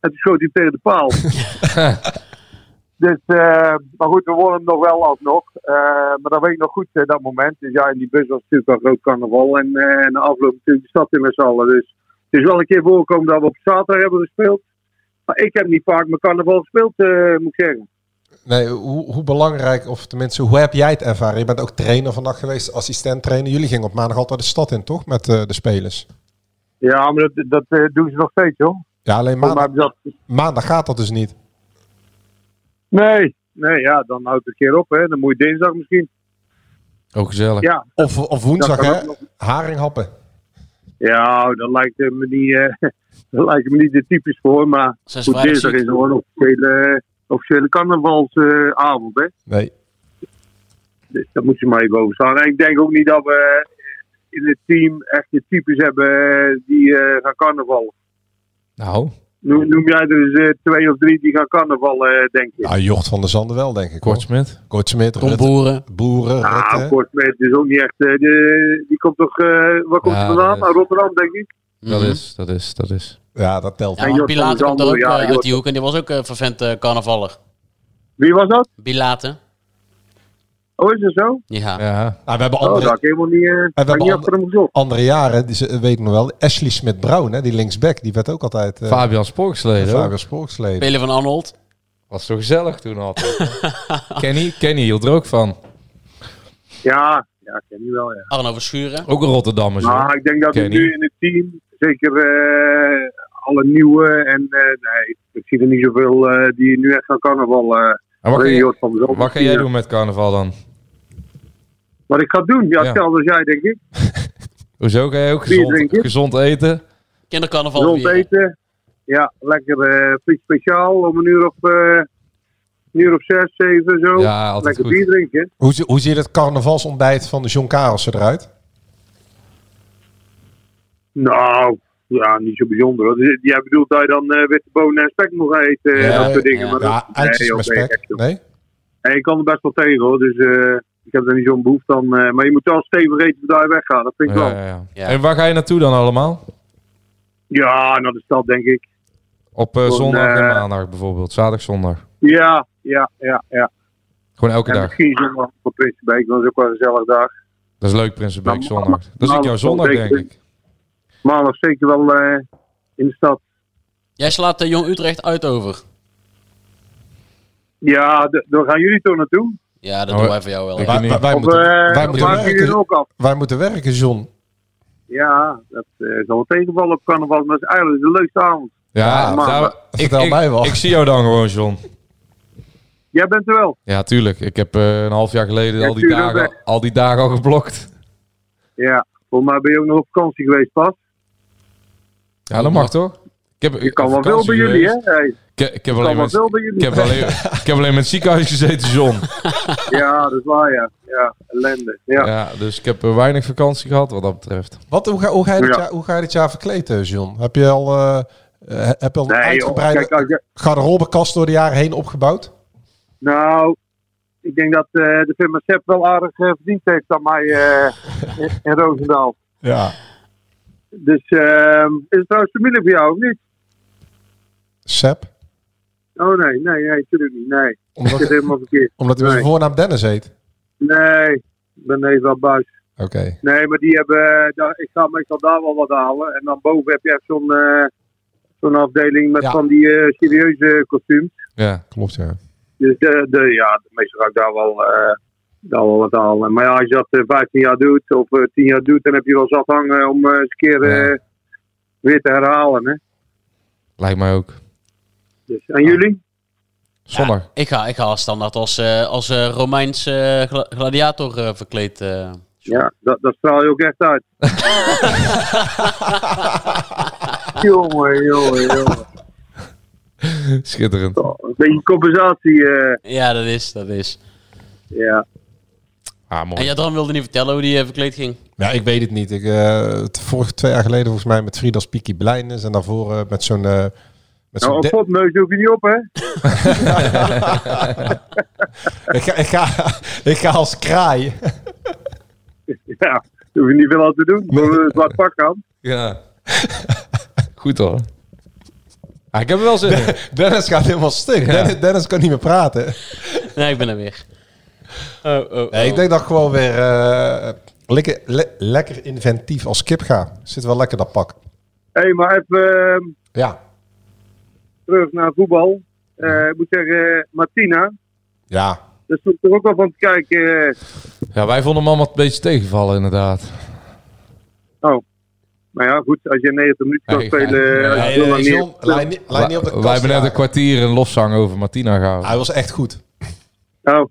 [SPEAKER 11] En toen schoot hij tegen de paal. dus, eh, maar goed, we wonnen hem nog wel alsnog. Eh, maar dat weet ik nog goed, eh, dat moment. Dus ja, in die bus was natuurlijk wel groot carnaval. En, eh, en de afloop natuurlijk de stad in met z'n allen. Dus het is wel een keer voorgekomen dat we op zaterdag hebben gespeeld. Maar ik heb niet vaak mijn carnaval gespeeld, eh, moet ik zeggen.
[SPEAKER 8] nee hoe, hoe belangrijk, of tenminste, hoe heb jij het ervaren? Je bent ook trainer van NAC geweest, assistent trainer. Jullie gingen op maandag altijd de stad in, toch? Met eh, de spelers.
[SPEAKER 11] Ja, maar dat, dat eh, doen ze nog steeds, hoor.
[SPEAKER 8] Ja, alleen
[SPEAKER 11] Maar,
[SPEAKER 8] maandag,
[SPEAKER 11] dat,
[SPEAKER 8] maandag gaat dat dus niet.
[SPEAKER 11] nee, nee, ja, dan houdt het een keer op, hè. Dan moet je dinsdag misschien.
[SPEAKER 7] Ook gezellig.
[SPEAKER 11] Ja,
[SPEAKER 8] Of, of woensdag,
[SPEAKER 11] Dat kan
[SPEAKER 8] hè?
[SPEAKER 11] ook
[SPEAKER 8] Haringhappen.
[SPEAKER 11] Ja, dat lijkt eh, me niet, eh, (laughs) dat lijkt me niet de typisch voor. Maar
[SPEAKER 6] Zes
[SPEAKER 11] goed,
[SPEAKER 6] vrijdag
[SPEAKER 11] dinsdag
[SPEAKER 6] ziek.
[SPEAKER 11] is gewoon een officiële, eh, officiële carnavalsavond. hè.
[SPEAKER 8] Nee.
[SPEAKER 11] dus dat moet je maar even overstaan. En ik denk ook niet dat we eh, in het team echt de types hebben eh, die eh, gaan carnaval.
[SPEAKER 7] Nou,
[SPEAKER 11] Noem, noem jij er eens eh, twee of drie die gaan carnaval, eh, denk je?
[SPEAKER 8] Nou, Jocht van der Zanden wel, denk ik. hoor.
[SPEAKER 7] Kortsmit.
[SPEAKER 8] Kortsmit,
[SPEAKER 6] Tom
[SPEAKER 8] Rutte,
[SPEAKER 6] Boeren.
[SPEAKER 8] Boeren,
[SPEAKER 11] Nou,
[SPEAKER 8] Rutte.
[SPEAKER 11] kort met is ook niet echt. eh, de, die komt toch. eh, waar komt
[SPEAKER 7] Ja,
[SPEAKER 11] ze vandaan?
[SPEAKER 7] dat is-
[SPEAKER 11] Uit Rotterdam, denk ik.
[SPEAKER 7] Dat
[SPEAKER 6] Mhm.
[SPEAKER 7] is, dat is, dat is.
[SPEAKER 8] Ja, dat telt.
[SPEAKER 6] Ja,
[SPEAKER 11] En
[SPEAKER 6] maar
[SPEAKER 11] Jort
[SPEAKER 6] Pilate Ah, komt er ook
[SPEAKER 11] Alexander, ja,
[SPEAKER 6] eh, uit
[SPEAKER 11] Jort-
[SPEAKER 6] die hoek en die was ook een vervent eh, carnavaller.
[SPEAKER 11] Wie was dat?
[SPEAKER 6] Pilate.
[SPEAKER 11] Oh, is dat zo?
[SPEAKER 6] Ja.
[SPEAKER 8] Nou, we hebben
[SPEAKER 11] Oh, dat
[SPEAKER 8] andere,
[SPEAKER 11] had ik helemaal niet, eh, had ik
[SPEAKER 8] we hebben
[SPEAKER 11] niet achter hem gezocht.
[SPEAKER 8] andere jaren, die ze- eh, weet ik nog wel. Ashley Smith-Brown, hè, die linksback, die werd ook altijd... eh,
[SPEAKER 7] Fabian Sporksleden.
[SPEAKER 8] Fabian
[SPEAKER 7] hoor.
[SPEAKER 8] Sporksleden.
[SPEAKER 6] Pele van Arnold.
[SPEAKER 7] Was zo gezellig toen
[SPEAKER 6] (laughs)
[SPEAKER 7] altijd. Kenny, Kenny hield er ook van.
[SPEAKER 11] Ja, ja, ik ken die wel, ja.
[SPEAKER 6] Arno Verschuren.
[SPEAKER 7] Ook een Rotterdammer.
[SPEAKER 11] Maar Ah, ik denk dat we
[SPEAKER 7] Kenny.
[SPEAKER 11] nu in het team, zeker eh, alle nieuwe en eh, nee, ik zie er niet zoveel eh, die nu echt gaan carnaval. eh
[SPEAKER 7] En wat, ga
[SPEAKER 11] alleen
[SPEAKER 7] jij,
[SPEAKER 11] Jort van der Zand.
[SPEAKER 7] wat ga jij doen met carnaval dan?
[SPEAKER 11] Wat ik ga doen? Ja,
[SPEAKER 7] Ja.
[SPEAKER 11] hetzelfde als jij, denk ik.
[SPEAKER 7] Hoezo ga jij ook
[SPEAKER 11] Bier
[SPEAKER 7] gezond,
[SPEAKER 11] drinken.
[SPEAKER 7] gezond eten?
[SPEAKER 6] Kindercarnaval.
[SPEAKER 11] Gezond
[SPEAKER 6] vieren.
[SPEAKER 11] eten. Ja, lekker eh friet speciaal om een uur op, eh, een uur op zes, zeven, zo.
[SPEAKER 7] Ja, altijd
[SPEAKER 11] lekker
[SPEAKER 7] goed.
[SPEAKER 11] bier drinken.
[SPEAKER 8] Hoe, zie- hoe ziet het carnavalsontbijt van de John Karelsen eruit?
[SPEAKER 11] Nou, ja, niet zo bijzonder. hoor. Dus Jij bedoelt dat je dan eh witte bonen en spek moet eten en
[SPEAKER 8] Ja,
[SPEAKER 11] dat soort dingen.
[SPEAKER 6] ja.
[SPEAKER 11] maar dat-
[SPEAKER 8] Ja, eitjes
[SPEAKER 11] nee,
[SPEAKER 8] met
[SPEAKER 11] joh, nee,
[SPEAKER 8] spek.
[SPEAKER 11] echt, joh.
[SPEAKER 8] Nee?
[SPEAKER 11] En ik kan er best wel tegen hoor, dus eh, ik heb er niet zo'n behoefte aan. eh, maar je moet wel stevig eten voordat je weggaat, dat vind ik
[SPEAKER 7] Ja,
[SPEAKER 11] wel.
[SPEAKER 7] ja, ja.
[SPEAKER 6] Ja.
[SPEAKER 7] En waar ga je naartoe dan allemaal?
[SPEAKER 11] Ja, nou, naar de stad denk ik.
[SPEAKER 7] Op eh,
[SPEAKER 11] Gewoon,
[SPEAKER 7] zondag en
[SPEAKER 11] eh,
[SPEAKER 7] maandag bijvoorbeeld. Zaterdag, zondag.
[SPEAKER 11] Ja, ja, ja, ja.
[SPEAKER 7] Gewoon elke
[SPEAKER 11] en
[SPEAKER 7] dag.
[SPEAKER 11] misschien zondag voor Prinsenbeek, dat is ook wel een gezellig dag.
[SPEAKER 7] Dat is leuk, Prinsenbeek,
[SPEAKER 11] Nou,
[SPEAKER 7] zondag. Dat is ik
[SPEAKER 11] nou,
[SPEAKER 7] jouw zondag,
[SPEAKER 11] zeker.
[SPEAKER 7] denk ik.
[SPEAKER 11] Maandag zeker wel eh, in de stad.
[SPEAKER 6] Jij slaat eh, Jong Utrecht uit over.
[SPEAKER 11] Ja, d- daar gaan jullie toch naartoe?
[SPEAKER 6] Ja, dat
[SPEAKER 7] Oh,
[SPEAKER 6] doen wij voor jou wel.
[SPEAKER 7] ik
[SPEAKER 6] ja.
[SPEAKER 8] Wij,
[SPEAKER 7] niet.
[SPEAKER 8] wij- wij
[SPEAKER 11] Of,
[SPEAKER 8] moeten,
[SPEAKER 11] eh,
[SPEAKER 8] wij
[SPEAKER 11] of
[SPEAKER 8] moeten
[SPEAKER 11] maken jullie er
[SPEAKER 8] werken,
[SPEAKER 11] ook af?
[SPEAKER 8] wij moeten werken, John.
[SPEAKER 11] Ja, dat eh, is al een tegenval op carnaval, maar het is eigenlijk de leukste avond.
[SPEAKER 7] Ja,
[SPEAKER 11] maar-
[SPEAKER 7] nou,
[SPEAKER 11] maar-
[SPEAKER 7] ik,
[SPEAKER 8] vertel
[SPEAKER 7] ik-
[SPEAKER 8] mij wel.
[SPEAKER 7] ik zie jou dan gewoon, John.
[SPEAKER 11] Jij bent er wel.
[SPEAKER 7] Ja, tuurlijk. Ik heb eh, een half jaar geleden
[SPEAKER 11] Ja,
[SPEAKER 7] al, die
[SPEAKER 11] tuurlijk,
[SPEAKER 7] dagen, al die dagen al geblokt.
[SPEAKER 11] Ja, volgens mij ben je ook nog op vakantie geweest, pas.
[SPEAKER 7] Ja, dat mag toch? Ik heb,
[SPEAKER 11] Je kan wel veel bij jullie, hè? Hey, je
[SPEAKER 7] Ik, ik heb
[SPEAKER 11] kan
[SPEAKER 7] alleen
[SPEAKER 11] wel
[SPEAKER 7] met,
[SPEAKER 11] veel bij
[SPEAKER 7] ik
[SPEAKER 11] jullie.
[SPEAKER 7] heb alleen, ik heb alleen met het ziekenhuis gezeten, John.
[SPEAKER 11] Ja, dat is waar, ja. Ja, ellende. Ja.
[SPEAKER 7] Ja. dus ik heb eh, weinig vakantie gehad wat dat betreft.
[SPEAKER 8] Wat, hoe, ga, hoe, ga je dit
[SPEAKER 11] Ja.
[SPEAKER 8] jaar, hoe ga je dit jaar verkleden, John? Heb je al, eh, eh, heb je al een
[SPEAKER 11] Nee, joh,
[SPEAKER 8] uitgebreide
[SPEAKER 11] kijk, als je-
[SPEAKER 8] garderobekast door de jaren heen opgebouwd?
[SPEAKER 11] Nou, ik denk dat eh, de firma Sepp wel aardig eh, verdiend heeft aan mij
[SPEAKER 8] (laughs)
[SPEAKER 11] eh, in, in Roosendaal.
[SPEAKER 8] Ja.
[SPEAKER 11] Dus ehm, is het trouwens familie voor jou of niet?
[SPEAKER 8] Sep?
[SPEAKER 11] Oh nee, nee, nee, natuurlijk niet. Nee, ik zit
[SPEAKER 8] Omdat,
[SPEAKER 11] helemaal verkeerd.
[SPEAKER 8] omdat hij met zijn
[SPEAKER 11] Nee.
[SPEAKER 8] voornaam Dennis heet?
[SPEAKER 11] Nee, ik ben even aan buis.
[SPEAKER 8] Oké.
[SPEAKER 11] Nee, maar die hebben, eh, daar, ik ga meestal daar wel wat halen. En dan boven heb je echt zo'n eh, zo'n afdeling met
[SPEAKER 8] Ja.
[SPEAKER 11] van die eh, serieuze kostuums.
[SPEAKER 7] Ja,
[SPEAKER 8] Klopt, ja.
[SPEAKER 11] Dus de, de, ja, meestal ga ik daar wel, eh, daar wel wat halen. Maar ja, als je dat eh, 15 jaar doet of eh, 10 jaar doet, dan heb je wel zat hangen om eh, eens een keer
[SPEAKER 7] Ja.
[SPEAKER 11] eh, weer te herhalen. Hè?
[SPEAKER 7] lijkt mij ook.
[SPEAKER 11] Dus, en jullie?
[SPEAKER 7] Zondag.
[SPEAKER 6] Ik ga, ik ga als standaard als, eh, als eh, Romeins eh, gla- gladiator eh, verkleed. eh.
[SPEAKER 11] Ja, dat, dat straal je ook echt uit. jongen, jongen, jongen.
[SPEAKER 7] Schitterend.
[SPEAKER 11] Toch, Een beetje compensatie. eh,
[SPEAKER 6] Ja, dat is, dat is.
[SPEAKER 11] ja.
[SPEAKER 7] Ah,
[SPEAKER 6] En
[SPEAKER 7] mooi.
[SPEAKER 6] Jadran wilde niet vertellen hoe die eh, verkleed ging.
[SPEAKER 8] Ja, ik weet het niet. Ik, eh, het vorige twee jaar geleden volgens mij met Frida Spiekie Blijnes en daarvoor eh, met zo'n... eh, met zo'n
[SPEAKER 11] Nou, een
[SPEAKER 8] de-
[SPEAKER 11] popneus hoef je niet op, hè? (laughs)
[SPEAKER 8] (laughs) ik, ga, ik, ga, ik ga als kraai. (laughs)
[SPEAKER 11] Ja, daar hoef je niet veel aan te doen. Maar we het wat pak aan.
[SPEAKER 7] Ja. (laughs) Goed hoor. Ah, ik heb er wel zin in.
[SPEAKER 8] Dennis gaat helemaal stuk. Dennis, Dennis kan niet meer praten.
[SPEAKER 6] Nee, ik ben er weer. Oh, oh, oh.
[SPEAKER 8] Nee, ik denk dat ik gewoon weer eh, lekker, le- lekker inventief als kip ga. Zit wel lekker dat pak.
[SPEAKER 11] Hé, hey, maar even eh,
[SPEAKER 8] Ja.
[SPEAKER 11] terug naar voetbal. Eh, ik moet zeggen, eh, Martina,
[SPEAKER 8] Ja.
[SPEAKER 11] daar stond ik er Dus ook al van te kijken. eh.
[SPEAKER 7] Ja, wij vonden hem allemaal een beetje tegenvallen inderdaad.
[SPEAKER 11] Maar ja, goed, als je 90 minuten kan
[SPEAKER 7] Hey,
[SPEAKER 11] spelen, eh,
[SPEAKER 7] ja, ja,
[SPEAKER 11] als je heel lang niet-
[SPEAKER 8] John, lijn niet- lijn niet op de
[SPEAKER 7] Wij-
[SPEAKER 8] kast Ah.
[SPEAKER 7] wij hebben net een
[SPEAKER 8] jagen.
[SPEAKER 7] kwartier een lofzang over Martina gehouden.
[SPEAKER 8] Hij was echt goed.
[SPEAKER 11] Nou,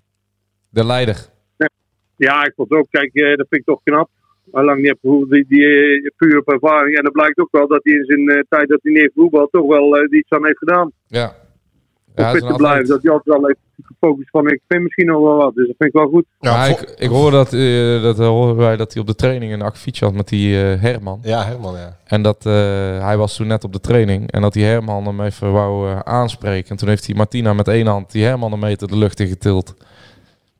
[SPEAKER 7] De leider.
[SPEAKER 11] ja, ik vond het ook. Kijk, eh, dat vind ik toch knap. Al lang niet heb gevoeld, die, die eh, puur op ervaring. En dat blijkt ook wel dat hij in zijn eh, tijd dat hij neer voetbal toch wel eh, iets aan heeft gedaan. Om
[SPEAKER 7] Ja. Ja, hij is
[SPEAKER 11] fit
[SPEAKER 7] een
[SPEAKER 11] te
[SPEAKER 7] atleet.
[SPEAKER 11] blijven. Dat hij altijd wel heeft gefocust van ik vind misschien nog wel wat. Dus dat vind ik wel goed.
[SPEAKER 8] Ja,
[SPEAKER 7] Maar
[SPEAKER 8] vo-
[SPEAKER 7] ik, ik hoor dat, eh, dat horen wij dat hij op de training een akkefietje had met die eh, Herman.
[SPEAKER 8] ja helemaal ja.
[SPEAKER 7] En dat eh, hij was toen net op de training. En dat die Herman hem even wou eh, aanspreken. En toen heeft hij Martina met één hand die Herman een meter de lucht in getild.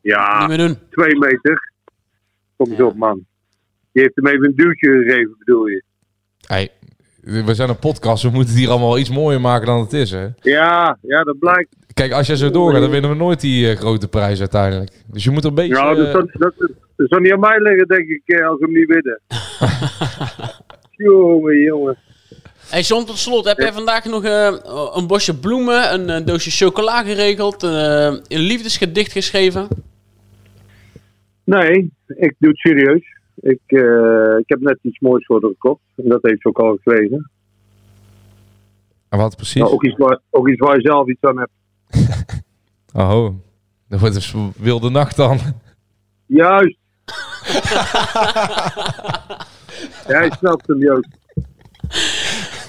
[SPEAKER 11] Ja, Ah.
[SPEAKER 6] Niet meer doen.
[SPEAKER 11] twee meter. Kom eens op, man. Die heeft hem even een duwtje gegeven, bedoel je?
[SPEAKER 7] Hij, We zijn een podcast, we moeten het hier allemaal iets mooier maken dan het is, hè?
[SPEAKER 11] Ja, ja, dat blijkt.
[SPEAKER 7] Kijk, als jij zo doorgaat, dan winnen we nooit die eh, grote prijs uiteindelijk. Dus je moet er een beetje...
[SPEAKER 11] Ja, dat
[SPEAKER 7] eh,
[SPEAKER 11] zou, dat, dat zou niet aan mij liggen, denk ik, eh, als we hem niet winnen. jongen, jongen.
[SPEAKER 6] Hey John, tot slot. Heb jij vandaag nog eh, een bosje bloemen, een, eh, doosje chocola geregeld, eh, een liefdesgedicht geschreven?
[SPEAKER 11] Nee, ik doe het serieus. Ik, eh, ik heb net iets moois voor de gekocht. En dat heeft ze ook al gekregen.
[SPEAKER 7] En wat precies?
[SPEAKER 11] Nou, ook, iets waar, ook iets waar je zelf iets aan hebt.
[SPEAKER 7] Oh, dat wordt dus een wilde nacht dan.
[SPEAKER 11] Juist. Jij snapt hem, Joost.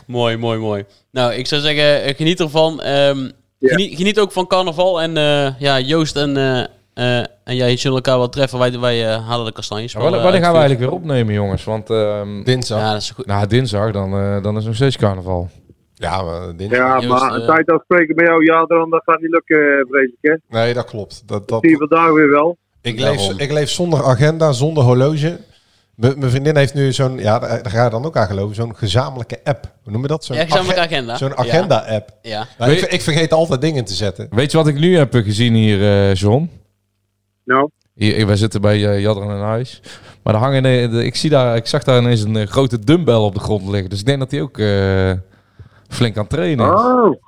[SPEAKER 6] Mooi, mooi, mooi. Nou, ik zou zeggen, eh, geniet ervan. Ehm, geniet, geniet ook van carnaval. En eh, ja, Joost en, eh, eh, en jij zullen elkaar wel treffen. Wij, wij eh, halen de kastanjes. wel,
[SPEAKER 7] Wanneer,
[SPEAKER 6] eh,
[SPEAKER 7] wanneer gaan we
[SPEAKER 6] uit
[SPEAKER 7] eigenlijk
[SPEAKER 6] het
[SPEAKER 7] weer opnemen, jongens? Want... ehm,
[SPEAKER 6] vuur.
[SPEAKER 8] Dinsdag. Ja,
[SPEAKER 6] Ja, dat is goed.
[SPEAKER 7] Nou, dinsdag, dan, eh, dan is nog steeds carnaval.
[SPEAKER 8] maar dinsdag.
[SPEAKER 11] Ja,
[SPEAKER 6] Joost,
[SPEAKER 11] maar een
[SPEAKER 6] eh,
[SPEAKER 11] tijd afspreken met jou, ja, dan, dat gaat niet lukken, eh, vrees ik. Hè?
[SPEAKER 8] Nee, dat klopt. Dat, dat,
[SPEAKER 11] Zie je vandaag weer wel.
[SPEAKER 8] ik,
[SPEAKER 6] Daarom.
[SPEAKER 8] leef, ik leef zonder agenda, zonder horloge. M- Mijn vriendin heeft nu zo'n, ja, daar daar ga je dan ook aan geloven, zo'n gezamenlijke app. Hoe noem je dat? Zo'n
[SPEAKER 6] Ja, gezamenlijke
[SPEAKER 8] agen-
[SPEAKER 6] agenda.
[SPEAKER 8] Zo'n agenda-app.
[SPEAKER 6] Ja.
[SPEAKER 8] Nou, ik,
[SPEAKER 7] Weet-
[SPEAKER 8] ik vergeet altijd dingen te zetten.
[SPEAKER 7] Weet je wat ik nu heb eh, gezien hier, eh, John?
[SPEAKER 11] Nou,
[SPEAKER 7] Hier, wij zitten bij eh, Jadran en Huis. Maar er hangen, eh, de- ik, zie daar, ik zag daar ineens een eh, grote dumbbell op de grond liggen. Dus ik denk dat hij ook eh, flink aan het trainen is.
[SPEAKER 11] oh.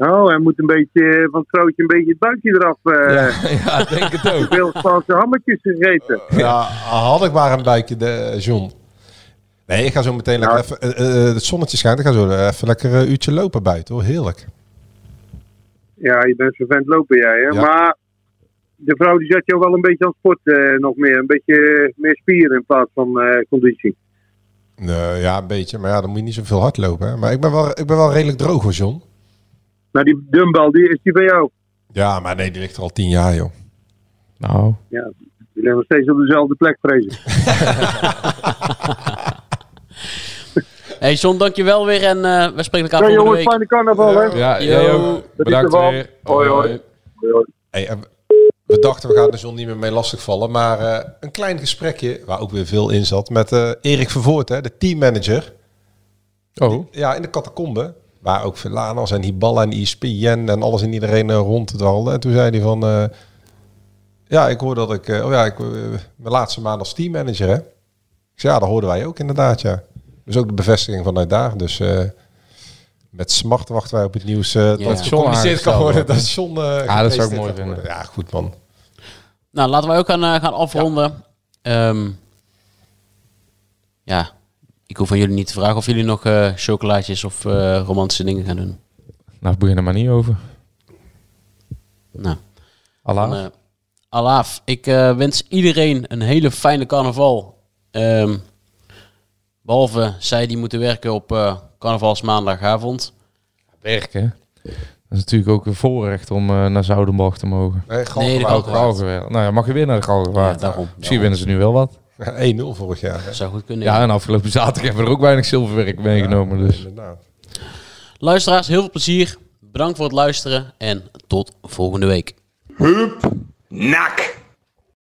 [SPEAKER 11] Oh, hij moet een beetje eh, van het vrouwtje een beetje het buikje eraf. eh
[SPEAKER 7] (laughs) ja, ik denk het ook.
[SPEAKER 11] Veel Spaanse hammetjes gegeten.
[SPEAKER 8] Ja, had ik maar een buikje, de, eh, John. Nee, ik ga zo meteen lekker even... eh, eh, het zonnetje schijnt, ik ga zo even lekker een uurtje lopen buiten, hoor. Heerlijk.
[SPEAKER 11] Ja, je bent zo'n vent lopen jij, hè?
[SPEAKER 8] Ja.
[SPEAKER 11] Maar de vrouw die zet jou wel een beetje aan het sport eh, nog meer. Een beetje eh, meer spieren in plaats van eh, conditie.
[SPEAKER 8] Nee, Eh, ja, een beetje. Maar ja, dan moet je niet zoveel hard lopen. Hè. Maar ik ben, wel, ik ben wel redelijk droog, hoor, John.
[SPEAKER 11] Nou, die dumbbell, die is die bij jou.
[SPEAKER 8] Ja, maar nee, die ligt er al tien jaar, joh.
[SPEAKER 7] Nou,
[SPEAKER 11] Die ligt nog steeds op dezelfde plek, vrees ik.
[SPEAKER 6] Hey John, dankjewel weer. En eh, we spreken elkaar volgende
[SPEAKER 11] Ja, jongens,
[SPEAKER 6] week.
[SPEAKER 11] fijne carnaval, hè?
[SPEAKER 7] ja,
[SPEAKER 6] Yo,
[SPEAKER 7] jij ook.
[SPEAKER 11] dat is
[SPEAKER 7] Bedankt
[SPEAKER 11] ervan.
[SPEAKER 7] weer.
[SPEAKER 11] Hoi, hoi. Ja.
[SPEAKER 8] Hey, en we- we dachten, we gaan de John niet meer mee lastigvallen. Maar eh, een klein gesprekje, waar ook weer veel in zat, met eh, Erik Vervoort, hè, de teammanager.
[SPEAKER 7] Oh,
[SPEAKER 8] Ja, in de catacombe. Waar ook Villanas en Hiballa en ESPN en alles en iedereen eh, ronddwaalde. En toen zei hij van... eh, ja, ik hoor dat ik... eh, oh ja, ik, eh, mijn laatste maand als teammanager, hè? Ik zei, ja, dat hoorden wij ook inderdaad, ja. Dus ook de bevestiging vanuit daar. Dus eh, met smart wachten wij op het nieuws eh, dat
[SPEAKER 6] John
[SPEAKER 8] het gecommuniceerd kan
[SPEAKER 7] aangesteld wordt.
[SPEAKER 8] worden. Dat John... eh,
[SPEAKER 7] dat zou
[SPEAKER 8] gepresenteerd
[SPEAKER 7] ik mooi
[SPEAKER 8] gaat
[SPEAKER 7] vinden.
[SPEAKER 8] worden. Ja, goed man.
[SPEAKER 6] Nou, laten wij ook gaan, eh, gaan afronden. Ja. ja, ik hoef aan jullie niet te vragen of jullie nog eh chocolaatjes of eh, romantische dingen gaan doen.
[SPEAKER 7] nou boeien er maar niet over.
[SPEAKER 6] Nou.
[SPEAKER 7] Allah.
[SPEAKER 6] Dan, eh, Alaaf, ik eh, wens iedereen een hele fijne carnaval. Ehm, behalve zij die moeten werken op eh carnavalsmaandagavond.
[SPEAKER 7] werken. Dat is natuurlijk ook een voorrecht om eh, naar Zoudenbach te mogen.
[SPEAKER 8] Nee,
[SPEAKER 6] Nee, dat
[SPEAKER 8] Galgenwaard.
[SPEAKER 6] Galgenwaard.
[SPEAKER 7] Galgenwaard. Nou ja, mag je weer naar de Galgenwaard.
[SPEAKER 6] Ja, daarom.
[SPEAKER 7] Misschien winnen ze nu wel wat.
[SPEAKER 8] (laughs) 1-0 vorig jaar. hè.
[SPEAKER 6] Dat zou goed kunnen.
[SPEAKER 7] Ja, en afgelopen zaterdag hebben we er ook weinig zilverwerk meegenomen. Dus.
[SPEAKER 8] Inderdaad.
[SPEAKER 6] Luisteraars, heel veel plezier. Bedankt voor het luisteren en tot volgende week.
[SPEAKER 3] Hup, nak.